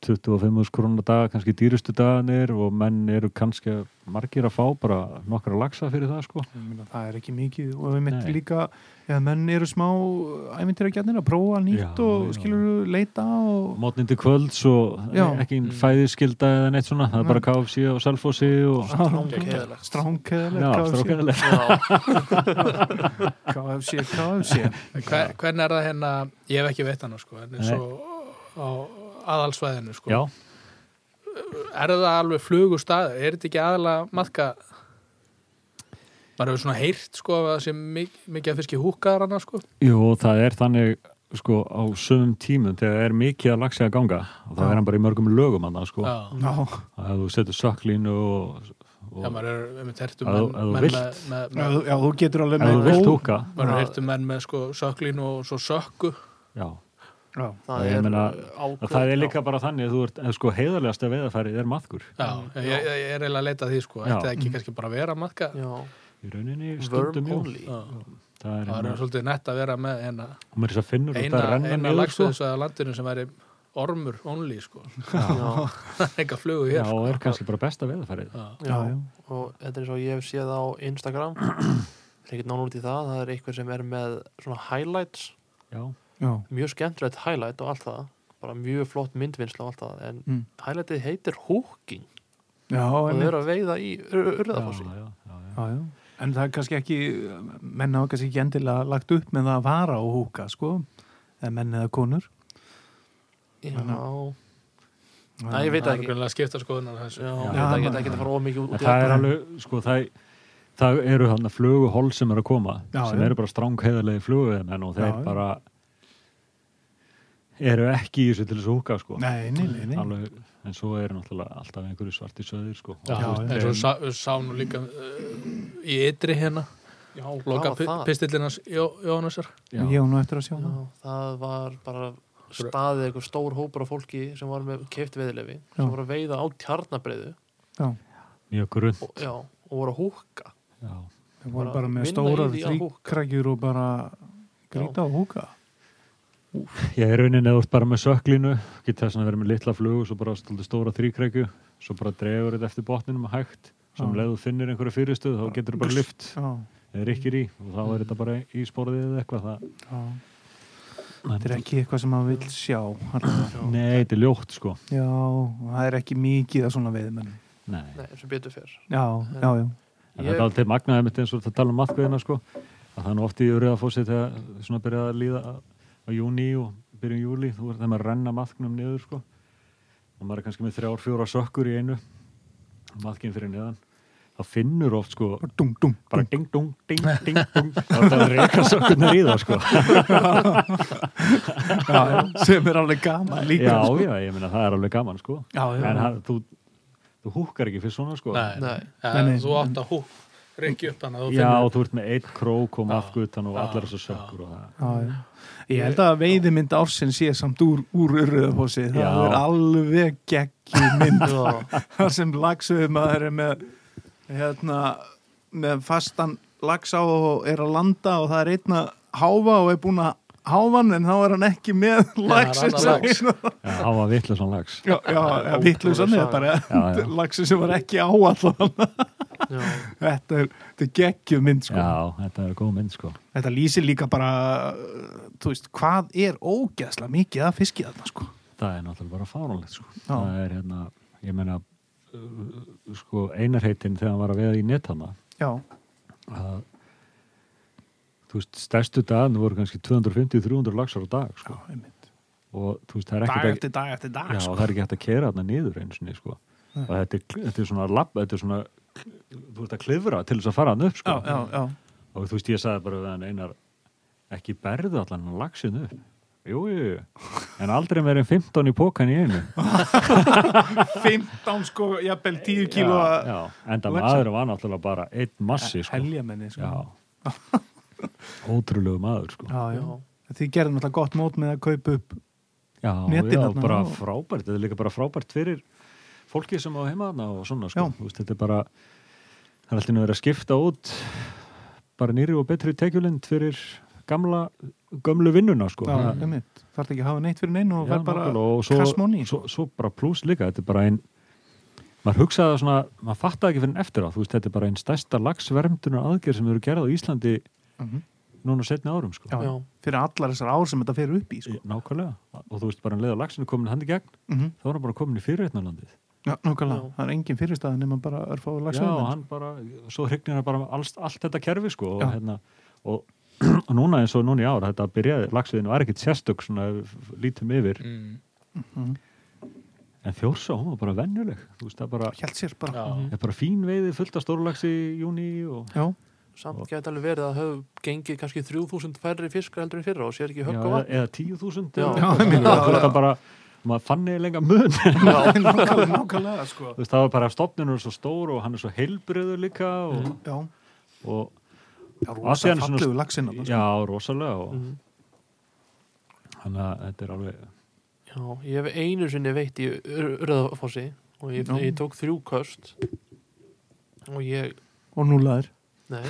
Speaker 4: 25.000 krónar dag, kannski dýrustu dagarnir og menn eru kannski margir að fá bara nokkra laxa fyrir það sko.
Speaker 2: Ég meina, það er ekki mikið og við mitt
Speaker 4: Nei.
Speaker 2: líka eða menn eru smá æmyndir að gjarnir að prófa nýtt
Speaker 4: Já,
Speaker 2: og
Speaker 4: já.
Speaker 2: skilur leita og
Speaker 4: Mótnindi kvölds og
Speaker 2: Já.
Speaker 4: ekki
Speaker 3: Mm.
Speaker 4: fæðiskilda eða neitt svona, það er bara KFC og Selfossi og
Speaker 1: Geðveikt.
Speaker 4: Já,
Speaker 2: strángkeðalegt
Speaker 4: strákanlega.
Speaker 1: Já,
Speaker 2: KFC, KFC
Speaker 3: Hver, hvernig er það hérna, ég hef ekki veit hann sko, en eins og á aðalsvæðinu sko.
Speaker 4: Já,
Speaker 3: er það alveg flugustæð er þetta ekki aðalega maðka maður hefur svona heyrt sko, að það sé mik mikið að fiski húkaðar hana sko.
Speaker 4: jú, það er þannig sko á sömum tímum þegar er mikið að laxa að ganga og það
Speaker 2: Já.
Speaker 4: er hann bara í mörgum lögum annað sko.
Speaker 3: já,
Speaker 2: Já,
Speaker 4: að þú setur sökklínu og, og
Speaker 3: já, maður er með tertum
Speaker 4: Að þú- að þú
Speaker 3: menn, menn
Speaker 4: vilt.
Speaker 3: með, með,
Speaker 2: já,
Speaker 3: með,
Speaker 2: þú- já, þú getur alveg
Speaker 4: ef þú
Speaker 2: góð-
Speaker 4: vilt húka
Speaker 3: maður er heyrt um menn með sko, söklín og svo sökku
Speaker 4: Já,
Speaker 2: Já,
Speaker 1: það
Speaker 4: Ég
Speaker 1: er
Speaker 4: meina,
Speaker 1: ákveð
Speaker 4: það er líka bara þannig að þú ert, eða sko heiðarlegasta veiðarfærið er maðkur
Speaker 3: já, ég, ég, ég er eiginlega að leita að því sko.
Speaker 4: Mm, Já. Mm.
Speaker 3: ætti það ekki kannski bara að vera maðka
Speaker 1: Já,
Speaker 4: í rauninni
Speaker 1: worm
Speaker 4: stundum jú.
Speaker 1: only
Speaker 3: það
Speaker 4: það er
Speaker 3: er
Speaker 4: hérna,
Speaker 3: svolítið nett að vera með eina,
Speaker 4: hún er þess að finnur út
Speaker 3: eina,
Speaker 4: að renna
Speaker 3: eina
Speaker 4: niður sko.
Speaker 3: lagstöðis að landinu sem væri ormur only sko. [LAUGHS]
Speaker 1: Já,
Speaker 3: eitthvað flugu
Speaker 4: já,
Speaker 3: hér sko.
Speaker 4: og er kannski bara besta veðarfærið
Speaker 3: Já.
Speaker 1: já,
Speaker 2: já,
Speaker 1: og þetta er svo ég hef séð á Instagram það er ekkert nánu út í það, það er einhver sem er með svona highlights,
Speaker 4: já,
Speaker 2: já,
Speaker 1: mjög skemmtilegt highlight og allt það, bara mjög flott myndvinnsla og allt það, en
Speaker 2: Mm.
Speaker 1: highlightið heitir húking
Speaker 2: já,
Speaker 1: og þau
Speaker 2: einmitt.
Speaker 1: eru að veiða í
Speaker 4: já,
Speaker 1: urðafossi
Speaker 4: já, já, já.
Speaker 2: já, já. En það er kannski ekki, menn hafa kannski ekki endilega lagt upp með það að vara og húka, sko, eða menn eða konur.
Speaker 1: Já, Nei,
Speaker 2: Já,
Speaker 1: ég veit það
Speaker 3: það er
Speaker 1: ekki
Speaker 3: grunlega skipta skoðunar á þessu.
Speaker 1: Já,
Speaker 4: Já,
Speaker 1: það
Speaker 2: maður-
Speaker 1: geta ekki að fara ómikið út í
Speaker 4: En það er alveg, sko, það, það eru hann að fluguhól sem eru að koma
Speaker 2: Já,
Speaker 4: sem
Speaker 2: já.
Speaker 4: eru bara strángheðalegi fluguðmenn og þeir
Speaker 2: Já, já.
Speaker 4: bara eru ekki í þessu til þess að húka sko.
Speaker 2: Nei, nei, nei, nei.
Speaker 4: Alveg, en svo eru náttúrulega alltaf einhverju svarti söðir sko.
Speaker 3: Já,
Speaker 4: Og þú veist,
Speaker 3: eins og
Speaker 4: þeir-
Speaker 3: sá, við sá nú líka uh, í ytri hérna
Speaker 1: Já, hvað
Speaker 3: loka
Speaker 1: var það?
Speaker 3: pistillinans Jónasar
Speaker 4: já,
Speaker 2: Ég á nú eftir að sjá
Speaker 1: Já,
Speaker 2: það.
Speaker 1: það var bara staðið eitthvað stór hópur af fólki sem var með keift veðilefi
Speaker 2: Já.
Speaker 1: sem voru að veiða á tjarnabreiðu
Speaker 2: Já,
Speaker 4: mjög grunn
Speaker 1: og, já, og voru að húka
Speaker 4: já.
Speaker 2: það voru
Speaker 1: Bara
Speaker 2: bara með
Speaker 1: vinna í
Speaker 2: stórar
Speaker 1: því að húka.
Speaker 2: þrýkrækjur og bara grýta og húka.
Speaker 4: Ég er raunin eða út bara með söklinu geta þess að vera með litla flugu svo bara stoltið stóra þrýkrækju svo bara dregur þetta eftir botninum hægt sem
Speaker 2: Já.
Speaker 4: leið þú finnir einhverja fyrirstöð þá getur þú bara lyft
Speaker 2: Já,
Speaker 4: eða rikkir í og þá er þetta bara í spóraðið eða eitthvað það,
Speaker 2: já. Þetta er ekki eitthvað sem maður vil sjá. allavega.
Speaker 4: Nei, þetta er ljótt sko
Speaker 2: Já, og það er ekki mikið að svona veiðmenn.
Speaker 4: Nei,
Speaker 1: Nei, sem betur fyrr
Speaker 2: Já, já, já.
Speaker 4: en þetta er alltaf magnaði mitt eins og þetta tala um matkvæðina sko að það er nú oft í öryða fósið þegar svona byrjaði að líða á júni og byrjun júli, þú verður þegar maður að renna matknum niður sko og maður er kannski með þrjár, fjóra sökkur í einu matkinn fyrir neðan þá finnur oft sko
Speaker 2: Bara dung, dung,
Speaker 4: bara ding dung, ding, ding
Speaker 3: [LAUGHS]
Speaker 4: dung þá er það að reyka sökkurnar í það sko
Speaker 2: já, já. sem er alveg gaman líka.
Speaker 4: Já,
Speaker 2: sko.
Speaker 4: já, ég meina það er alveg gaman sko
Speaker 2: já, já.
Speaker 4: en það, þú, þú húkkar ekki fyrir svona sko
Speaker 3: nei,
Speaker 1: Nei.
Speaker 4: [LAUGHS]
Speaker 3: Eh,
Speaker 2: Nei, nei.
Speaker 3: þú átt að hú reykja upp hana þú
Speaker 4: Já,
Speaker 3: finnur-
Speaker 4: og þú ert með eitt krók og matgutan og
Speaker 3: já,
Speaker 4: allar þessu
Speaker 3: já.
Speaker 4: sökkur og það.
Speaker 2: Já, já. Ég held að veiðmynd ársinn sé samt úr, úr urriðafósi. Það
Speaker 4: Já.
Speaker 2: er alveg geggjum
Speaker 1: [LAUGHS]
Speaker 2: mynd
Speaker 1: Já,
Speaker 2: þar sem lagsuðum maður er með, hérna, með fastan lagsa og er að landa og það er einna háfa og er búin að háfa hann en þá er hann ekki með lagsin
Speaker 3: annar
Speaker 2: sem-
Speaker 3: lax.
Speaker 4: Já, það var vitlega svona lags.
Speaker 2: Já, já, já vittlausan
Speaker 1: saga.
Speaker 2: er
Speaker 4: Já,
Speaker 2: bara
Speaker 4: já.
Speaker 2: lagsin sem var ekki á allan [LAUGHS]
Speaker 1: já,
Speaker 2: þetta er, þetta er geggjum mynd sko.
Speaker 4: Já, þetta er góð mynd sko.
Speaker 2: þetta lýsir líka bara uh, þú veist, hvað er ógeðslega mikið að fiski þarna sko
Speaker 4: Það er náttúrulega bara fáránlegt sko.
Speaker 2: Já.
Speaker 4: Það er hérna, ég meina, uh, sko, einarheitin þegar hann var að veða í netana,
Speaker 2: já,
Speaker 4: að, þú veist, stærstu dagarnir voru kannski 250-300 lagsar á dag sko.
Speaker 2: já, einmitt
Speaker 4: og þú veist, það er
Speaker 2: dag
Speaker 4: ekkert
Speaker 2: eftir dag eftir dag
Speaker 4: Já,
Speaker 2: sko.
Speaker 4: það er ekki hægt að kera þarna niður einu sinni, sko. Og þetta er, þetta er svona lapp, þetta er svona, þú ert að klifra til þess að fara hann upp,
Speaker 2: já,
Speaker 4: sko.
Speaker 2: já, já,
Speaker 4: Og þú veist, ég sagði bara við hann einar, ekki berðu allan hann lagsin upp. Jú, jú, jú. En aldrei meir en 15 í pókan í einu.
Speaker 2: 15 sko, jafnvel 10 kíló
Speaker 4: Já, já. Enda
Speaker 2: laxinn.
Speaker 4: maður var náttúrulega bara einn massi, sko.
Speaker 2: helgjamenni sko.
Speaker 4: Já. [LAUGHS] Ótrúlegu maður, sko.
Speaker 2: já, já. Þið gerðum alltaf gott mót með að kaupa upp
Speaker 4: Já,
Speaker 2: Netin
Speaker 4: já,
Speaker 2: þarna,
Speaker 4: bara
Speaker 2: já.
Speaker 4: frábært, þetta er líka bara frábært fyrir fólki sem á heima þarna og svona,
Speaker 2: Já.
Speaker 4: sko, Þú veist, þetta er bara það er alltaf verið að skipta út bara nýri og betri tekjulind fyrir gamla, gömlu vinnuna, sko,
Speaker 2: já,
Speaker 4: Það-
Speaker 2: einmitt. þarf ekki að hafa neitt fyrir neinn og
Speaker 4: Já,
Speaker 2: verð bara sko.
Speaker 4: nákvæmlega, og svo,
Speaker 2: kassmóni
Speaker 4: svo, svo bara pluss líka, þetta er bara ein maður hugsaði það svona, maður fattaði ekki fyrir en eftir á, þú veist, þetta er bara ein stærsta lagsvermdunar aðgerð sem eru gerað á Íslandi
Speaker 2: Mhm.
Speaker 4: núna setni árum, sko
Speaker 2: Já.
Speaker 1: já,
Speaker 2: fyrir allar þessar ár sem þetta fer upp í sko.
Speaker 4: nákvæmlega, og þú veist, bara en leiða lagsinu komin hann í gegn,
Speaker 2: mm
Speaker 4: þá er hann bara komin í fyrirreitnalandið
Speaker 2: já, nákvæmlega,
Speaker 1: Já.
Speaker 2: það er engin fyrirstæðan nema bara örfáðu
Speaker 4: Já,
Speaker 2: lagsveiðin
Speaker 4: hann bara, svo hrygnir hann bara alls, allt þetta kerfi sko og,
Speaker 2: Já.
Speaker 4: hérna, og, [CLEARS THROAT] og núna eins og núna í ár þetta byrjaði, lagsviðinu var ekkit sérstök svona ef við lítum yfir
Speaker 3: Mm.
Speaker 4: en þjórsá, hún var bara venjuleg þú veist, það bara,
Speaker 2: held sér bara
Speaker 3: Já.
Speaker 1: Mhm.
Speaker 4: er bara fín veiði fullt af stórlags í júni og
Speaker 2: já,
Speaker 1: samt geta alveg verið að hafa gengið kannski 3000 færri fiskar heldur en í fyrra og sér ekki
Speaker 4: já,
Speaker 1: högg og
Speaker 4: eða, [LAUGHS]
Speaker 1: vatn
Speaker 4: eða tíu þúsund
Speaker 1: Já.
Speaker 4: eða-
Speaker 1: Já,
Speaker 4: þú
Speaker 2: einmitt.
Speaker 4: veist, það var þetta bara, maður fann eða lenga mun [LAUGHS] þú
Speaker 2: nákvæmlega, nákvæmlega sko.
Speaker 4: veist, það var bara stofninu er svo stór og hann er svo heilbriður líka og,
Speaker 2: já,
Speaker 1: Mm.
Speaker 4: og
Speaker 2: já,
Speaker 4: Og
Speaker 2: rosa
Speaker 4: síðan er svona-
Speaker 2: fallegu lagsinn þarna, sko.
Speaker 4: já, rosalega og,
Speaker 1: Mhm.
Speaker 4: þannig að þetta er alveg
Speaker 1: Já, ég hef einu sinni veitt í Röðafossi og ég,
Speaker 2: Já.
Speaker 1: ég tók þrjú köst og ég
Speaker 2: og núlaður [LAUGHS]
Speaker 1: nei,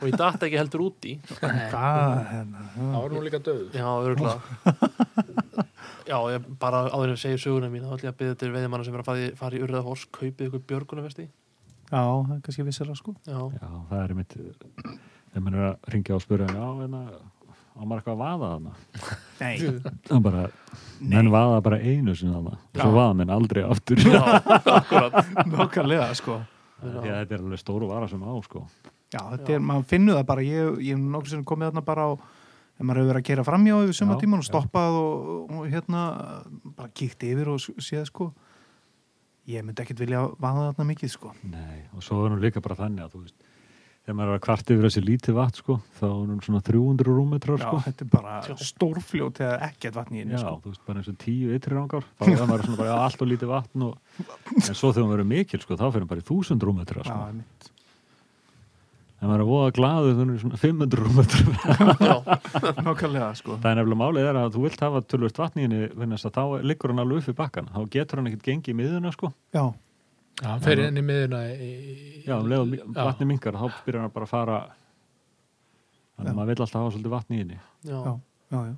Speaker 1: og ég datt ekki heldur úti
Speaker 2: það hérna,
Speaker 3: Það
Speaker 2: já.
Speaker 3: var nú líka döð
Speaker 1: Já, örgulega Já, ég bara áður en ég segi söguna mín þá ætlum ég að byrja til veiðimanna sem er að fara í, fara í urðahors kaupið ykkur björgunarvesti
Speaker 2: já, það er kannski vissara sko
Speaker 1: Já,
Speaker 4: Já, það er einmitt þegar maður er að ringja og spyrja já, hérna, á maður eitthvað að vaða þarna
Speaker 2: nei, [LAUGHS]
Speaker 4: það er bara, menn vaða bara einu sinna þarna, svo
Speaker 2: Já.
Speaker 4: vaða menn aldrei
Speaker 2: [LAUGHS]
Speaker 4: aftur já,
Speaker 2: nákvæmlega sko
Speaker 4: því að þetta er alveg stóru vara sem á, sko
Speaker 2: Já, þetta er, maður finnur það bara, ég, ég hef nokkur sem komið þarna bara á, ef maður hefur verið að kera framjá yfir suma
Speaker 4: Já,
Speaker 2: tíman og
Speaker 4: já.
Speaker 2: stoppað og, og hérna, bara kíkt yfir og s- séð sko, ég myndi ekkit vilja vaða þarna mikið sko.
Speaker 4: Nei, og svo er hún líka bara þannig að þú veist þegar maður er að kvart yfir þessi lítið vatn, sko þá er hún svona 300 rúmetrar,
Speaker 2: Já,
Speaker 4: sko
Speaker 2: þetta er bara stórfljót eða ekkert vatn í henni
Speaker 4: Já,
Speaker 2: sko.
Speaker 4: þú veist, bara eins og tíu ytri rangar þá er maður svona bara "Já, allt og lítið vatn og... en svo þegar maður er mikil, sko, þá fyrir hún bara í 1000 rúmetra,
Speaker 2: Já,
Speaker 4: sko
Speaker 2: einmitt.
Speaker 4: en maður er voða glaður, þannig svona 500 rúmetra
Speaker 1: já,
Speaker 2: [LAUGHS] nákvæmlega sko.
Speaker 4: [LAUGHS] Það er nefnilega málið er að þú vilt hafa tölvöld vatninginni vegna þess að þá liggur hann alveg upp í bakkan þá getur hann ekkert gengið í miðuna sko
Speaker 2: Já,
Speaker 3: Já, hann fer inn í miðuna í...
Speaker 4: já, um leið og mi-
Speaker 3: Já.
Speaker 4: vatni mingar þá byrjar hann bara að fara þannig að maður vil alltaf hafa svolítið vatninginni
Speaker 1: já
Speaker 2: já, já, já.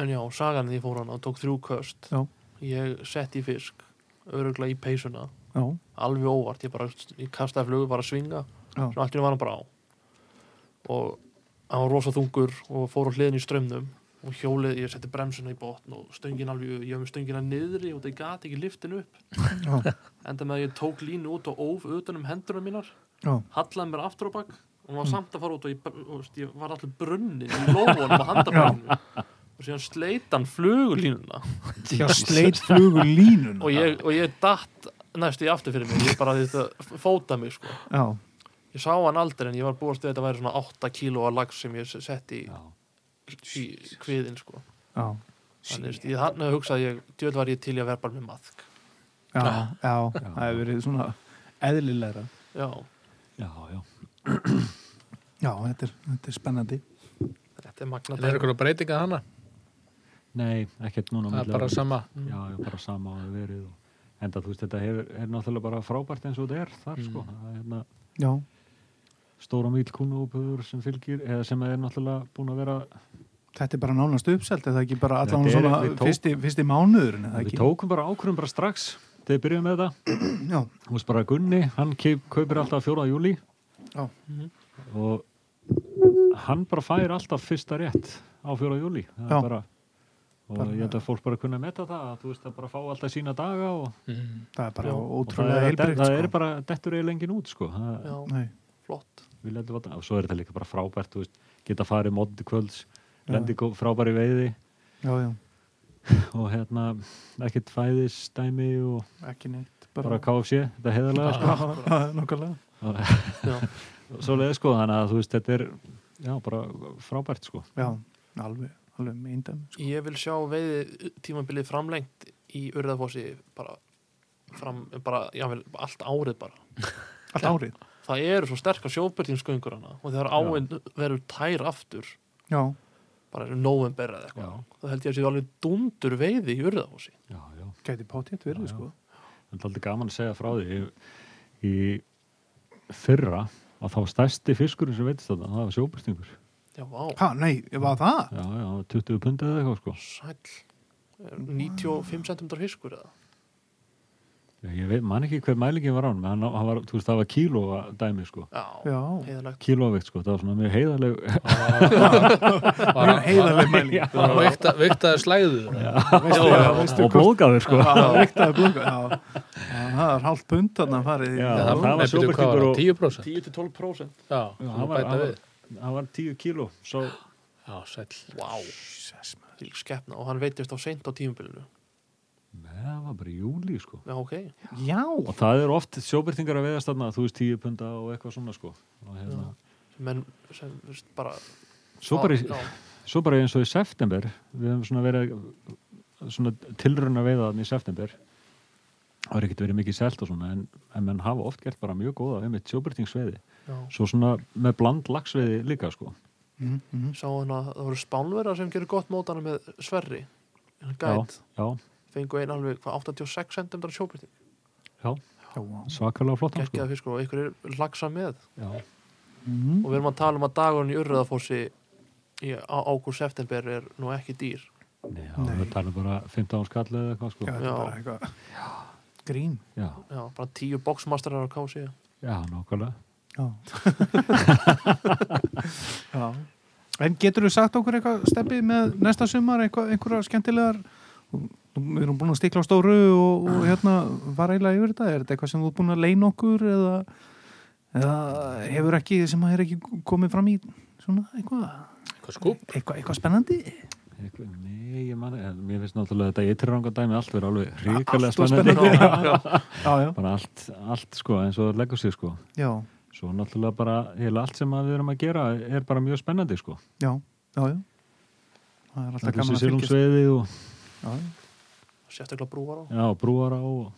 Speaker 1: En já, sagan því fór hann og tók þrjú köst
Speaker 2: Já.
Speaker 1: Ég sett í fisk örgulega í peysuna
Speaker 2: já.
Speaker 1: alveg óvart, ég bara ég kastaði flugu bara að svinga
Speaker 2: Já.
Speaker 1: svo allt í einu var hann bara á og hann var rosa þungur og fór á hliðin í strömmnum og hjólið, ég setti bremsuna í botn og stöngin alveg, ég hef með stöngina niðri og það gati ekki liftin upp
Speaker 2: Já.
Speaker 1: enda með að ég tók línu út og óf utan um hendurna mínar
Speaker 2: [LAUGHS] Já.
Speaker 1: hallaði mér aftur á bak og var samt að fara út og ég, og, veist, ég var allir brunnin í lófunum og handabæðinu og síðan sleit hann flugulínuna
Speaker 2: Já, sleit flugur línuna.
Speaker 1: og ég, og ég datt næstu í aftur fyrir mig ég bara þetta fóta mig sko
Speaker 2: Já,
Speaker 1: ég sá hann aldrei en ég var búast við að þetta væri svona 8 kíló að lags sem ég s- setti
Speaker 4: Já,
Speaker 1: í, í kviðin sko
Speaker 2: já,
Speaker 1: þannig veist, ég þannig að hugsa að ég djöð var ég til í að vera bara með maðk
Speaker 2: já, já, það hefur verið svona eðlilegra.
Speaker 1: já,
Speaker 4: já, já,
Speaker 2: Já, þetta er, þetta er spennandi.
Speaker 1: þetta er magna
Speaker 3: Það er eitthvað breytingað hana
Speaker 4: nei, ekkert núna
Speaker 3: Það er
Speaker 4: milli
Speaker 3: bara
Speaker 4: ára.
Speaker 3: sama
Speaker 4: Já, já, bara sama á að verið og... enda þú veist, þetta hefur, er náttúrulega bara frábært eins og þetta er þar
Speaker 3: Mm.
Speaker 4: sko það er hérna
Speaker 2: Já,
Speaker 4: stóra mýl kúnúpöður sem fylgir eða sem er náttúrulega búin að vera
Speaker 2: Þetta er bara nánast uppselt, er það ekki bara allan
Speaker 4: Þetta er-
Speaker 2: svona
Speaker 4: við tók-
Speaker 2: fyrsti, fyrsti mánuðurinn, er það
Speaker 4: við
Speaker 2: ekki?
Speaker 4: tókum bara ákvörum bara strax þegar við byrjuðum með þetta
Speaker 2: Já,
Speaker 4: þú veist bara Gunni, hann keip, kaupir alltaf 4. júli
Speaker 2: Já.
Speaker 3: Mhm.
Speaker 4: og hann bara fær alltaf fyrsta rétt á 4. júli Það er
Speaker 2: Já.
Speaker 4: bara, og
Speaker 2: Bara-
Speaker 4: ég held að fólk bara kunna að metta það að þú veist að bara fá alltaf sína daga og,
Speaker 3: Mm.
Speaker 2: það er bara
Speaker 1: Já,
Speaker 4: og það,
Speaker 2: ótrúlega
Speaker 4: er,
Speaker 2: heilbrigt. sko.
Speaker 4: það er bara dettur eiginlega engin út sko það,
Speaker 1: já,
Speaker 2: Nei,
Speaker 1: flott
Speaker 4: við lendum vatna og svo er þetta líka bara frábært þú veist, geta farið móti kvölds lendi ja. frábæri veiði
Speaker 2: já, já,
Speaker 4: og hérna ekkert fæðistæmi og
Speaker 2: ekki neitt [LAUGHS]
Speaker 4: bara KFC, þetta er heiðarlega sko.
Speaker 2: nokkulega
Speaker 1: Já.
Speaker 4: [LAUGHS] svo leið sko, þannig að þú veist þetta er já, bara frábært sko
Speaker 2: já, alveg, alveg meindæmi sko.
Speaker 1: Ég vil sjá veiði uh, tímabilið framlengt í Urðafossi bara, fram, bara, já, vel, allt árið bara.
Speaker 2: allt árið,
Speaker 1: Það eru svo sterkar sjóbyrtinsgöngur hana og þegar áin verður tær aftur
Speaker 2: já,
Speaker 1: bara er november eða
Speaker 4: já,
Speaker 1: eitthvað. Það held ég að séu alveg dundur veiði í Urðafossi.
Speaker 4: já, já
Speaker 2: gæti pátétt
Speaker 4: Já,
Speaker 2: verið
Speaker 4: já.
Speaker 2: sko
Speaker 4: Það er aldrei gaman að segja frá því í fyrra að þá var stærsti fiskurinn sem veitist þarna, það var sjóbyrtingur.
Speaker 1: Já, vá,
Speaker 2: ha, nei, var það?
Speaker 4: Já, já, það var 20 pundið eða eitthvað sko.
Speaker 1: sæll. Er 95 cm fiskur eða?
Speaker 4: Ég veit, man ekki hver mælingin var án, menn hann, hann var, þú veist, það var kílóa dæmi sko.
Speaker 1: Já,
Speaker 2: já,
Speaker 1: heiðalegt.
Speaker 4: Kílóaveikt sko, það var svona mjög heiðarleg.
Speaker 2: mjög [LAUGHS] heiðarleg mæling
Speaker 3: og vikta, viktaði slæðu
Speaker 2: veistu, já, veistu
Speaker 4: og blóðgæður sko. [LAUGHS]
Speaker 2: Já, ektaði blunga, já. Já, það er hálft pund þarna farið í-
Speaker 4: Já,
Speaker 2: Já,
Speaker 4: það var sjóbirtingur og-
Speaker 3: 10%
Speaker 1: 10-12%.
Speaker 3: já,
Speaker 4: Já,
Speaker 3: það bæta
Speaker 4: hann,
Speaker 3: við
Speaker 4: hann var 10 kíló, svo
Speaker 3: já, sæll
Speaker 1: Vá, þvílík skepna og hann veitist á seint á tímabilinu.
Speaker 4: Nei, það var bara í júli sko.
Speaker 1: Já, ok.
Speaker 2: já,
Speaker 4: Og það eru oft sjóbyrtingar að veiðast þarna, þú veist, 10 punda og eitthvað svona sko. Og hérna,
Speaker 1: Menn sem, þú veist, bara...
Speaker 4: svo bara, í-
Speaker 1: Já, já.
Speaker 4: Svo bara eins og í september, við hefum svona verið svona tilruna veiða þannig í september, það er ekkert verið mikið selt og svona, en, en menn hafa oft gert bara mjög góða um eitt sjóbyrtingsveiði.
Speaker 1: Já.
Speaker 4: Svo svona með bland lagsveiði líka, sko.
Speaker 2: Mhm, mhm.
Speaker 1: sá hann að það voru spánverðar sem gerur gott mótana með Sverri hann gæt,
Speaker 4: Já,
Speaker 1: fengu einn alveg hvað, 86 cm sjóbyrting,
Speaker 4: já,
Speaker 2: Já, vá.
Speaker 4: svakalega flottan, sko.
Speaker 1: geggjaða fiskur og ykkur er lagsa með
Speaker 4: Já,
Speaker 2: Mhm.
Speaker 1: og við erum að tala um að dagurinn í Urðafossi í ágúst september er nú ekki dýr
Speaker 4: Nei, já
Speaker 2: Nei.
Speaker 4: við talum bara 15 skallið eða
Speaker 2: Já,
Speaker 4: eitthvað, sko.
Speaker 2: þetta er bara eitthvað grín
Speaker 4: Já,
Speaker 1: já, bara tíu boxmasterar á E.
Speaker 4: [LAUGHS]
Speaker 1: kási
Speaker 4: já, nákvæmlega.
Speaker 2: Já. [LAUGHS] Já. En getur þú sagt okkur eitthvað steppið með næsta sumar, eitthvað, einhverja skemmtilegar Nú- Við erum búin að stikla á stóru og, og hérna var eiginlega yfir þetta, er þetta eitthvað sem þú er búin að leina okkur eða, eða hefur ekki, sem að er ekki komið fram í svona eitthvað
Speaker 3: hvað skúp
Speaker 2: eitthvað, eitthvað spennandi
Speaker 4: Eitthvað, nei, ég man, en mér finnst náttúrulega þetta ytrirranga dæmi allt verið alveg ríkalega
Speaker 2: Allt of
Speaker 4: spennandi.
Speaker 2: já, já, já,
Speaker 4: [LAUGHS] Bara allt, allt, sko, eins og það leggur sig, sko.
Speaker 2: já,
Speaker 4: Svo náttúrulega bara, heila allt sem að við erum að gera er bara mjög spennandi sko.
Speaker 2: já, já, já. það er alltaf
Speaker 4: Allir
Speaker 2: gaman
Speaker 4: sér
Speaker 2: að fylgjast
Speaker 4: silungsveiði og
Speaker 2: Já, já.
Speaker 1: sérstaklega brúar á
Speaker 4: já, brúara
Speaker 2: [LAUGHS]
Speaker 4: og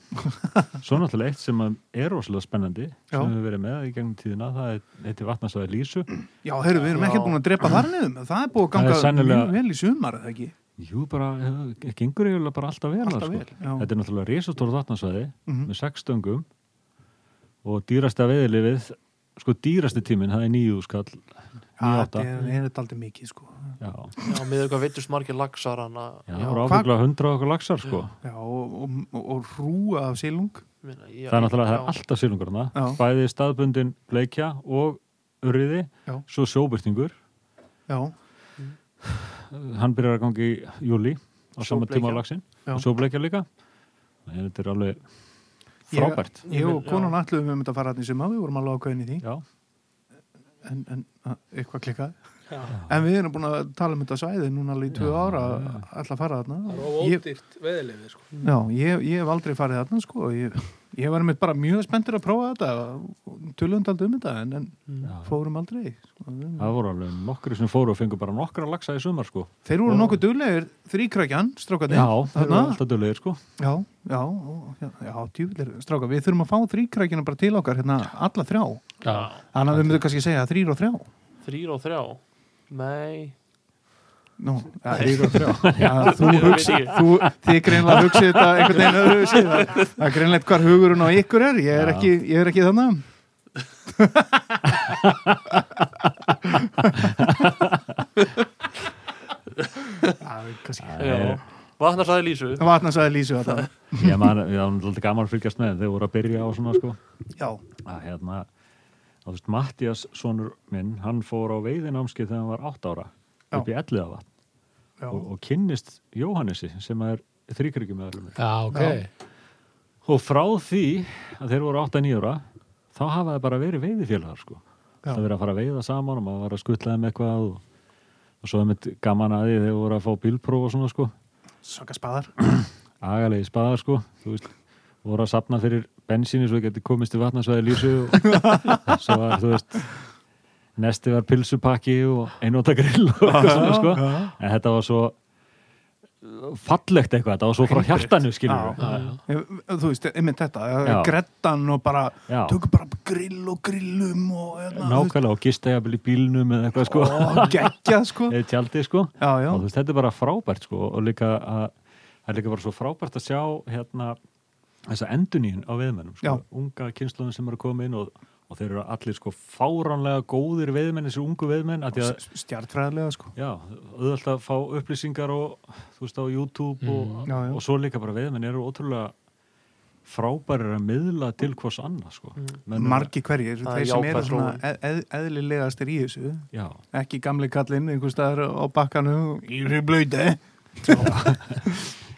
Speaker 4: svo náttúrulega eitt sem að er rosalega spennandi
Speaker 2: Já.
Speaker 4: sem við verið með í gegnum tíðina það er eitt í vatnarsvæði Lísu
Speaker 2: Já, heyrðu, við erum
Speaker 1: Já.
Speaker 2: ekkert búin að drepa þar niður með það er búin að
Speaker 4: Það er
Speaker 2: ganga
Speaker 4: sennilega-
Speaker 2: mjög vel í sumar eða ekki
Speaker 4: Jú, bara, eh, gengur eiginlega bara alltaf vel
Speaker 2: Alltaf
Speaker 4: sko.
Speaker 2: vel, já.
Speaker 4: Þetta er náttúrulega risastóra vatnarsvæði
Speaker 2: Mhm.
Speaker 4: með sex stöngum og dýrasta veiðilifið sko dýrasti tíminn, það er nýju skall
Speaker 2: Já,
Speaker 4: nýjáta
Speaker 2: þetta er, er þetta aldrei mikið sko
Speaker 4: Já,
Speaker 1: já, með eitthvað veitust margir lagsar hann að
Speaker 4: já,
Speaker 1: já,
Speaker 4: það var
Speaker 2: hvað-
Speaker 4: ábygglega hundra okkur laxar sko
Speaker 2: Já, og, og, og, og hrúa af silung
Speaker 1: minna, já,
Speaker 4: það er náttúrulega það
Speaker 1: já.
Speaker 4: er alltaf silungurna
Speaker 2: Já.
Speaker 4: bæði staðbundin bleikja og urriði,
Speaker 2: Já.
Speaker 4: svo sjóbyrtingur
Speaker 2: Já,
Speaker 4: hann byrjar að gangi í júli á sama tíma
Speaker 1: Sjóbleikja.
Speaker 4: á laxin
Speaker 2: Já.
Speaker 4: og sjóbleikja líka en þetta er alveg
Speaker 2: Ég-
Speaker 4: frábært
Speaker 2: ég og
Speaker 1: Já.
Speaker 2: konan ætluðum við myndum að fara hann í sumar við vorum alveg ákveðin í því
Speaker 4: já,
Speaker 2: en, en að, eitthvað klikkaði
Speaker 3: Já.
Speaker 2: En við erum búin að tala um þetta svæði núna alveg í tvö ára að ætla að fara
Speaker 3: það
Speaker 2: þarna
Speaker 3: er
Speaker 2: Ég-
Speaker 3: ódýrt veðilegði sko.
Speaker 2: Já, ég, ég hef aldrei farið þarna sko Ég, ég var einmitt bara mjög spenntur að prófa þetta tölund aldrei um þetta en, en
Speaker 4: já.
Speaker 2: fórum aldrei sko.
Speaker 4: það voru alveg nokkri sem fóru og fengu bara nokkra laxa í sumar sko
Speaker 2: Þeir voru nokkuð duglegir, þrýkrakjan, strákarnir.
Speaker 4: já, það eru
Speaker 2: þarna.
Speaker 4: alltaf dölir sko
Speaker 2: Já, já, já, já djúvilir, strákar, við þurfum að fá þrýkrakjana bara til okkar, hérna, alla þrjá.
Speaker 3: já,
Speaker 2: Þannig að við myndum kannski segja þrýr og þrjá.
Speaker 1: þrýr og þrjá nei,
Speaker 2: Nú, þrýr og þrjá. Já, þú
Speaker 1: Þrír og
Speaker 2: hugsi,
Speaker 1: þrír.
Speaker 2: þú, þið greinlega hugsið þetta einhvern veginn öðru, það, það er greinlega hvar hugurinn á ykkur er, ég er
Speaker 4: Já.
Speaker 2: ekki, ég er ekki þannig. Já, kannski.
Speaker 4: Það
Speaker 1: já
Speaker 4: er-
Speaker 1: vatnarsæði lísu
Speaker 2: Það vatnasaði Lísu að það.
Speaker 4: ég man, ég var alltaf gaman að fylgjast með þeir voru að byrja á svona sko
Speaker 2: Já,
Speaker 4: að hérna að þú veist, Mattias sonur minn, hann fór á veiðinámskið þegar hann var 8 ára
Speaker 2: Já.
Speaker 4: upp í elliða
Speaker 2: já.
Speaker 4: og, og kynnist Jóhannesi sem er þrýkryggjum meðlum
Speaker 3: já, ok
Speaker 2: Já.
Speaker 4: og frá því að þeir voru 8-9 ára þá hafa það bara verið veiðifélagar sko.
Speaker 2: Já.
Speaker 4: það verið að fara að veiða saman og maður var að skutla þeim eitthvað og og svo er mitt gaman að því þegar voru að fá bílpróf og svona sko
Speaker 2: Svaka spadar.
Speaker 4: agalegi spaðar sko þú veist, voru að sapna fyrir bensíni svo ég geti komist í vatnarsvæði lýsu og
Speaker 2: [LAUGHS]
Speaker 4: svo var, þú veist nesti var pilsupakki og einóta grill og eitthvað svona sko en þetta var svo fallegt eitthvað, þetta var svo frá hjartanu skilur
Speaker 2: Já,
Speaker 4: við
Speaker 2: Ég- Þú veist, einmitt þetta, já.
Speaker 4: Já.
Speaker 2: grettan og bara,
Speaker 4: Já.
Speaker 2: tökum bara grill og grillum og hérna, þú veist,
Speaker 4: nákvæmlega og gista ég að byrja í bílnum eða eitthvað sko
Speaker 2: og geggjað sko.
Speaker 4: [LAUGHS] eða tjaldi sko
Speaker 2: Já, já,
Speaker 4: og þú veist, þetta er bara frábært sko og líka að, það er líka bara svo frábært að sjá hérna þessa endunín á veðmennum sko,
Speaker 2: Já.
Speaker 4: unga kynnslóðin sem eru að koma inn og, og þeir eru allir sko fáránlega góðir veðmenn, þessi ungu veðmenn að því að,
Speaker 2: S- stjarnfræðilega sko.
Speaker 4: já, auðvitað að fá upplýsingar og þú veist á YouTube og,
Speaker 2: Já, já.
Speaker 4: og svo líka bara veðmenn eru ótrúlega frábærir að miðla til hvers annað sko
Speaker 1: Mm,
Speaker 4: Menn eru-
Speaker 2: Margi hverjir,
Speaker 1: Það er
Speaker 2: þeir sem eru
Speaker 1: jákvæð
Speaker 2: svona eð, eð, eðlilegastir í þessu,
Speaker 4: já,
Speaker 2: ekki gamli kallinn einhver staðar á bakkanu, í blöyti,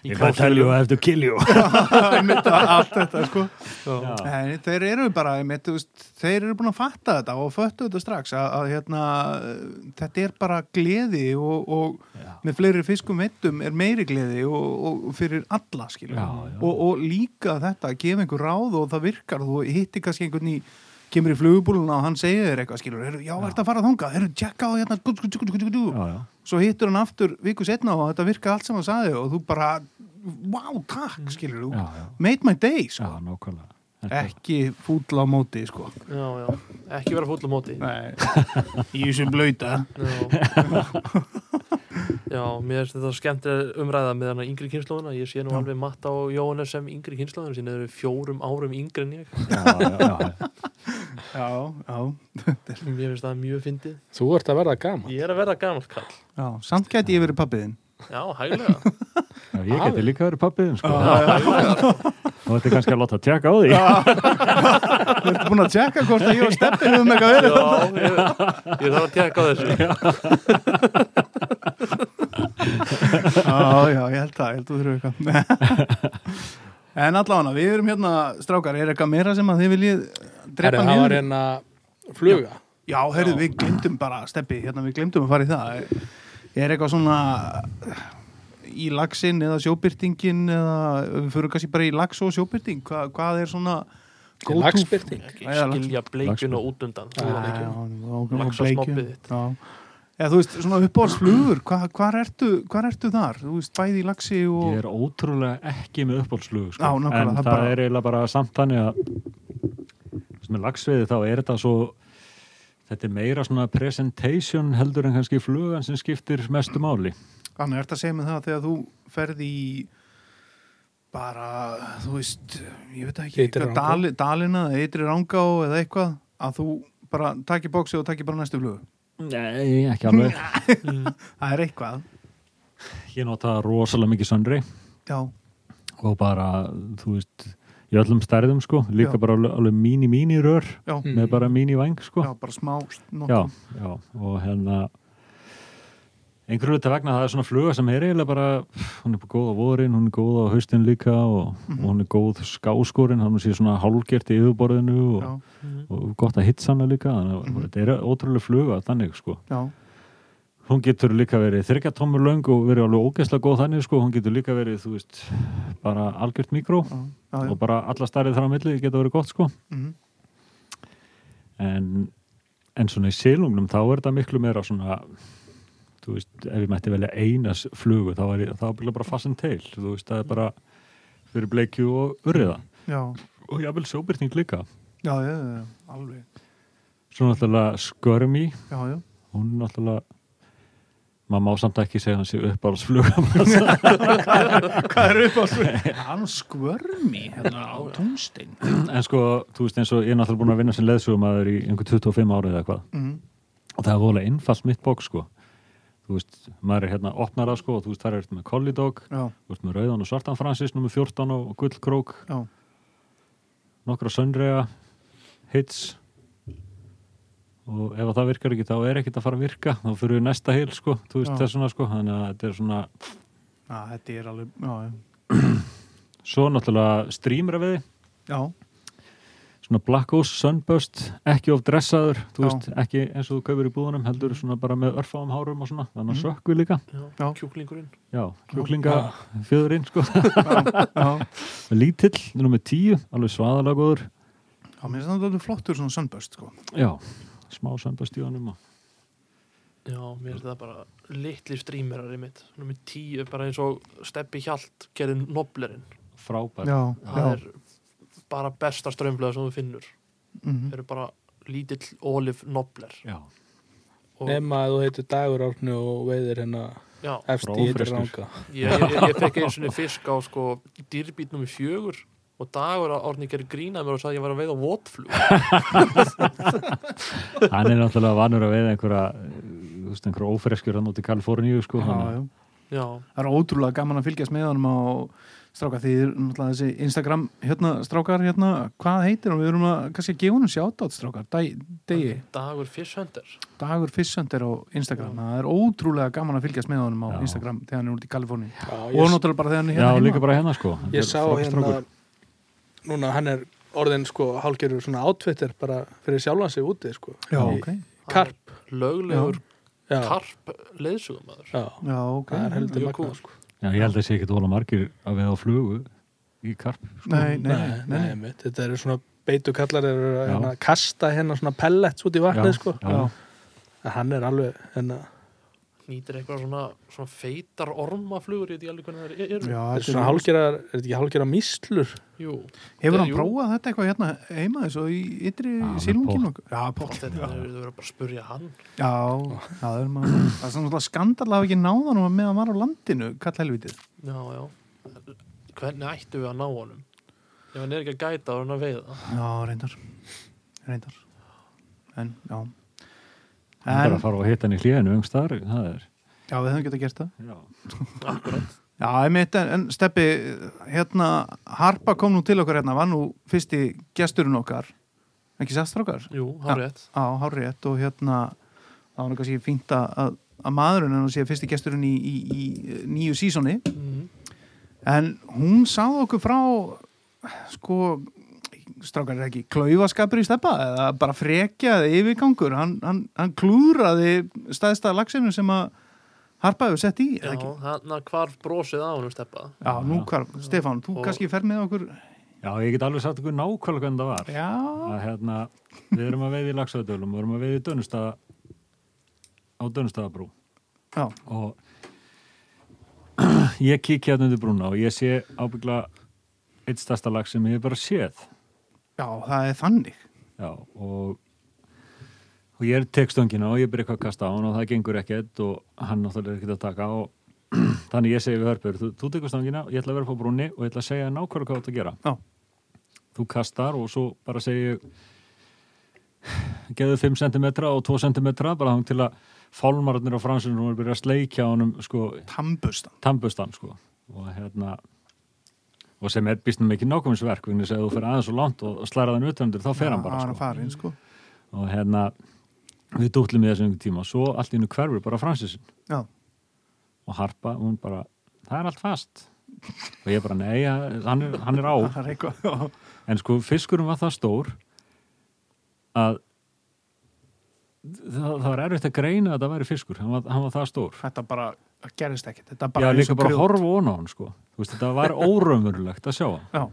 Speaker 1: Í
Speaker 4: ég var að telja og eftir kilju
Speaker 2: [LAUGHS] einmitt allt þetta sko. [LAUGHS]
Speaker 1: Já.
Speaker 4: já,
Speaker 2: Nei, þeir eru bara, einmitt, þú veist, þeir eru búin að fatta þetta og föttu þetta strax að, að hérna, eh, þetta er bara gleði og, og
Speaker 4: já,
Speaker 2: með fleiri fiskum veittum er meiri gleði og, og fyrir alla skilur
Speaker 4: Já, já.
Speaker 2: og, og líka þetta að gefa einhver ráð og það virkar þú hittir kannski einhvern í kemur í flugubúluna og hann segir þér eitthvað skilur heru, já, ert að fara þangað, heru, tjekka á hérna gud, gud, gud, gud, gud.
Speaker 4: já, já.
Speaker 2: svo hittur hann aftur viku setna og þetta virkar allt sem hann sagði og þú bara, wow, takk skilur
Speaker 4: Mm. já,
Speaker 2: þú,
Speaker 4: já.
Speaker 2: made my day
Speaker 4: já
Speaker 2: sko.
Speaker 4: nákvæmlega Þetta-
Speaker 2: ekki fúll á móti sko.
Speaker 1: Já, já, ekki vera fúll á móti
Speaker 2: Nei, í þessu blöyta
Speaker 1: Já,
Speaker 2: [LAUGHS]
Speaker 1: já mér finnst þetta skemmt umræða með hana yngri kynnslóðina Ég sé nú
Speaker 2: Já.
Speaker 1: alveg Matta og Jóhannes sem yngri kynnslóðina sín eru fjórum árum yngri en ég
Speaker 4: [LAUGHS] já, já, já, já.
Speaker 2: já, já,
Speaker 1: Mér finnst það mjög fyndið
Speaker 3: Þú ert að verða gaman
Speaker 1: Ég er að verða gamalt kall
Speaker 2: já, samt gæti ég verið pappiðin
Speaker 1: Já, hæglega
Speaker 4: Já, ég geti líka verið pappiðin sko.
Speaker 1: Hæglega.
Speaker 4: og þetta er kannski að láta tjekka á því
Speaker 2: Þú ert búin að tjekka hvort að ég og Steppi höfum eitthvað verið
Speaker 1: Já, ég, ég þarf að tekka á þessu
Speaker 2: Já, já, ég held það, ég held þú þurfum eitthvað En allavega, við erum hérna strákar, er eitthvað meira sem að þið viljið
Speaker 3: Herri,
Speaker 2: drepa
Speaker 3: það var
Speaker 2: niður?
Speaker 3: hérna fluga
Speaker 2: Já, heyrðu, við glemdum bara, Steppi, hérna við glemdum að fara í það Er, er eitthvað svona í laxinn eða sjóbyrtingin eða við fyrir kannski bara í lax og sjóbyrting Hva, hvað er svona go-to-
Speaker 3: Lagsbyrting
Speaker 1: Ekki
Speaker 2: Já, já, lax-
Speaker 1: Skilja bleikuna út undan
Speaker 2: Já,
Speaker 1: Þú
Speaker 2: já,
Speaker 1: ekki.
Speaker 2: og- og
Speaker 1: Laxasnobbið
Speaker 2: bleikju.
Speaker 1: þitt.
Speaker 2: Já. Eða þú veist, svona uppáhaldsflugur, hva, hvar, ertu, hvar ertu þar? Þú veist, bæði í laxi og...
Speaker 4: ég er ótrúlega ekki með uppáhaldslug sko.
Speaker 2: Já,
Speaker 4: en
Speaker 2: nákvæmlega,
Speaker 4: það,
Speaker 2: það bara-
Speaker 4: er eiginlega bara samt þannig að sem er lagsveiði þá er þetta svo þetta er meira svona presentation heldur en kannski flugan sem skiptir mestu máli
Speaker 2: Þannig ert að segja mig það að þegar þú ferði í bara, þú veist, ég veit ekki,
Speaker 3: Ytri
Speaker 2: eitthvað
Speaker 3: Rangá.
Speaker 2: dali, dalina eða eitri rangá eða eitthvað, að þú bara takir bóksi og takir bara næstu flugu.
Speaker 4: nei, ekki alveg
Speaker 2: Það er eitthvað.
Speaker 4: ég nota rosalega mikið söndri
Speaker 2: Já,
Speaker 4: og bara, þú veist í öllum stærðum sko, líka
Speaker 2: Já.
Speaker 4: bara alveg- alveg mini-mini rör
Speaker 2: já,
Speaker 4: með bara mini-væng Mm, sko
Speaker 2: Mm. já, bara smá. Not,
Speaker 4: já, já, og hérna einhverju hluta vegna það er svona fluga sem er eiginlega bara hún er bara góð á vorin, hún er góð á haustin líka og,
Speaker 2: Mhm.
Speaker 4: og hún er góð skáskorin hann sé svona hálgert í yfirborðinu og,
Speaker 2: Já, Mhm.
Speaker 4: og gott að hitsa hana líka þannig að þetta er ótrúlega fluga þannig sko
Speaker 2: já,
Speaker 4: hún getur líka verið þryggjartómur löng og verið alveg ógeðslega góð þannig sko hún getur líka verið, þú veist, bara algjört mikró
Speaker 2: já, já, já.
Speaker 4: og bara alla starrið þar á milli geta verið gott sko
Speaker 2: Mhm.
Speaker 4: en, en svona í silungnum þá er þetta miklu meira svona þú veist, ef ég mætti velja einas flugu þá er það bara fasin til þú veist, það er bara fyrir bleikju og urriða
Speaker 2: já,
Speaker 4: og jáfnvel sjóbyrting líka
Speaker 2: já, já, já, já, alveg.
Speaker 4: svo náttúrulega skörmi
Speaker 2: Já, já.
Speaker 4: hún er náttúrulega maður má samt ekki segja hans í uppáhaldsfluga [CLEARS THROAT]
Speaker 2: Hvað er upp á svo? Hann skvörmi hérna á tungstein.
Speaker 4: en sko, þú veist eins og ég er náttúrulega búin að vinna sem leðsugumæður í einhver 25 árið eða hvað
Speaker 2: Mm.
Speaker 4: og það er voðalega innfalt mitt bók sko þú veist, maður er hérna opnar það sko og þú veist, það er með kollidók
Speaker 2: Já,
Speaker 4: þú veist, með rauðan og svartan fransis nummer 14 og gullkrók,
Speaker 2: já,
Speaker 4: nokkra söndrega hits og ef að það virkar ekki þá er ekkert að fara að virka þá fyrir við næsta heil sko, þú veist
Speaker 2: Já.
Speaker 4: þessuna sko þannig að þetta er svona,
Speaker 2: já, þetta er alveg, já, já.
Speaker 4: svo náttúrulega strýmra við
Speaker 2: Já,
Speaker 4: svona black O's sunburst, ekki of dressaður þú
Speaker 2: Já.
Speaker 4: veist, ekki eins og þú kaupir í búðunum heldur svona bara með örfáum hárum og svona þannig að
Speaker 2: Mhm.
Speaker 4: sökku líka,
Speaker 1: já,
Speaker 2: Já.
Speaker 1: kjúklingurinn
Speaker 4: já, kjúklinga fjöðurinn, sko, [LAUGHS]
Speaker 2: já,
Speaker 4: lítill nummið tíu, alveg svaðalega góður
Speaker 2: já, mér finnst það alveg flottur svona sunburst sko.
Speaker 4: já, smá sunburst í honum og
Speaker 1: já, mér finnst það bara litli strýmerar í mitt nummer tíu, bara eins og steppi hjalt gerði noblerinn
Speaker 4: frábær
Speaker 2: já,
Speaker 1: það
Speaker 2: já,
Speaker 1: er bara besta strömblega sem þú finnur
Speaker 2: mhm.
Speaker 1: eru bara lítill ólif nobler
Speaker 4: já,
Speaker 1: og
Speaker 3: nema að þú heitir dagur árni og veiðir hérna
Speaker 1: já,
Speaker 3: efst í yttir
Speaker 4: Fróðfreskur.
Speaker 3: ranga
Speaker 1: ég, ég, ég fekk eins og fisk á sko dýrbít nummer fjögur og dagur að orðin gerir grínað mér og sagði að ég var að veiða votflug
Speaker 4: hann er náttúrulega vanur að veiða einhverja eh, þú veist, einhverja ófreskjur hann út í Kaliforníu, sko
Speaker 2: já,
Speaker 4: hann,
Speaker 2: já.
Speaker 1: já,
Speaker 2: það er ótrúlega gaman að fylgjast með honum á stráka því er náttúrulega þessi Instagram hérna, strákar hérna, hvað heitir hann, við erum að kannski að gefa honum sjátátt strákar, Dæ- degi,
Speaker 1: dagur fisshöndar
Speaker 2: dagur fissöndir á Instagram, það er ótrúlega gaman að fylgjast með honum á
Speaker 4: Já.
Speaker 2: Instagram þegar hann er út í Kaliforni
Speaker 3: Já,
Speaker 2: og
Speaker 3: ég,
Speaker 2: náttúrulega bara þegar hann er
Speaker 4: já,
Speaker 2: hérna
Speaker 4: líka
Speaker 2: heima.
Speaker 4: bara hérna, sko Þetta er
Speaker 3: ég sá
Speaker 4: frábær
Speaker 3: hérna núna hann er orðin sko hálgerur svona átvittir bara fyrir sjálfan sig úti sko
Speaker 2: já,
Speaker 3: Í-
Speaker 2: ok,
Speaker 3: Karp
Speaker 1: löglegur
Speaker 3: já,
Speaker 1: karp leðsugumæður
Speaker 3: já,
Speaker 2: já, ok
Speaker 3: það er heldur
Speaker 1: Mjög
Speaker 3: magna
Speaker 1: kúl.
Speaker 3: sko
Speaker 4: Já, ég held að sé ekki tóla margir að við á flugu í karp.
Speaker 2: nei, nei, nei, nei.
Speaker 3: einmitt. þetta eru svona beitu kallar eru að
Speaker 4: Já.
Speaker 3: hérna, kasta hérna svona pellets út í vatnið sko
Speaker 4: Já,
Speaker 2: Já.
Speaker 3: En hann er alveg hérna,
Speaker 1: nýtir eitthvað svona, svona feitar ormaflugur ég veit ekki alveg hvernig það eru
Speaker 2: Já,
Speaker 3: þetta er
Speaker 2: þetta
Speaker 3: svona
Speaker 2: er-
Speaker 3: hálgerar, er þetta ekki hálgerar mislur
Speaker 1: Jú,
Speaker 2: hefur hann
Speaker 1: Jú.
Speaker 2: prófað þetta eitthvað hérna heima þessu og í ytri
Speaker 4: Já, hann er
Speaker 2: sílungin já, pott
Speaker 1: þetta er þetta er verið bara að spurja hann
Speaker 2: já, það er maður það er svona skandal að hafa ekki náðan og meðan hann var á landinu, kall helvitið
Speaker 1: Já, já Hvernig ættum við að ná honum? Ef hann er ekki að gæta á hann að veiða
Speaker 2: Já, reyndar Reyndar En, já
Speaker 4: hann er bara
Speaker 2: En,
Speaker 4: að fara og hitta hann í hlíðinu um staðar, það er.
Speaker 2: já, við höfum getað gert það
Speaker 4: Já.
Speaker 1: Akkurat
Speaker 2: Já, einmitt, en, en Steppi hérna, Harpa kom nú til okkar hérna var nú fyrsti gesturinn okkar ekki sastrákar
Speaker 1: Jú, hann rétt
Speaker 2: á Hárétt og hérna það var nú kannski fínt að, að maðurinn en hún sé fyrsti gesturinn í, í, í eh, nýju sísoni
Speaker 1: mm.
Speaker 2: en hún sá okkur frá sko strákar er ekki klaufaskapur í steppa eða bara frekjaði yfirgangur hann, hann, hann klúraði staðista lagsinu sem að Harpa hefur sett í
Speaker 1: Já,
Speaker 2: eða ekki?
Speaker 1: hann hvar brosið á honum steppa
Speaker 2: Já, nú hvar, Stefán, þú
Speaker 1: Og-
Speaker 2: kannski fer með okkur
Speaker 4: Já, ég get alveg sagt ykkur nákvæmlega hvernig það var.
Speaker 2: Já,
Speaker 4: Að hérna, við erum að veiði í Laxadölum, við erum að veiði í Dönnustaða, á Dönnustaðabrú.
Speaker 2: já,
Speaker 4: Og [CLEARS THROAT] ég kíkja hérna undir brúna og ég sé ábyggla eitt stærsta lag sem ég hef bara séð.
Speaker 2: já, það er þannig
Speaker 4: Já, og, og ég tek stöngina og ég byrja eitthvað að kasta á hann og það gengur ekkert og hann náttúrulega er ekkert að taka og [CLEARS THROAT] þannig ég segi við hörpur, þú, þú tekur stöngina, ég ætla að vera upp á brúnni og ég ætla að segja nákvæmlega hvað þú átt að gera.
Speaker 2: Já.
Speaker 4: Þú kastar og svo bara segi ég, geðu 5 cm og 2 cm bara þá til að fálmarnir á fransunum og byrja að sleikja á honum sko,
Speaker 2: Tambustan
Speaker 4: tannbustan sko og hérna og sem er býstum ekki nákvæmsverk vegna þess að ef þú fer aðeins og langt og slæra þann utanundir þá fer hann bara
Speaker 2: hann
Speaker 4: sko
Speaker 2: að fara inn, sko
Speaker 4: og hérna við dútlum í þessum tíma og svo allt í hennu hverfur bara Fransisinn
Speaker 2: Já,
Speaker 4: og Harpa, hún bara, það er allt fast og ég bara, nei, hann er, hann er á
Speaker 2: það er eitthvað já.
Speaker 4: en sko, fiskurum var það stór að það, það var erfitt að greina að það væri fiskur, hann var, hann var það stór
Speaker 2: Þetta bara gerist ekkert Þetta
Speaker 4: já,
Speaker 2: bara eins
Speaker 4: líka
Speaker 2: og
Speaker 4: bara að
Speaker 2: grjót.
Speaker 4: horfa ón á hann sko. Þú veist, þetta var óraumurlegt að sjá hann
Speaker 2: Já,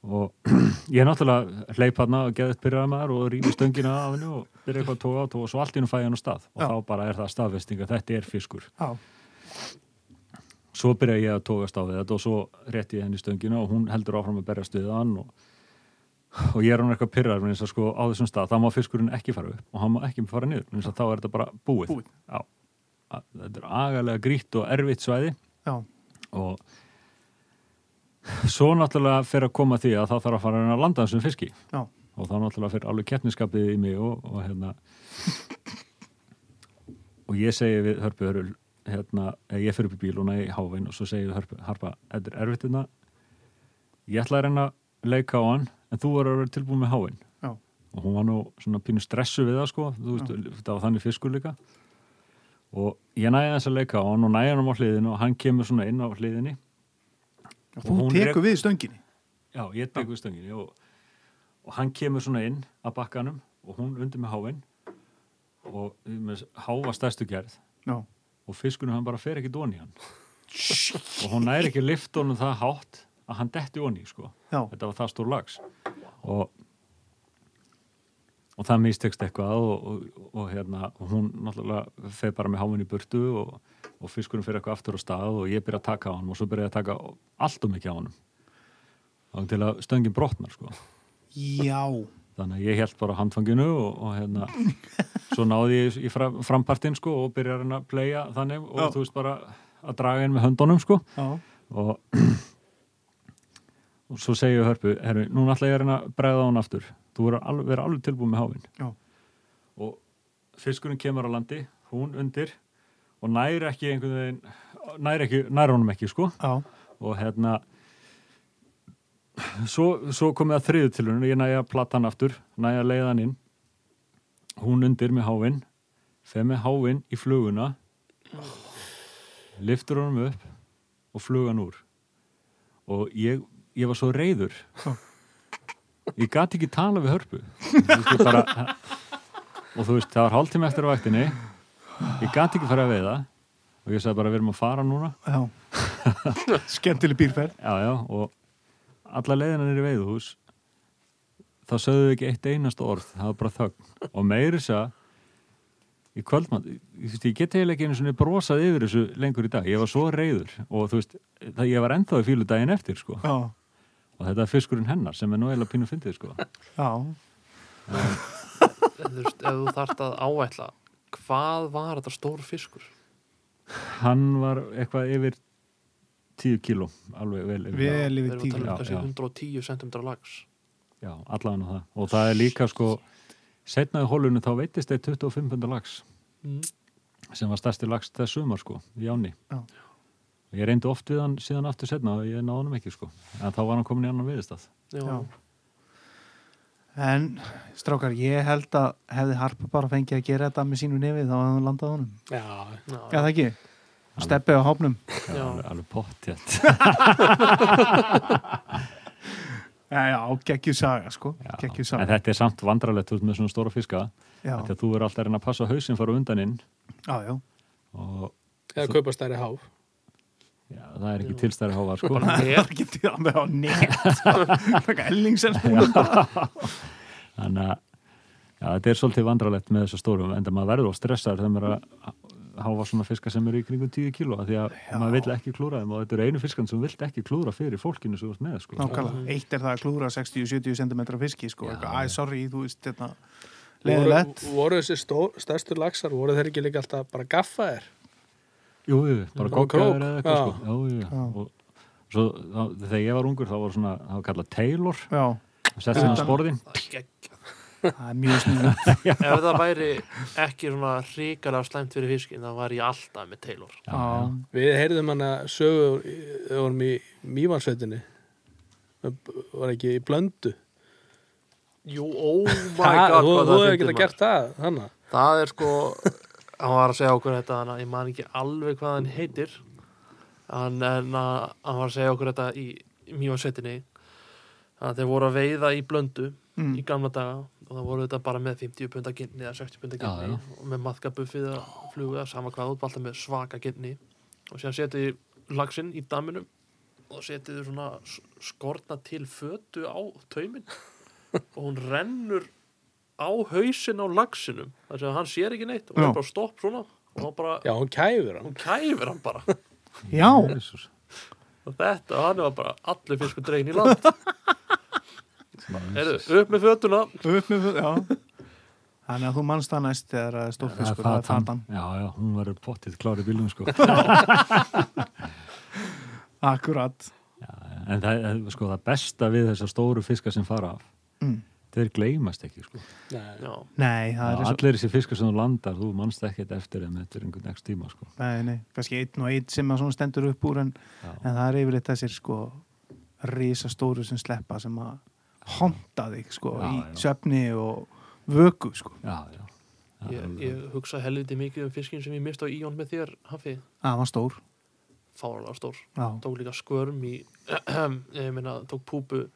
Speaker 4: og [CLEARS THROAT] ég er náttúrulega hleyp hann og geða upp byrjaði maður og rými stöngina af henni og byrja eitthvað að tóa át og svo allt í hennu fæði hann á stað og
Speaker 2: Já.
Speaker 4: þá bara er það staðfesting að þetta er fiskur
Speaker 2: já,
Speaker 4: svo byrja ég að tókast á við þetta og svo rétti ég henni stöngina og hún heldur áfram að berjast við hann og, og ég er hann eitthvað pyrrar eins og sko á þessum stað, þá má fiskurinn ekki fara upp og hann má ekki fara niður, eins og þá er þetta bara búið,
Speaker 2: Búið.
Speaker 4: Já, Að- þetta er agalega grýtt og erfitt svæði
Speaker 2: já,
Speaker 4: og svo náttúrulega fyrir að koma að því að það þarf að fara að reyna að landa þessum fiski
Speaker 2: já
Speaker 4: og þá náttúrulega fyrir alveg keppniskapið í mig og, og hérna og ég segi við hörpu hörul hérna, eh, ég fyrir upp í bíluna í hávinn og svo segi ég við hörpu, harpa, þetta er erfitt hérna ég ætla að reyna að leika á hann en þú verður að vera tilbúin með hávinn
Speaker 2: Já.
Speaker 4: og hún var nú svona pínu stressu við það sko, þú veist, þetta var þannig fiskur líka og ég næði þess að leika á hann og næði hann á hliðinu og hann kemur svona inn á hliðinni
Speaker 2: Þú
Speaker 4: hún
Speaker 2: tekur við stönginni
Speaker 4: Já, ég tek við stönginni og, og og hann kemur svona inn að bakkanum og hún undir með háinn og með háva stærstu gerð
Speaker 2: Já.
Speaker 4: og fiskunum hann bara fer ekki dón í hann og hún næri ekki liftunum það hátt að hann detti onni sko.
Speaker 2: Já.
Speaker 4: þetta var það stór lags og, og það mistekst eitthvað og, og, og hérna, og hún náttúrulega fer bara með háinn í burtu og, og fiskunum fer eitthvað aftur á stað og ég byrja að taka á hann og svo byrja ég að taka allt um ekki á hann og til að stöngin brotnar sko.
Speaker 2: Já.
Speaker 4: þannig að ég held bara á handfanginu og, og hérna svo náði ég í fram, frampartin sko, og byrja að reyna að playa þannig og
Speaker 2: Já.
Speaker 4: þú veist bara að draga inn með höndunum sko
Speaker 2: Já.
Speaker 4: og, [CLEARS THROAT] og svo segi ég við hörpu herru, núna ætla ég að reyna að bregða á hún aftur þú verður alveg, verður alveg tilbúin með háfinn
Speaker 2: Já.
Speaker 4: og fiskurinn kemur á landi hún undir og næri ekki einhvern veginn næri, ekki, næri honum ekki sko
Speaker 2: Já.
Speaker 4: og hérna svo, svo komið að þriðu til hún ég næja að plata hann aftur, næja að leiða hann inn hún undir með hávinn fer með hávinn í fluguna liftur honum upp og flugan úr og ég, ég var svo reyður ég gati ekki tala við hörpu Þú veist, ég bara, og þú veist, það var hálftíma eftir á vaktinni ég gati ekki fara að veiða og ég sagði bara, við erum að fara núna
Speaker 2: Já. [LAUGHS] Skemmtileg býrferð.
Speaker 4: Já, já, og alla leiðina niður í veiðuhús þá sögðu þau ekki eitt einasta orð það var bara þögn og meiri þess að í kvöldmann, þú veist, ég get eiginlega ekki einu svona brosað yfir þessu lengur í dag ég var svo reyður og þú veist það ég var ennþá í fílu daginn eftir, sko
Speaker 2: Já.
Speaker 4: og þetta er fiskurinn hennar sem er nú eiginlega pínu fyndið, sko
Speaker 2: Já.
Speaker 1: En þú veist, ef þú þarft að áætla hvað var þetta stór fiskur
Speaker 4: hann var eitthvað yfir 10 kíló, alveg vel yfir það.
Speaker 2: Vel
Speaker 1: við
Speaker 2: yfir
Speaker 1: erum að tala um
Speaker 2: tíl.
Speaker 4: Já,
Speaker 1: kannski 110
Speaker 4: já.
Speaker 1: cm lags
Speaker 4: Já, allan á það. Og það er líka sko, setnaði hólunum þá veitist þeir 25 pundar lags
Speaker 1: Mm.
Speaker 4: sem var stærsti lags þess sumar sko, í áni.
Speaker 2: Já.
Speaker 4: Og Ég reyndi oft við hann síðan aftur setna og ég náði hann ekki sko. En þá var hann komin í annan viðstað.
Speaker 1: já,
Speaker 2: Já. En, strákar, ég held að hefði Harpa bara fengið að gera þetta með sínu nefið þá hefði hann landað á honum.
Speaker 3: Já,
Speaker 1: já,
Speaker 2: Já, það ekki. Steppið á hópnum.
Speaker 4: Það
Speaker 1: Já.
Speaker 4: var alveg, alveg pottjætt.
Speaker 2: Já, já, geggjuð saga, sko. Geggjuð
Speaker 4: en
Speaker 2: saga.
Speaker 4: þetta er samt vandralegt út með svona stóra fiska.
Speaker 2: Já,
Speaker 4: Þetta þú verður alltaf að reyna að passa að hausinn fara undan inn
Speaker 2: já, já.
Speaker 4: og
Speaker 3: eða kaupa stærri háf
Speaker 4: já, það er ekki tilstæri hávar sko.
Speaker 1: Bara
Speaker 2: Það
Speaker 1: nef.
Speaker 2: er ekki til að með á net, [LAUGHS] sko. Fækka ellingsen.
Speaker 4: Þannig að uh, já, þetta er svolítið vandralegt með þessu stórum en það maður verður og stressar þegar maður er að háfa svona fiska sem eru í kringum 10 kíló af því að maður vill ekki klúra þeim og þetta eru einu fiskan sem vilt ekki klúra fyrir fólkinu sem þú ert með sko.
Speaker 2: Nákvæmlega. Eitt er það að klúra 60-70 cm fiski, sko.
Speaker 4: Já.
Speaker 2: Eitthvað, æ, sorry, þú veist, hérna, þetta,
Speaker 3: voru,
Speaker 2: leðilegt.
Speaker 3: voru þessi stór, stærstu laxar voru þeir ekki líka alltaf bara gaffaðir
Speaker 4: Jú, jú, bara
Speaker 3: Bara
Speaker 4: kókaður
Speaker 3: krók.
Speaker 4: eða eitthvað
Speaker 3: Já.
Speaker 4: sko. Jú, jú. Og svo þá, þegar ég var ungur þá var svona, það var kallað Taylor
Speaker 2: Já,
Speaker 4: sett sem hans borðin
Speaker 1: það er gegg-
Speaker 2: það er mjög [LAUGHS] snýðan.
Speaker 1: ef það væri ekki svona ríkalega slæmt fyrir fiskin þá væri ég alltaf með Taylor
Speaker 4: Já, já.
Speaker 3: Við heyrðum hann að sögu þegar við vorum í Mývansveitinni var ekki í blöndu
Speaker 1: jú, oh my
Speaker 3: Ha,
Speaker 1: god hvað
Speaker 3: þú
Speaker 1: það
Speaker 3: þú hefur
Speaker 1: fyndið
Speaker 3: ekki
Speaker 1: maður.
Speaker 3: gert það þannig að-
Speaker 1: það er sko hann var að segja okkur þetta þannig að ég man ekki alveg hvað hann heitir hann, en að, hann var að segja okkur þetta í mjóansveitinni að þeir voru að veiða í blöndu
Speaker 2: Mm.
Speaker 4: Hmm.
Speaker 1: í gamla daga og það voru þetta bara með 50 punda ginni eða 60 punda
Speaker 4: Já,
Speaker 1: ginni og með maðkabuffið eða flugu eða sama hvað út alltaf með svaka ginni og séðan setið lagsinn í daminum og setið svona s- skorna til fötu á taumin og hún rennur á hausin á lagsinum þannig að hann sér ekki neitt og hann
Speaker 2: Já.
Speaker 1: er bara stopp svona og hann bara,
Speaker 3: Já, hún kæfur hann
Speaker 1: hún kæfir hann bara
Speaker 2: Já,
Speaker 4: Jesus.
Speaker 1: og þetta, og hann var bara allir fiskur dregin í
Speaker 4: [LAUGHS]
Speaker 1: land Heyrðu, upp með fötuna
Speaker 2: upp með, já. Þannig að þú manst það næst þegar það er
Speaker 4: Það er
Speaker 2: stórfiskur, það er
Speaker 4: fatan
Speaker 2: fatan.
Speaker 4: Já, já, hún verður pottið klárið bílum sko.
Speaker 2: Akkurat.
Speaker 4: en það, það- sko, það besta við þessar stóru fiska sem fara af
Speaker 2: Mm.
Speaker 4: þeir gleymast ekki sko.
Speaker 3: Nei.
Speaker 1: Já,
Speaker 2: Nei, það er
Speaker 4: Já,
Speaker 2: eins og
Speaker 4: allir þessi fiskar sem þú landar þú mannst ekkert eftir þeim eftir einhvern next tíma sko.
Speaker 2: Nei, nei, kannski einn og einn sem að svona stendur upp úr en,
Speaker 4: Já.
Speaker 2: en það er yfirleitt þessir sko risastóru sem sleppa sem að honda þig sko
Speaker 4: Já,
Speaker 2: í
Speaker 4: já.
Speaker 2: söfni og vöku sko
Speaker 4: já, já, já
Speaker 1: ég, ég hugsa helviti mikið um fiskin sem ég mist á íjón með þér, Hafi
Speaker 2: að hann var stór
Speaker 1: fáralega stór,
Speaker 2: já,
Speaker 1: [CLEARS THROAT] tók líka skörm í ég meina, tók púpu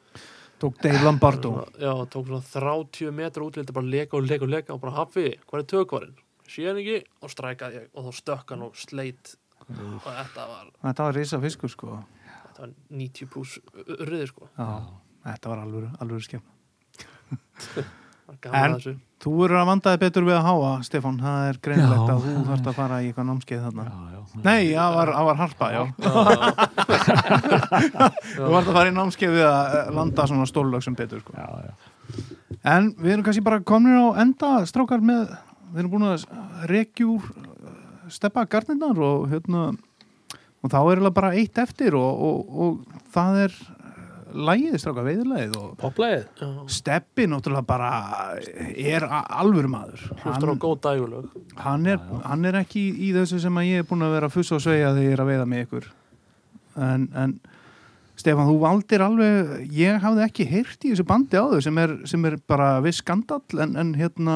Speaker 2: tók Dave Lombardo
Speaker 1: Já, tók svona 30 metra útlítið bara leka og leka og leka og bara hafi, hvað er tökvarinn? Síðan ekki og strækaði ég og þá stökk hann og sleit og þetta var,
Speaker 2: þetta var risa fiskur sko
Speaker 1: þetta var 90 pluss röði sko,
Speaker 2: já, þetta var alvöru, alvöru skemmt
Speaker 1: það er gaman
Speaker 2: En-
Speaker 1: að þessu
Speaker 2: Þú eru að vandaði betur við að háa, Stefan það er greinlegt
Speaker 4: Já.
Speaker 2: að þú þarft að fara í eitthvað námskeið þarna
Speaker 4: já,
Speaker 2: Nei, það var, það var harpa, já Þú vart að fara í námskeið við að eh, landa svona stórlög sem betur sko.
Speaker 4: já, já.
Speaker 2: En við erum kannski bara komin á enda strákar með, við erum búin að rekjúr steppa garnirnar og hérna og þá er eiginlega bara eitt eftir og, og, og það er lægið strákar, veiðurlægið og
Speaker 3: Poplæðið?
Speaker 1: Já,
Speaker 2: Steppi náttúrulega bara er a- alvöru maður
Speaker 1: hlustur á góð dægulög
Speaker 2: hann er, hann er ekki í þessu sem að ég er búin að vera að fussa og sveia þegar ég er að veiða með ykkur en, en Stefan, þú valdir alveg ég hafði ekki heyrt í þessu bandi á þau sem er, sem er bara við skandall en, en hérna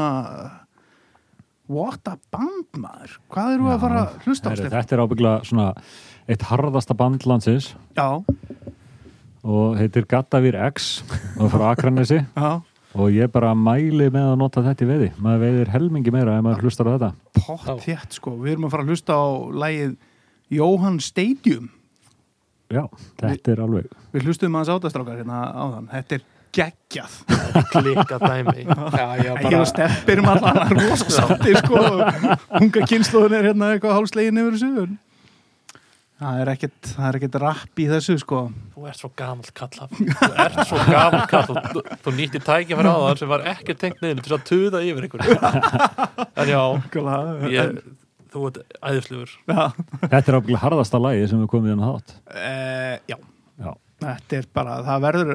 Speaker 2: what a band maður hvað eru að fara að hlusta á
Speaker 4: Herru,
Speaker 2: Stefan?
Speaker 4: Þetta er ábyggla svona eitt harðasta band landsins
Speaker 2: Já,
Speaker 4: og heitir Gattavir X og frá Akranesi
Speaker 2: já,
Speaker 4: og ég bara mæli með að nota þetta í veiði maður veiðir helmingi meira ef maður hlustar á þetta
Speaker 2: pott þétt sko við erum að fara að hlusta á lægið Jóhann Stadium
Speaker 4: já, þetta er alveg
Speaker 2: við hlustum að hans átastrákar hérna á þann þetta er geggjað
Speaker 1: klikka dæmi
Speaker 3: [LAUGHS] Já, já,
Speaker 2: Ég og Steppi erum um allan að rosa sátti sko. Unga kynnslóðin er hérna eitthvað hálslegin yfir þessu en Það er ekkert, það er ekkert rapp í þessu sko.
Speaker 1: þú ert svo gamalt kall Hafþór. þú ert svo gamalt kall þú, þú, þú nýtti tækifæri á það sem var ekki tengt neðinu til að tuða yfir einhvern en já,
Speaker 2: Ég...
Speaker 1: ég, þú ert æðislegur
Speaker 2: Já.
Speaker 4: þetta er ábyggla harðasta lagi sem við komum í hann hát
Speaker 2: Eh, já,
Speaker 4: já,
Speaker 2: þetta er bara, það verður,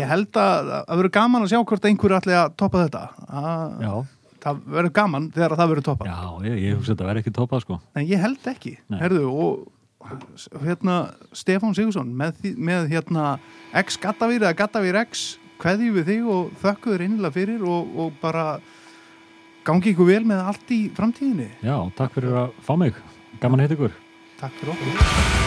Speaker 2: ég held að það verður gaman að sjá hvort einhverju ætli að toppa þetta. Það,
Speaker 4: já,
Speaker 2: það verður gaman þegar það verður toppað.
Speaker 4: já ég, ég hugsa þetta verði ekki topað sko
Speaker 2: En ég held ekki,
Speaker 4: Nei.
Speaker 2: herðu, og hérna Stefán Sigursson með, því- með hérna X Gattavír eða Gattavír X kveðjum við þig og þökkuður einlega fyrir og, og bara gangi ykkur vel með allt í framtíðinni.
Speaker 4: já, takk fyrir að fá mig gaman heit ykkur
Speaker 2: Takk fyrir okkur.